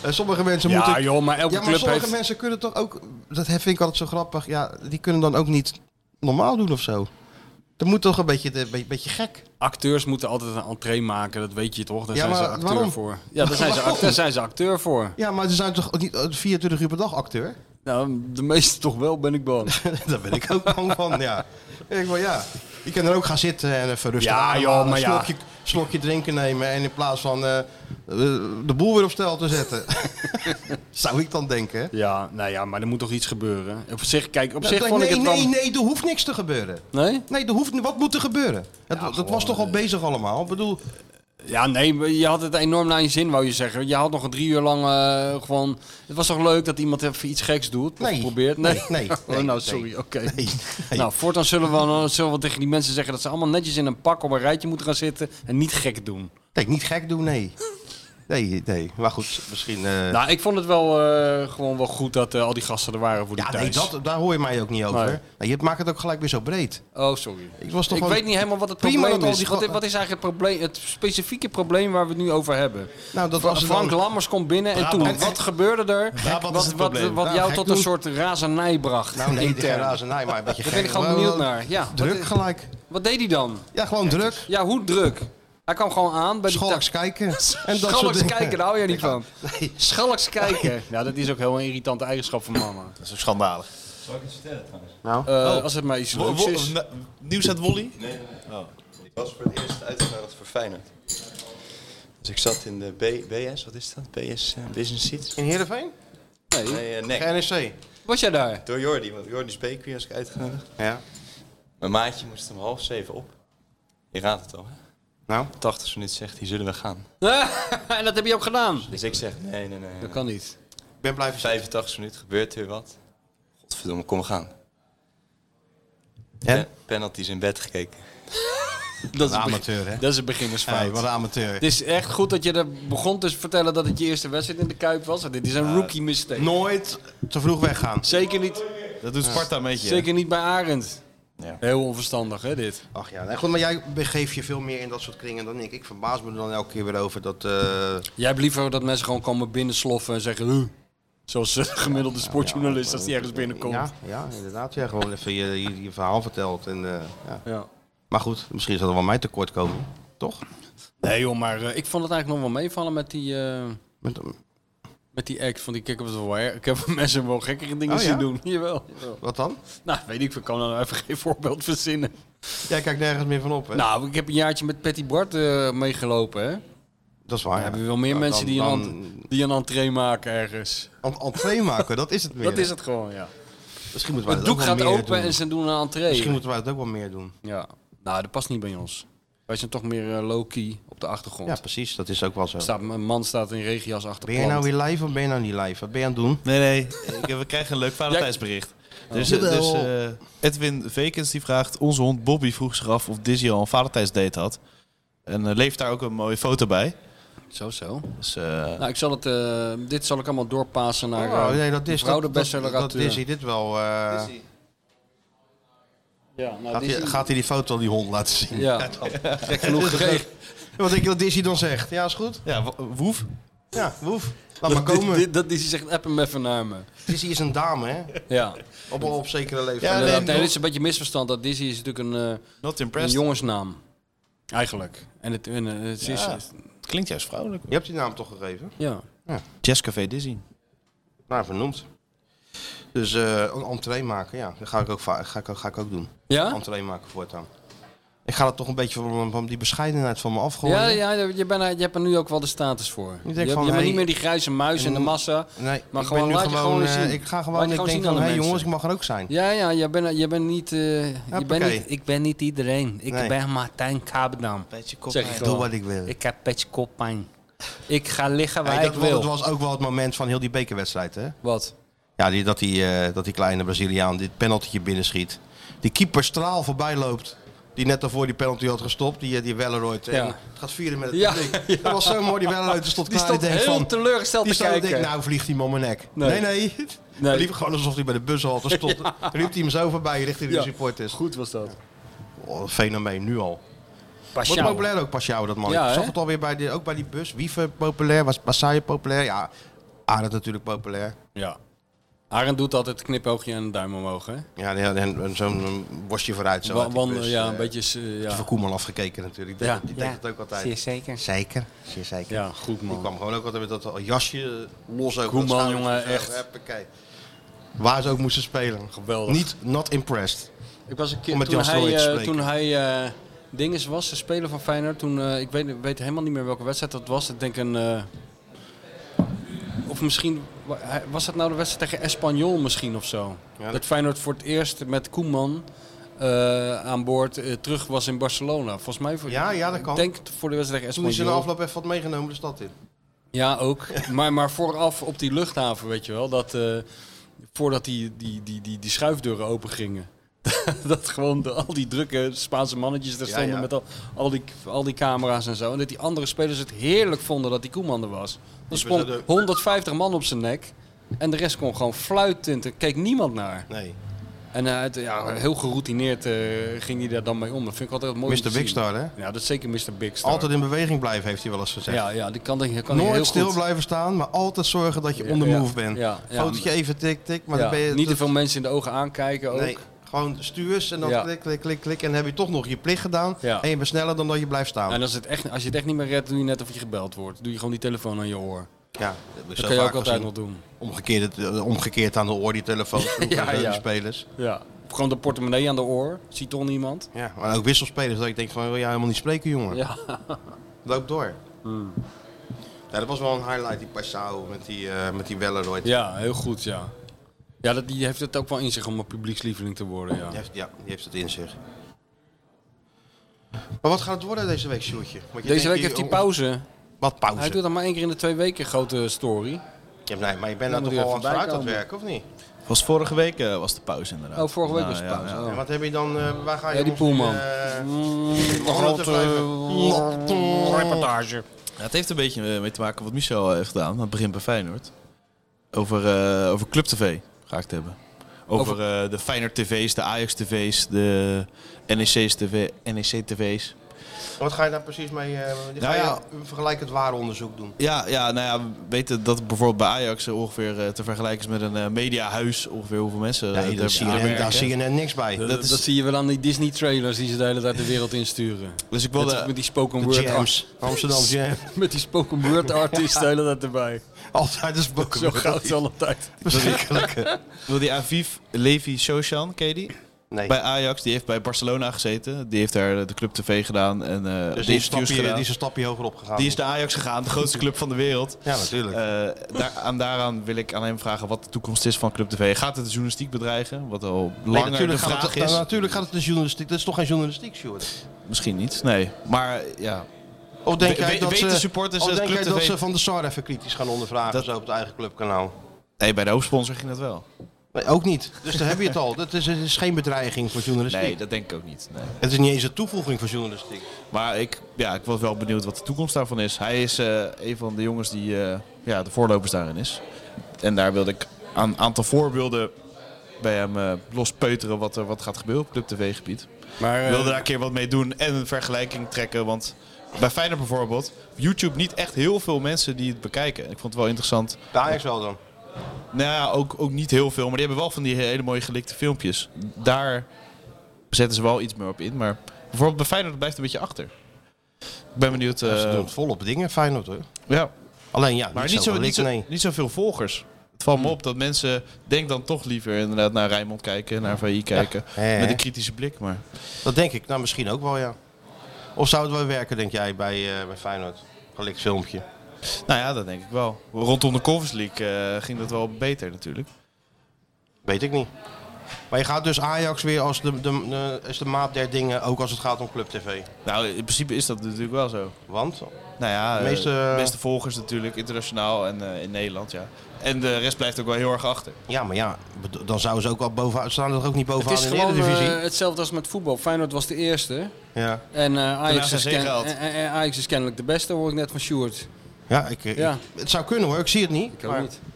eh, sommige mensen
Ja,
moeten...
joh, maar elke
ja, maar
club
sommige
heeft-
mensen kunnen toch ook... Dat vind ik altijd zo grappig. Ja, die kunnen dan ook niet normaal doen of zo. Dat moet toch een beetje, een beetje, beetje gek.
Acteurs moeten altijd een entree maken, dat weet je toch? Daar
Ja,
zijn ze
maar
acteur
waarom?
voor. Ja, daar zijn, ze,
Waarom?
daar zijn ze acteur voor.
Ja, maar ze zijn toch niet eh, 24 uur per dag acteur?
Nou, de meeste toch wel, ben ik bang.
Daar ben ik ook bang van, ja. Ik wil ja. Je kan er ook gaan zitten en even rustig
Ja,
aan,
joh, maar
een
ja.
slokje, slokje drinken nemen en in plaats van eh, de boel weer op stel te zetten. Zou ik dan denken.
Ja, nou ja, maar er moet toch iets gebeuren. Op zich, kijk, op
Nou,
zich
nee,
vond ik het
nee,
wel...
nee, nee, er hoeft niks te gebeuren.
Nee?
Nee, er hoeft, wat moet er gebeuren? Het- dat was toch al bezig allemaal? Ik bedoel,
Ja, nee, maar je had het enorm naar je zin, wou je zeggen. Je had nog een drie uur lang eh, gewoon... Het was toch leuk dat iemand even iets geks doet? of
Nee.
probeert? Nee.
Nee, nee,
Oh,
nee,
nou,
nee.
sorry, oké. Nou, voortaan zullen we, zullen we tegen die mensen zeggen... dat ze allemaal netjes in een pak op een rijtje moeten gaan zitten... en niet gek doen.
Kijk, niet gek doen, nee. Nee, nee. Maar goed, misschien... eh,
Nou, ik vond het wel eh, gewoon wel goed dat eh, al die gasten er waren voor die
ja,
thuis.
nee, dat, daar hoor je mij ook niet over.
Nee.
Nou, je maakt het ook gelijk weer zo breed.
Oh, sorry.
Ik was toch
ik
wel-
weet niet helemaal wat het
Prima
probleem
dat al
is.
die
Wat,
ga-
wat is eigenlijk het, probleem, het specifieke probleem waar we het nu over hebben?
Nou, dat
Fra-
was het
Frank
dan-
Lammers komt binnen en
Brabant.
toen, wat gebeurde er?
Brabant is
wat
het
wat,
probleem.
wat
Nou,
jou
gek
tot
doen.
een soort razernij bracht.
Nou, nee,
intern.
geen razernij, maar een beetje
Daar
gek.
ben ik gewoon
Wel-
benieuwd naar. Ja,
druk
wat,
gelijk.
Wat deed hij dan?
Ja, gewoon druk.
Ja, hoe druk? Hij kwam gewoon aan bij
Schalks
die... ta-
kijken. En dat soort
Schalks
dingen.
kijken, daar hou je niet van.
Nee.
Schalks kijken. Nou, dat is ook heel een irritante eigenschap van mama.
Dat is ook schandalig.
Zal ik iets vertellen trouwens?
Nou.
Eh, als het maar iets
Wo-
leuks
wo-
is.
na- Nieuws uit Wolly?
Nee, nee, nee.
Oh.
Ik was voor het eerst uitgenodigd voor Feyenoord. Dus ik zat in de B, BS, wat is dat? BS eh, Business Seat.
In Heerenveen?
Nee,
eh, NEC.
NEC.
Was jij daar?
Door Jordi, want Jordi Speekwie was ik uitgenodigd.
Ja.
Mijn maatje moest om half zeven op. Je raadt het al, hè?
Nou?
80 minuten zegt hij, zullen we gaan?
en dat heb je ook gedaan.
Dus ik zeg, nee, nee, nee.
Dat kan niet.
Ik ben blijven
85 minuten gebeurt weer wat. Godverdomme, kom we gaan.
En?
Pe- Penalties in bed gekeken.
Dat is
Een
een
amateur, hè?
Dat is een beginnersfout.
Hey, wat een amateur.
Het is echt goed dat je er begon te vertellen dat het je eerste wedstrijd in de Kuip was. Dit is een rookie mistake.
Nooit te vroeg weggaan.
Zeker niet,
Dat doet Sparta een beetje. hè?
zeker niet bij Arend.
Ja.
Heel onverstandig, hè, dit.
Ach ja, nee, goed, maar jij begeeft je veel meer in dat soort kringen dan ik. Ik verbaas me er dan elke keer weer over dat... eh,
Jij hebt liever dat mensen gewoon komen binnensloffen en zeggen... "Huh." Zoals eh, gemiddelde sportjournalist als die ergens binnenkomt.
Ja, ja, inderdaad. Ja, gewoon even je, je, je verhaal vertelt. En, eh, ja.
Ja.
Maar goed, misschien zal er wel mij tekort komen. Toch?
Nee joh, maar eh, ik vond het eigenlijk nog wel meevallen met die, eh,
Met,
met die act. Want ik, ik, heb het wel, her- ik heb mensen wel gekkere dingen
Oh, ja?
zien doen. Jawel. jawel.
wat dan?
Nou, weet ik, ik kan er nou even geen voorbeeld verzinnen.
Jij kijkt nergens meer van op, hè?
Nou, ik heb een jaartje met Patty Bart eh, meegelopen, hè.
dat is waar. Nou,
Dan hebben we wel meer mensen die,
dan,
een ent- die een entree maken ergens.
dan en- entree maken, dat is het meer.
dat
hè?
is het gewoon, ja.
Misschien moeten wij
Het
dat
doek
ook wel
gaat
meer
open
doen.
en ze doen een entree.
Misschien moeten wij dat ook wel meer doen.
Ja, nou, dat past niet bij ons. Wij zijn toch meer eh, low-key op de achtergrond.
Ja, precies. Dat is ook wel zo.
Staat, een man staat in regenjas achter
Ben je
plant.
nou weer live of ben je nou niet live? Wat ben je aan het doen?
Nee, nee. Ik, we krijgen een leuk Valentijnsbericht. Dus, eh, dus eh, Edwin Vekens die vraagt... Onze hond Bobby vroeg zich af of Dizzy al een Valentijnsdate had. En eh, leeft daar ook een mooie foto bij.
Zo, zo.
Dus, eh,
Nou, ik zal het, eh, dit zal ik allemaal doorpassen naar
Oh,
eh,
nee, dat is
mevrouw
dat,
de
dat,
bestseller
dat Dizzy dit wel. eh,
Ja, nou,
gaat, hij,
Dizzy-
gaat hij die foto aan die hond laten zien?
Ja, gek genoeg gekregen.
Wat ik dat Dizzy dan zegt. Ja, is goed.
ja, wo- woef.
Ja, woef. Laat maar komen.
Dit- dit- Dat Dizzy zegt, app hem even naar me.
Dizzy is een dame, hè?
Ja.
Op, op zekere leeftijd.
Ja,
Inderdaad,
nee,
nee,
nog-
dit is een beetje een misverstand. Dat Dizzy is natuurlijk een, eh,
Not
een
impressed.
jongensnaam. Eigenlijk. En het, en, eh, het is...
Ja. Klinkt juist vrouwelijk.
Je hebt die naam toch gegeven?
Ja.
Jazz Café Dizzy.
Naar vernoemd. Dus eh, een entree maken, ja. Dat ga ik ook, va- ga ik, ook- ga ik ook doen.
Ja?
Entree maken voortaan. Ik ga dat toch een beetje van, van die bescheidenheid van me afgooien.
Ja, ja je, bent, er- je hebt er nu ook wel de status voor. Je,
denk
hebt-
van,
je bent
hey,
niet meer die grijze muis in de massa.
Nee,
Maar
ik
gewoon,
ben nu
laat je gewoon eens
eh,
zien.
Ik ga
Laat
gewoon,
je
ik
gewoon
denk
zien aan
van,
de
hé
mensen.
jongens, ik mag er ook zijn.
Ja, ja, je bent, je bent niet, eh, je bent
Hoppakee.
niet... Ik ben niet iedereen. Ik
Nee.
ben Martijn Kabendam. Zeg ik
Doe
gewoon.
wat ik wil.
Ik heb petje koppijn. Ik ga liggen waar
Hey,
ik
dat, was-
wil.
dat was ook wel het moment van heel die bekerwedstrijd, hè?
Wat?
Ja, die, dat, die, eh, dat die kleine Braziliaan dit penaltytje binnenschiet. Die keeper straal voorbij loopt. Die net daarvoor die penalty had gestopt. Die, eh, die Welleroyd. eh,
Ja.
en gaat vieren met het
Ja,
publiek.
ja.
Dat was zo mooi. Die Welleroyd stond
Die
klaar.
stond
denkt
heel teleurgesteld
die
te
stond en
kijken.
denkt, nou vliegt hij me om mijn nek.
Nee.
Nee, nee.
Nee.
Hij liep gewoon alsof hij bij de bushalte stond. Toen liep hij hem zo voorbij richting
Ja.
de supporters.
Goed was dat.
Oh, fenomeen, nu al.
Pasjaal.
Wordt populair ook Pasjouw, dat man.
Ja,
ik zag
hè?
het alweer bij de, ook bij die bus. Wiever populair, was Passaai populair. Ja, Arend natuurlijk populair.
Ja. Arend doet altijd knipoogje en een duim omhoog, hè?
Ja, en, en, en zo'n worstje vooruit. Zo
Wa-
uit die
wandelen,
bus,
ja,
eh.
een beetje... s- eh,
Die
ja.
van Koeman afgekeken natuurlijk. Die,
Ja.
die deed het ook altijd.
zeker.
Zeker. Zeer zeker.
Ja, goed
Die
man.
kwam gewoon ook altijd met dat jasje los over
Koeman,
dat schoudertje
jongen,
zo.
echt.
Huppakee. Waar ze ook moesten spelen.
Geweldig.
Niet not impressed.
Ik was een keer
Om met
toen
Jan
hij,
Strooij te
eh,
spreken.
toen hij eh, dinges was, de speler van Feyenoord. Toen, eh, ik weet, weet helemaal niet meer welke wedstrijd dat was. Ik denk een... eh, of misschien... wa- hij- Was dat nou de wedstrijd tegen Espanyol misschien of zo?
Ja, dat-
dat... Feyenoord voor het eerst met Koeman... eh, eh, aan boord eh, terug was in Barcelona. Volgens mij voor,
Ja, ja, dat kan.
Ik denk voor de wedstrijd
Toen is in de
Espanyol.
afloop even wat meegenomen de stad in.
Ja, ook. maar, maar vooraf op die luchthaven, weet je wel, dat eh, voordat die, die, die, die, die schuifdeuren open gingen. dat gewoon de, al die drukke Spaanse mannetjes daar
Ja,
stonden
ja.
met al, al, die, al die camera's en zo. En dat die andere spelers het heerlijk vonden dat die Koeman er was. Er sprong
ben er ook.
150 man op zijn nek. En de rest kon gewoon fluitend. Er keek niemand naar.
Nee.
En eh, het- ja, heel geroutineerd eh, ging hij daar dan mee om. Dat vind ik altijd mooi. om
Mr.
te
Big
zien.
Star, hè?
Ja, dat is zeker Mr. Big Star.
Altijd in beweging blijven, heeft hij wel eens gezegd.
Ja, ja, die kan, denk ik- kan hij
Nooit
heel
stil
goed.
blijven staan, maar altijd zorgen dat je
Ja,
on the
ja,
move bent.
ja, ja.
Fotootje even tik, tik, maar
Ja, Oh.
dan ben je...
niet te veel mensen in de ogen aankijken ook.
Nee, gewoon stuurs en dan
Ja.
klik, klik, klik, klik. En dan heb je toch nog je plicht gedaan.
Ja.
En je bent sneller dan dat je blijft staan.
En als, Nou, het echt, als je het echt niet meer redt, doe je net of je gebeld wordt. Doe je gewoon die telefoon aan je oor.
Ja,
dat,
zo
kan je ook
vaak
altijd
gezien.
nog doen.
Omgekeerd, eh, omgekeerd aan de oor, die telefoon.
Ja,
ja,
ja.
ja. spelers.
Ja. Of gewoon de portemonnee aan de oor. Ziet toch niemand?
Ja, maar ook wisselspelers. Dat ik denk van, wil jij helemaal niet spreken, jongen?
Ja. Hmm.
Loop door. Ja, dat was wel een highlight, die Passau met die, eh, met die Welleroyd.
Ja, heel goed, ja. Ja, dat, die heeft het ook wel in zich om een publiekslieveling te worden, ja.
Die heeft, ja, die heeft het in zich. Maar wat gaat het worden deze week, Sjoerdje? Want je
Deze
denkt
week heeft
die-
hij pauze.
Wat pauze?
Hij doet dat maar één keer in de twee weken, grote story.
Ja, nee, maar je
Dan
bent daar
moet
toch
hij
al aan
even
het vooruit aan het
bijkomen.
werken, of niet?
Was vorige week eh, was de pauze inderdaad.
Oh, vorige week
Nou,
was de
ja,
pauze.
ja.
oh.
En wat heb je dan, eh, waar ga je
Ja, die
ons
Poelman.
nu, eh,
Nog
handen te
wat, eh,
wrijven?
reportage.
Ja, het heeft een beetje eh, mee te maken wat Michel heeft gedaan. aan Het begint bij Feyenoord. Over, eh, over Club TV ga ik het hebben. Over, eh, de Feyenoord TV's, de Ajax TV's, de E NEC's TV, NEC TV's.
Wat ga je daar precies mee? eh, die ga
Nou ja.
je een vergelijkend ware onderzoek doen.
Ja, ja, nou ja, we weten dat het bijvoorbeeld bij Ajax eh, ongeveer eh, te vergelijken is met een eh, mediahuis. Ongeveer hoeveel mensen eh,
Nee,
er
daar zie je-
werken.
daar zie je net niks bij.
Dat,
Dat is-
dat zie je wel aan die Disney-trailers die ze de hele tijd de wereld insturen.
Dus ik wilde-
Net als Met die spoken
De
word
jams.
art-
Amsterdam Jam.
Met die spoken word artist de hele tijd erbij.
Altijd een spoken
Zo
word
gaat het
artiest.
altijd.
Wil die Aviv Levi Soshan, ken je die?
Nee.
Bij Ajax, die heeft bij Barcelona gezeten. Die heeft daar de Club TV gedaan en eh de
Dus die, is een
interviews
stapje,
gedaan.
die is een stapje hoger opgegaan.
Die is naar Ajax gegaan, de grootste club van de wereld.
Ja, natuurlijk.
Eh, daar, aan, daaraan wil ik aan hem vragen wat de toekomst is van Club TV. Gaat het de journalistiek bedreigen? Wat al
Nee,
langer de
natuurlijk, gaat
vraag
het,
is.
nou, natuurlijk gaat het de journalistiek. Dat is toch geen journalistiek, Sjoerd?
Misschien niet, nee. Maar ja.
Of denk
We-
jij
we-
dat,
weten
ze,
supporters
of
dat
denk
Club
jij dat
TV
ze Van de Sar even kritisch gaan ondervragen zo op het eigen clubkanaal?
Nee, bij de hoofdsponsor ging dat wel.
Nee, ook niet. Dus daar heb je het al. Dat is, het is geen bedreiging voor journalistiek.
Nee, dat denk ik ook niet. Nee.
Het is niet eens een toevoeging voor journalistiek.
Maar ik, ja, ik was wel benieuwd wat de toekomst daarvan is. Hij is eh, een van de jongens die eh, ja, de voorlopers daarin is. En daar wilde ik aan een aantal voorbeelden bij hem eh lospeuteren wat er wat gaat gebeuren op Club TV-gebied.
Maar,
Maar,
eh,
wilde daar een keer wat mee doen en een vergelijking trekken. Want bij Feyenoord bijvoorbeeld, op YouTube niet echt heel veel mensen die het bekijken. Ik vond het wel interessant.
Bij Ajax wel dan?
Nou ja, ook, ook niet heel veel. Maar die hebben wel van die hele mooie gelikte filmpjes. Daar zetten ze wel iets meer op in. Maar bijvoorbeeld bij Feyenoord blijft het een beetje achter. Ik ben benieuwd. eh,
ze doen het volop dingen, Feyenoord hoor.
ja.
Alleen ja,
Maar niet, zo,
gelikt,
niet, zo,
nee.
niet zoveel volgers. Het valt me op dat mensen denk dan toch liever inderdaad naar Rijnmond kijken, naar VI kijken.
hè,
Met
hè.
een kritische blik. Maar
Dat denk ik, nou misschien ook wel ja. Of zou het wel werken, denk jij, bij, eh, bij Feyenoord? Gelikt filmpje.
nou ja, dat denk ik wel. Rondom de Conference League eh, ging dat wel beter natuurlijk.
Weet ik niet. Maar je gaat dus Ajax weer als de, de, de- is de maat der dingen, ook als het gaat om Club TV.
Nou, in principe is dat natuurlijk wel zo.
Want?
Nou ja,
De
eh, de
meeste-
meeste, volgers natuurlijk, internationaal en eh, in Nederland, ja. En de rest blijft ook wel heel erg achter.
Ja, maar ja, bedo- dan zouden ze ook al bovenaan, staan er ook niet
Het
bovenaan
is
in de
gewoon
Eredivisie.
eh, hetzelfde als met voetbal. Feyenoord was de eerste.
ja.
En, eh, Ajax
zijn
is
ze
ken-
ingehaald.
en, en- en Ajax is kennelijk de beste, hoor ik net van Sjoerd.
Ja, ik, eh, ik-
Ja.
het zou kunnen hoor, ik zie het niet.
Ik ook
maar-
niet.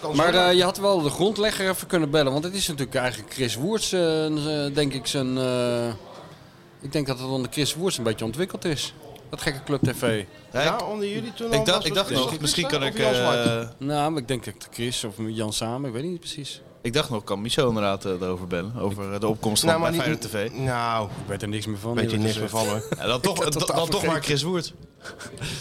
Kan
Maar
zo-
eh, je had wel de grondlegger even kunnen bellen. Want het is natuurlijk eigenlijk Chris Woerts, eh, eh, denk ik, zijn... eh, ik denk dat het onder Chris Woerts een beetje ontwikkeld is. Dat gekke Club TV.
ja, onder jullie toen al
ik dacht,
was
ik
het-
dacht
is
nog,
dat
misschien
Pixar
kan
of
ik...
Jan Zwart?
eh,
Nou, maar ik denk dat Chris of Jan samen, ik weet niet precies.
ik dacht nog, kan Michel inderdaad eh, erover bellen, over eh, de opkomst van
Nou, maar
bij
niet-
Feyenoord TV.
Nou,
Ik weet er niks meer van.
Weet je
eerlijk
niks
gezegd.
meer van, hoor.
Ja, dan
Ik
toch,
had
dan,
totaal
dan toch maar
vergeten.
Chris Woert.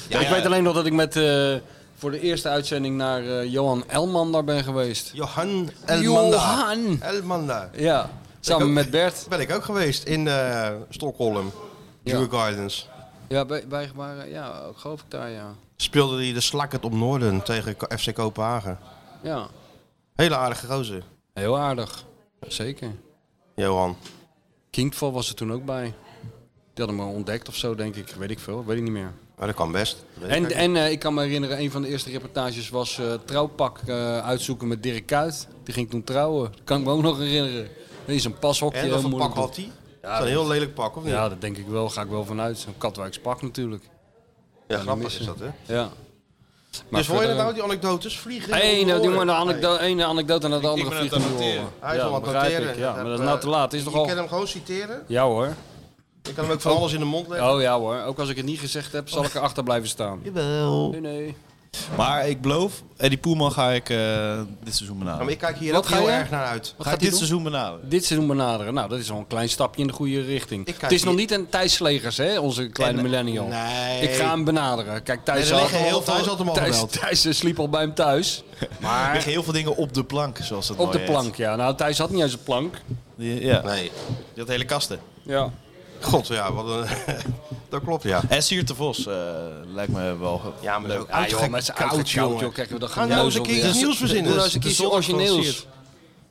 Ja, ik weet alleen nog dat ik met, eh, voor de eerste uitzending naar eh, Johan Elman daar ben geweest.
Johan Elmanda.
Johan.
Elmanda.
Ja, samen
ook-
met Bert.
Ben ik ook geweest in eh Stockholm,
Ja.
Drew Gardens.
Ja, bij, bij, maar, eh, ja, ook geloof ik daar, ja.
Speelde hij de slakket op Noorden tegen Ko- FC Kopenhagen.
Ja,
Hele aardige gozer,
heel aardig. Zeker.
Johan.
Kinkval was er toen ook bij. Die hadden me ontdekt of zo, denk ik. Weet ik veel, weet ik niet meer.
Maar dat kan best. Weet ik
En,
niet.
en eh, ik kan me herinneren, een van de eerste reportages was eh, trouwpak eh, uitzoeken met Dirk Kuyt. Die ging toen trouwen. Dat kan ik me ook nog herinneren. Dat is een pashokje.
En wat
heel
voor pak
moeilijk
had
doen.
hij? Zo'n
dat
heel
is-
lelijk pak, of niet?
Ja, dat denk ik wel. Ga ik wel vanuit. Zo'n Katwijks pak natuurlijk.
Ja,
Kan
grappig
niet
is dat,
missen.
hè?
Ja. Maar
dus hoor je dat nou,
verder-
die anekdotes? Vliegen.
Eén,
door de
nou, die
oren.
maar de anekdote, ene anekdote naar de andere
Ah, ben aan het
vliegt nu
noteren.
horen.
Hij is
ja,
al aan het
begrijp
noteren.
ik, Ja, maar dat is
Eh,
nou te laat. Is
je
toch al...
kan hem gewoon citeren.
Ja hoor.
Ik kan hem ook van
Oh.
alles in de mond leggen.
Oh ja hoor. Ook als ik het niet gezegd heb, zal ik erachter blijven staan.
Jawel.
Nee, nee.
Maar ik beloof, Eddie Poelman ga ik eh, dit seizoen benaderen.
Maar ik kijk hier
Wat
ook
ga
heel
je?
erg naar uit.
Wat
ga ik
gaat hij
dit
doen?
seizoen benaderen.
Dit seizoen benaderen. Nou, dat is al een klein stapje in de goede richting.
kijk
Het is nog
hier-
niet een Thijs Slegers, hè, onze kleine
En-
millennial.
Nee.
Ik ga hem benaderen. Kijk, Thijs,
Nee, er liggen heel veel-
Thijs,
Thijs had hem al
Thijs,
gebeld.
Thijs, eh, sliep al bij hem thuis.
Er
Maar
liggen heel veel dingen op de plank, zoals dat
Oh,
op
mooi
de plank, ja. Nou, Thijs had niet eens een plank.
heet. Ja.
Nee.
Die had hele kasten.
Ja.
God, ja, wat een... dat klopt, ja.
En Siert de Vos eh, lijkt me wel
Ja, maar dat is ook
Ah, joh, maar het is
uitgekoud,
uitgekoud,
jongen.
joh. Krijgen we dat
Ga nou eens een keer iets nieuws verzinnen.
Doe nou eens een
De
keer iets
zondag van
origineels.
Siert.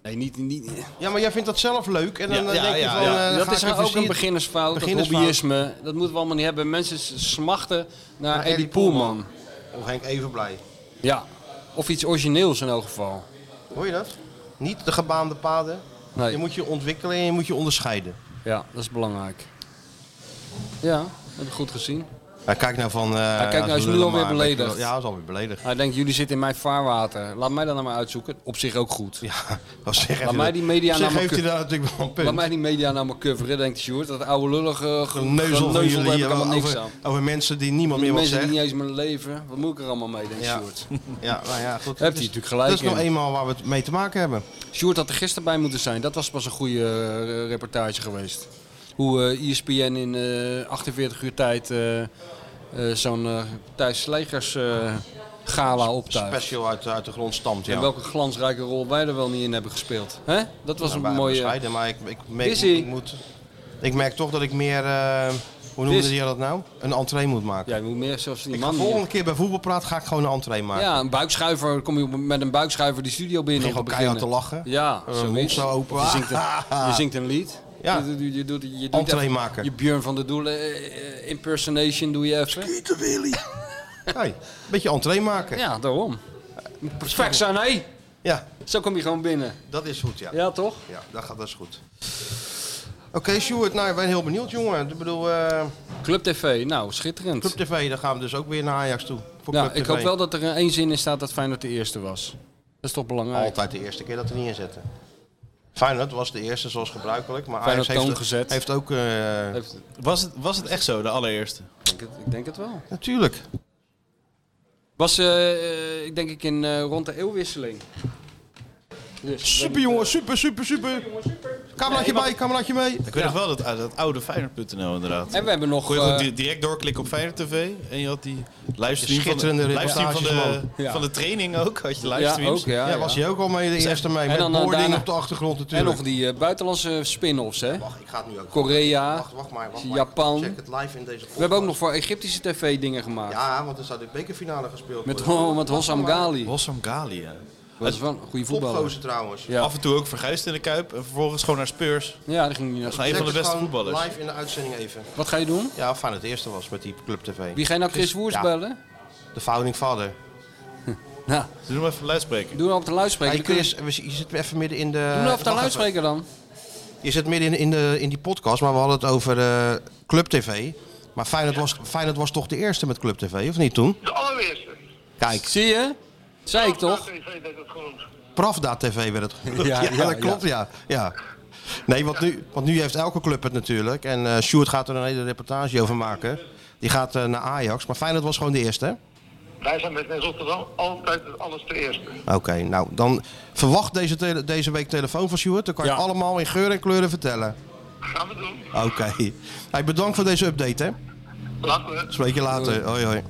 Nee, niet... niet
Ja, maar jij vindt dat zelf leuk. En dan
Ja,
eh,
ja,
denk je
ja,
van...
ja.
eh, dan
dat
ga
is
ik even
ook een
zien.
beginnersfout, dat
Beginnersfout.
hobbyisme. Dat moeten we allemaal niet hebben. Mensen s- smachten naar
Naar
Eddie
Eddie
Poelman.
Of Oh, Henk even blij.
Ja, of iets origineels in elk geval.
Hoor je dat? Niet de gebaande paden.
Nee.
Je moet je ontwikkelen en je moet je onderscheiden.
Ja, dat is belangrijk. Ja, dat heb ik goed gezien.
Hij kijkt nou van... eh,
Hij kijkt nou, is nu
lullen,
alweer
maar-
beledigd.
Ja, hij is alweer beledigd.
Hij denkt, jullie zitten in mijn vaarwater. Laat mij dat nou maar uitzoeken. Op zich ook goed. Ja,
Als zich
Laat
even-
mij die media
Op zich
nou maar
heeft hij
cu-
daar natuurlijk wel een punt.
Laat mij die media nou maar coveren, denkt Sjoerd. Dat oude lullige ge-
Geneuzel van
geneuzel
jullie
heb ik
hier
allemaal niks
over,
aan.
over mensen die niemand meer wat
mensen
zegt.
die niet eens meer leven. Wat moet ik er allemaal mee, denkt
Ja.
Sjoerd.
Ja, nou ja, goed.
Hebt hij natuurlijk gelijk
Dat is nog
in.
eenmaal waar we het mee te maken hebben.
Sjoerd had er gisteren bij moeten zijn. Dat was pas een goede eh, reportage geweest. Hoe eh, ESPN in eh, 48 uur tijd eh, eh, zo'n eh Thijs Slegers eh, gala optuigt.
Special uit, uit de grond stamt, ja.
En welke glansrijke rol wij er wel niet in hebben gespeeld. hè? Dat was
Nou,
een
bijna
mooie...
bescheiden, maar ik, ik, merk-
Is ie?
ik moet, ik merk toch dat ik meer, eh, hoe
Is-
noemde je dat nou? Een entree moet maken.
Ja, je moet meer zoals die
ik ga
man
volgende
hier.
keer bij voetbalpraat ga ik gewoon een entree maken.
Ja, een buikschuiver. Kom je op- met een buikschuiver die studio binnen.
Begin
om te
gewoon keihard
beginnen.
te lachen.
Ja,
Eh,
zoiets.
mond zo open. Ah,
Of Je zingt een, je zingt een lied.
Ja.
Je, doet- je, doet- je, doet
Entree
even-
maken.
Je Björn van der Doelen eh, eh, impersonation doe je even.
Hey, een beetje entree maken.
Ja, daarom. Perfect zijn, hé?
Ja.
Zo kom je gewoon binnen.
Dat is goed, ja.
Ja, toch?
Ja, dat, gaat, dat is goed. Oké, Sjoerd, nou, ik ben heel benieuwd, jongen. Ik bedoel, eh,
Club TV, nou, schitterend.
Club TV, daar gaan we dus ook weer naar Ajax toe. Voor
nou,
Club
ik
TV.
hoop wel dat er eh, één zin in staat dat Feyenoord de eerste was. Dat is toch belangrijk?
Altijd de eerste keer dat we niet in zetten. Feyenoord was de eerste, zoals gebruikelijk. Maar
Feyenoord
Ajax heeft,
toongezet.
heeft ook... eh,
Heeft-
Was het, was het echt zo, de allereerste?
ik, denk het, ik denk het wel.
Natuurlijk.
Was, eh, eh, ik denk ik, in, eh, rond de eeuwwisseling. Dus,
Super, jongen. Super, super, super. Cameraatje
Ja,
bij, cameraatje mee.
Ik weet nog wel dat, dat oude Feyenoord.nl inderdaad.
En we hebben nog...
Kon je gewoon
eh,
di- direct doorklikken op Feyenoord TV. En je had die livestream van de,
Schitterende
livestream van de,
reportages,
man.
van de training ook. Had je
ja,
livestreams.
ook, ja,
Ja,
ja.
was je ook al mee de
Zeg,
eerste mee.
en
Met
dan, eh,
boarding
daarna-
op de achtergrond
En
natuurlijk.
nog die eh, buitenlandse spin-offs, hè?
Wacht, ik ga het nu ook.
Korea,
Wacht, wacht maar. Wacht maar.
Japan.
Ik check het live in deze
We hebben ook nog voor Egyptische tv dingen gemaakt.
Ja, want er zou de bekerfinale gespeeld
Met,
worden.
oh, met Hossam Gali.
Hossam Ghali, ja.
Dat is wel een goede voetballer.
Topgozer trouwens.
Ja.
Af en toe ook verguisd in de Kuip. En vervolgens gewoon naar Spurs.
ja, die ging niet naar
Dat is een van de
Check het
beste
gewoon
voetballers.
live in de uitzending even.
Wat ga je doen?
Ja, fijn het eerste was met die Club TV.
Wie ga je nou Chris Woers
Ja,
bellen?
De founding father.
Nou,
Doe hem even luidspreken.
doe nou op de luidspreker.
Hey,
Dan kun
Chris, eh, we- je zit even midden in de...
je- doe nou op de
Wacht even.
luidspreker dan.
Je zit midden in, in, de, in die podcast, maar we hadden het over eh, Club TV. Maar Feyenoord, was, Feyenoord was toch de eerste met Club TV, of niet toen?
De allereerste.
Kijk,
Zie je? Zei ik toch?
Pravda TV werd het genoemd.
Ja,
Ja,
ja,
dat klopt, ja. ja. Nee, want nu, want nu heeft elke club het natuurlijk. En eh Sjoerd gaat er een hele reportage over maken. Die gaat eh, naar Ajax, maar Feyenoord was gewoon de eerste. hè?
Wij zijn met Rotterdam altijd alles de eerste.
Oké, nou dan verwacht deze, tele- deze week telefoon van Sjoerd. Dan kan je allemaal in geur en kleuren vertellen.
Gaan we doen.
Oké. Hey, bedankt voor deze update, hè.
Laten we.
Spreek je later. Hoi, hoi.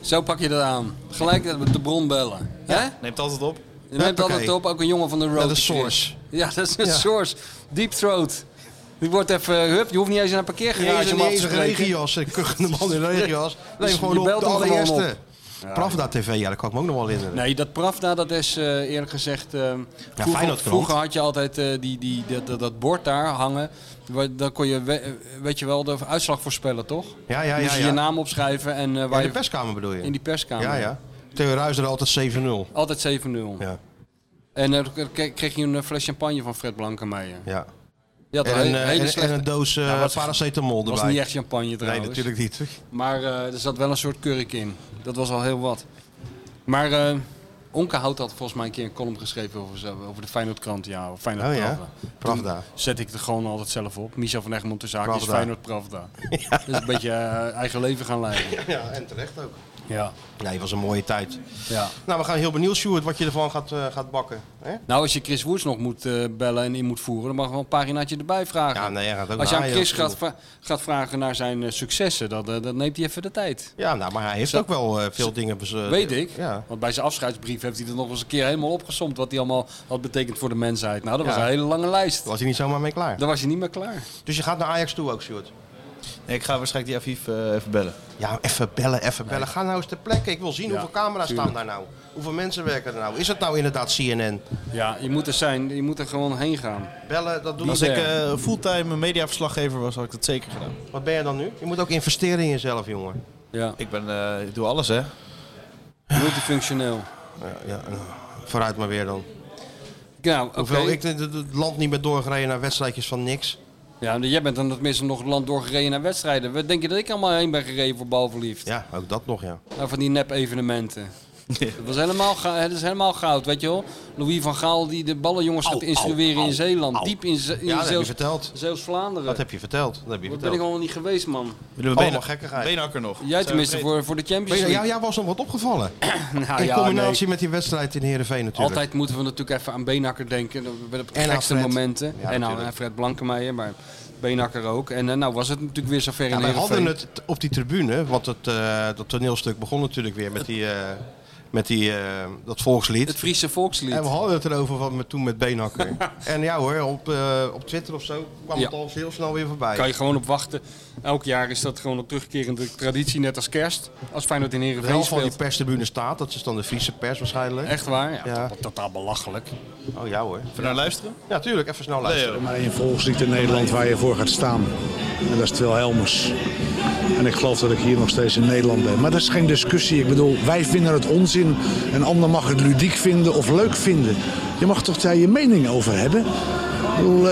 Zo pak je dat aan. Gelijk met de bron bellen. Hè?
Neemt altijd op.
Je neemt
Huppakee.
altijd op, ook een jongen van de road.
Ja, de
Chris.
source.
Ja, dat is een
Ja.
source. Deep throat. Die wordt even, eh, hup, je hoeft niet eens naar een
Niet eens
parkeergarage
een
om af
niet eens
te
een
spreken.
regenjas, een kuchende man in een regenjas.
Dus
Neem
je
gewoon op,
belt
de
hem gewoon
allereerste.
op.
Pravda TV, ja, dat kan ik me ook nog wel herinneren.
Nee, dat Pravda, dat is eh, eerlijk gezegd... eh, vroeger,
Feyenoordkrant.
vroeger had je altijd eh, die, die, dat, dat, dat bord daar hangen. Waar- Dan kon je, we- weet je wel, de uitslag voorspellen, toch?
Ja, ja, ja,
Moest je
ja.
je naam opschrijven en eh, waar
in de
je-
perskamer bedoel je?
In die perskamer.
Ja, ja. Theo Ruijs er altijd 7-0.
Altijd 7-0. En eh, dan k- kreeg je een eh, fles champagne van Fred Blankenmeijer.
Ja.
Ja, dat
en,
hele-
een, eh,
hele
en- en
slechte-
een doos eh,
Nou, was-
paracetamol erbij.
was niet echt champagne trouwens.
Nee, natuurlijk niet.
Maar eh, er zat wel een soort kurk in. Dat was al heel wat. Maar eh Onke Hout had volgens mij een keer een column geschreven over, zo- over de Feyenoordkrant. Ja, of Feyenoord
Oh ja,
Pravda.
Pravda.
Toen Zet ik er gewoon altijd zelf op. Michel van Egmond de zaak is
Pravda.
Feyenoord Pravda. Dat is een beetje eh, eigen leven gaan leiden.
Ja, en terecht ook.
Ja.
Nee, het was een mooie tijd.
Ja.
Nou, we gaan heel benieuwd, Sjoerd, wat je ervan gaat, eh, gaat bakken. Hè?
Nou, als je Chris Woerts nog moet eh, bellen en in moet voeren, dan mag je wel een paginaatje erbij vragen.
Ja, nee, hij gaat ook
als je
naar
aan
Ajax
Chris
toe.
gaat, vra- gaat vragen naar zijn eh, successen, dan, eh, dan neemt hij even de tijd.
Ja, nou, maar hij heeft ook wel eh, veel dingen... bes- eh,
Weet ik.
Ja.
Want bij zijn afscheidsbrief heeft hij er nog eens een keer helemaal opgesomd wat hij allemaal had betekend voor de mensheid. Nou, dat was
Ja.
een hele lange lijst.
Was hij niet zomaar mee klaar?
Daar was je niet meer klaar.
Dus je gaat naar Ajax toe ook, Sjoerd?
Nee, ik ga waarschijnlijk die Aviv eh, even bellen.
Ja, even bellen, even bellen. Ga nou eens ter plekke. Ik wil zien
Ja,
hoeveel camera's
tuurlijk.
staan daar nou. Hoeveel mensen werken er nou? Is het nou inderdaad CNN?
Ja, je moet er zijn. Je moet er gewoon heen gaan.
Bellen, dat doen
Als
we.
ik eh, fulltime mediaverslaggever was, had ik dat zeker gedaan.
Wat ben je dan nu? Je moet ook investeren in jezelf, jongen.
Ja.
Ik, ben, eh, ik doe alles, hè.
Multifunctioneel.
Ja, ja, nou, vooruit maar weer dan.
Nou, oké.
Hoeveel ik het- het het land niet meer doorgereden naar wedstrijdjes van niks.
Ja, jij bent dan tenminste nog het land doorgereden naar wedstrijden. Wat denk je dat ik allemaal heen ben gereden voor balverliefd?
Ja, ook dat nog, ja.
Nou, van die nep-evenementen. Dat was helemaal, ga- het is helemaal goud, weet je wel. Louis van Gaal die de ballenjongens gaat
Au,
instrueren
au,
in
au,
Zeeland.
au.
Diep in, Ze- in
Ja, dat heb je
Zeeuws-
verteld.
Zeeuws-Vlaanderen.
Dat heb je verteld. Dat heb je
Wat ben
verteld.
ik allemaal niet geweest, man.
Willen we Allemaal benen- gekkigheid.
Beenhakker nog.
Jij tenminste voor, voor de
Ben
Champions
je-
League.
Ja, ja, was nog wat opgevallen.
Nou,
in
ja,
combinatie
nee.
met die wedstrijd in Heerenveen natuurlijk.
Altijd moeten we natuurlijk even aan Beenhakker denken. Dat zijn de
aan
gekste
Fred.
momenten.
Ja,
en aan
natuurlijk.
Fred Blankenmeijer, maar Beenhakker ook. En eh, nou was het natuurlijk weer zover
Ja,
in
wij hadden
Heerenveen.
het op die tribune, want het, eh, dat toneelstuk begon natuurlijk weer met, die, eh, met die, eh, dat volkslied.
Het Friese volkslied.
En we hadden het erover van, met- toen met Beenhakker. en ja hoor, op, eh, op Twitter of zo kwam
Ja.
het al heel snel weer voorbij.
Kan je gewoon op wachten. Elk jaar is dat gewoon een terugkerende traditie, net als kerst. Als Feyenoord in
de
Heerenveen
helft van die
speelt.
perstribune staat, dat is dan de Friese pers waarschijnlijk.
Echt waar? Ja, tot- Totaal belachelijk.
Oh ja hoor.
Even naar luisteren?
Ja, tuurlijk, even snel luisteren.
maar één volkslied in Nederland waar je voor gaat staan. En dat is Twil Helmers. En ik geloof dat ik hier nog steeds in Nederland ben. Maar dat is geen discussie. Ik bedoel, wij vinden het onzin. Een ander mag het ludiek vinden of leuk vinden. Je mag toch daar je mening over hebben? Ik bedoel,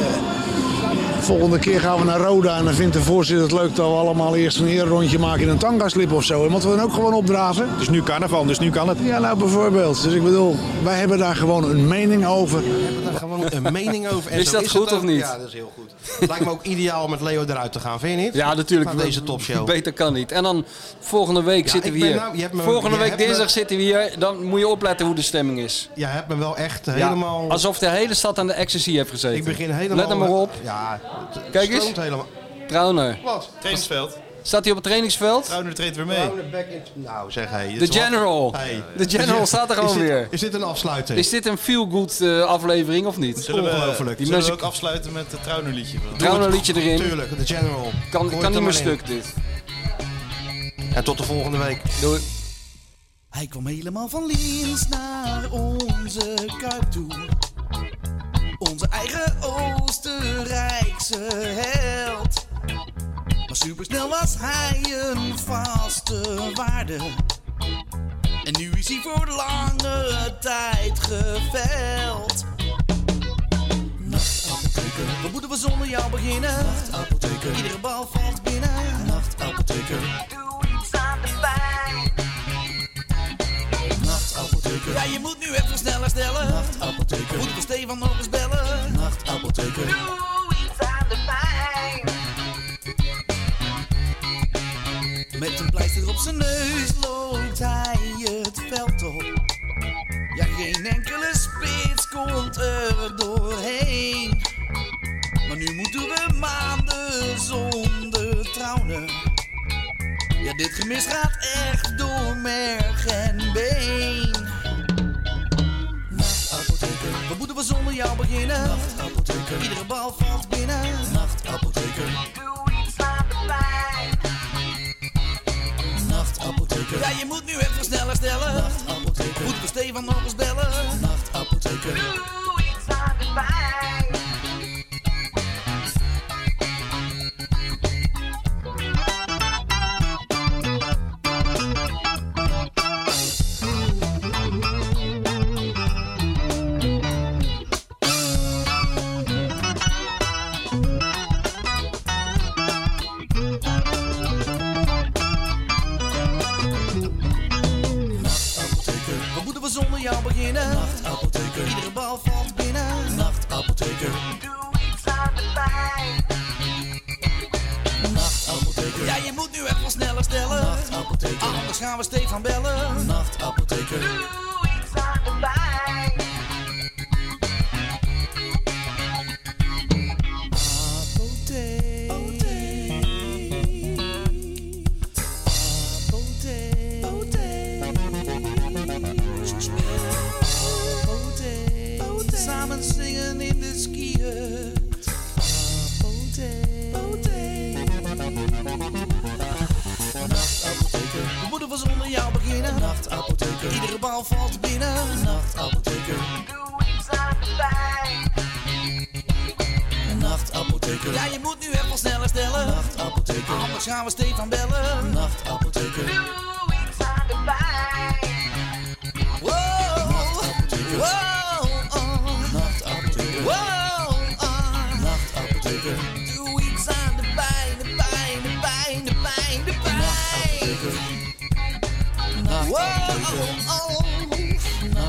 eh, volgende keer gaan we naar Roda en dan vindt de voorzitter het leuk dat we allemaal eerst een ererondje maken in een tangaslip of zo. En moeten we dan ook gewoon opdraven?
Het is nu carnaval, dus nu kan het.
Ja, nou bijvoorbeeld. Dus ik bedoel, wij hebben daar gewoon een mening over.
Daar gewoon een mening over. En
Is
zo
dat goed
het ook.
of niet?
Ja, dat is heel goed. Het lijkt me ook ideaal om met Leo eruit te gaan, vind je niet?
Ja, natuurlijk.
Naar deze topshow.
Beter kan niet. En dan volgende week
Ja,
zitten we
ik ben
hier.
nou- je hebt me-
volgende
je
week
hebt me-
dinsdag zitten we hier. Dan moet je opletten hoe de stemming is.
Jij hebt me wel echt
Ja,
helemaal...
Alsof de hele stad aan de ecstasy heeft gezeten.
Ik begin helemaal...
Let er maar op.
Ja, het- het
Kijk eens.
stroomt helemaal.
Trauner.
Wat?
Trainingsveld.
Staat hij op het trainingsveld?
Trauner treedt weer
Trouwen back in- Nou, zeg hey,
De
het is wel-
General.
Hey.
De General staat
Is
er gewoon
dit-
weer.
Is dit een afsluiting?
Is dit een feel-good eh, aflevering of niet?
Zullen we,
Die
Zullen we
mensen-
ook afsluiten met het Trouwner liedje?
Trauner liedje erin.
Tuurlijk, de General.
Kan,
Gooi het
kan niet
er
meer
maar in.
stuk dit.
En tot de volgende week.
Doei.
Hij kwam helemaal van links naar onze kuip toe. Onze eigen Oostenrijkse held. Maar supersnel was hij een vaste waarde. En nu is hij voor lange tijd geveld. Nachtapotheker, wat moeten we zonder jou beginnen? Nachtapotheker, iedere bal valt binnen. Nachtapotheker, doe iets aan de pijn. Nachtapotheker. Ja, je moet nu even sneller stellen. Nachtapotheker. Moet voor Stefan nog eens bellen. Nachtapotheker. Doe iets aan de pijn. Met een pleister op zijn neus loopt hij het veld op. Ja, geen enkele spits komt er doorheen. Maar nu moeten we maanden zonder trouwen. Ja, dit gemis gaat echt door merg en been. Nachtapotheker, wat moeten we zonder jou beginnen? Nachtapotheker, iedere bal valt binnen. Nachtapotheker, doe iets aan de pijn. Nachtapotheker, ja, Ja, je moet nu even sneller stellen. Nachtapotheker. Moet voor Stefan nog eens bellen. Nachtapotheker. Doe iets aan de pijn. Wat moeten we zonder jou beginnen? Nachtapotheker. Iedere bal valt binnen. Nachtapotheker. Doe iets aan de pijn. Nachtapotheker. Ja, je moet nu echt wel sneller stellen. Nachtapotheker. Anders gaan we Stefan bellen. Nachtapotheker. Doe iets aan de pijn. Samen zingen in de skiën. Nachtapotheker. We moeten we zonder jou beginnen. Nachtapotheker. Iedere bal valt binnen. Nachtapotheker. Doe iets aan de pijn. Nachtapotheker. Ja, je moet nu even sneller stellen. Nachtapotheker. Anders gaan we Stefan bellen. Nachtapotheker. Doe iets aan de pijn. Wow. Wow. Oh. Nachtapotheker. Wow. Oh. Nachtapotheker. Doe iets aan de pijn, de pijn, de pijn, de pijn, de pijn. Nachtapotheker. Nachtapotheker. Wow. Oh.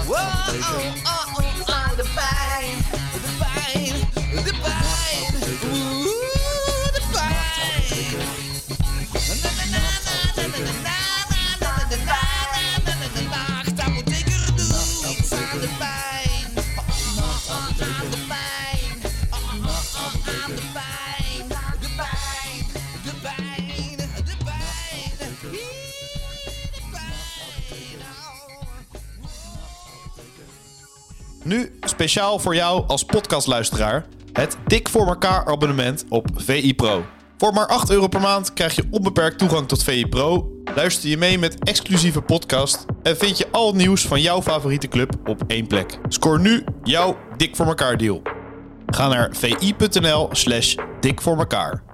Wow. Oh. Oh. Aan de pijn, de pijn, de pijn. Oeh, de pijn. Na, na, na, na, na, na, na. Nachtapotheker, doe iets aan de pijn. Aan de pijn. Aan de pijn. De pijn. De pijn. De pijn. Oh.
Nu speciaal voor jou als podcastluisteraar het Dik voor elkaar abonnement op VI Pro. Voor maar 8 euro per maand krijg je onbeperkt toegang tot VI Pro. Luister je mee met exclusieve podcast en vind je al het nieuws van jouw favoriete club op één plek. Scoor nu jouw Dik voor elkaar deal. Ga naar vi.nl/slash dik voor elkaar.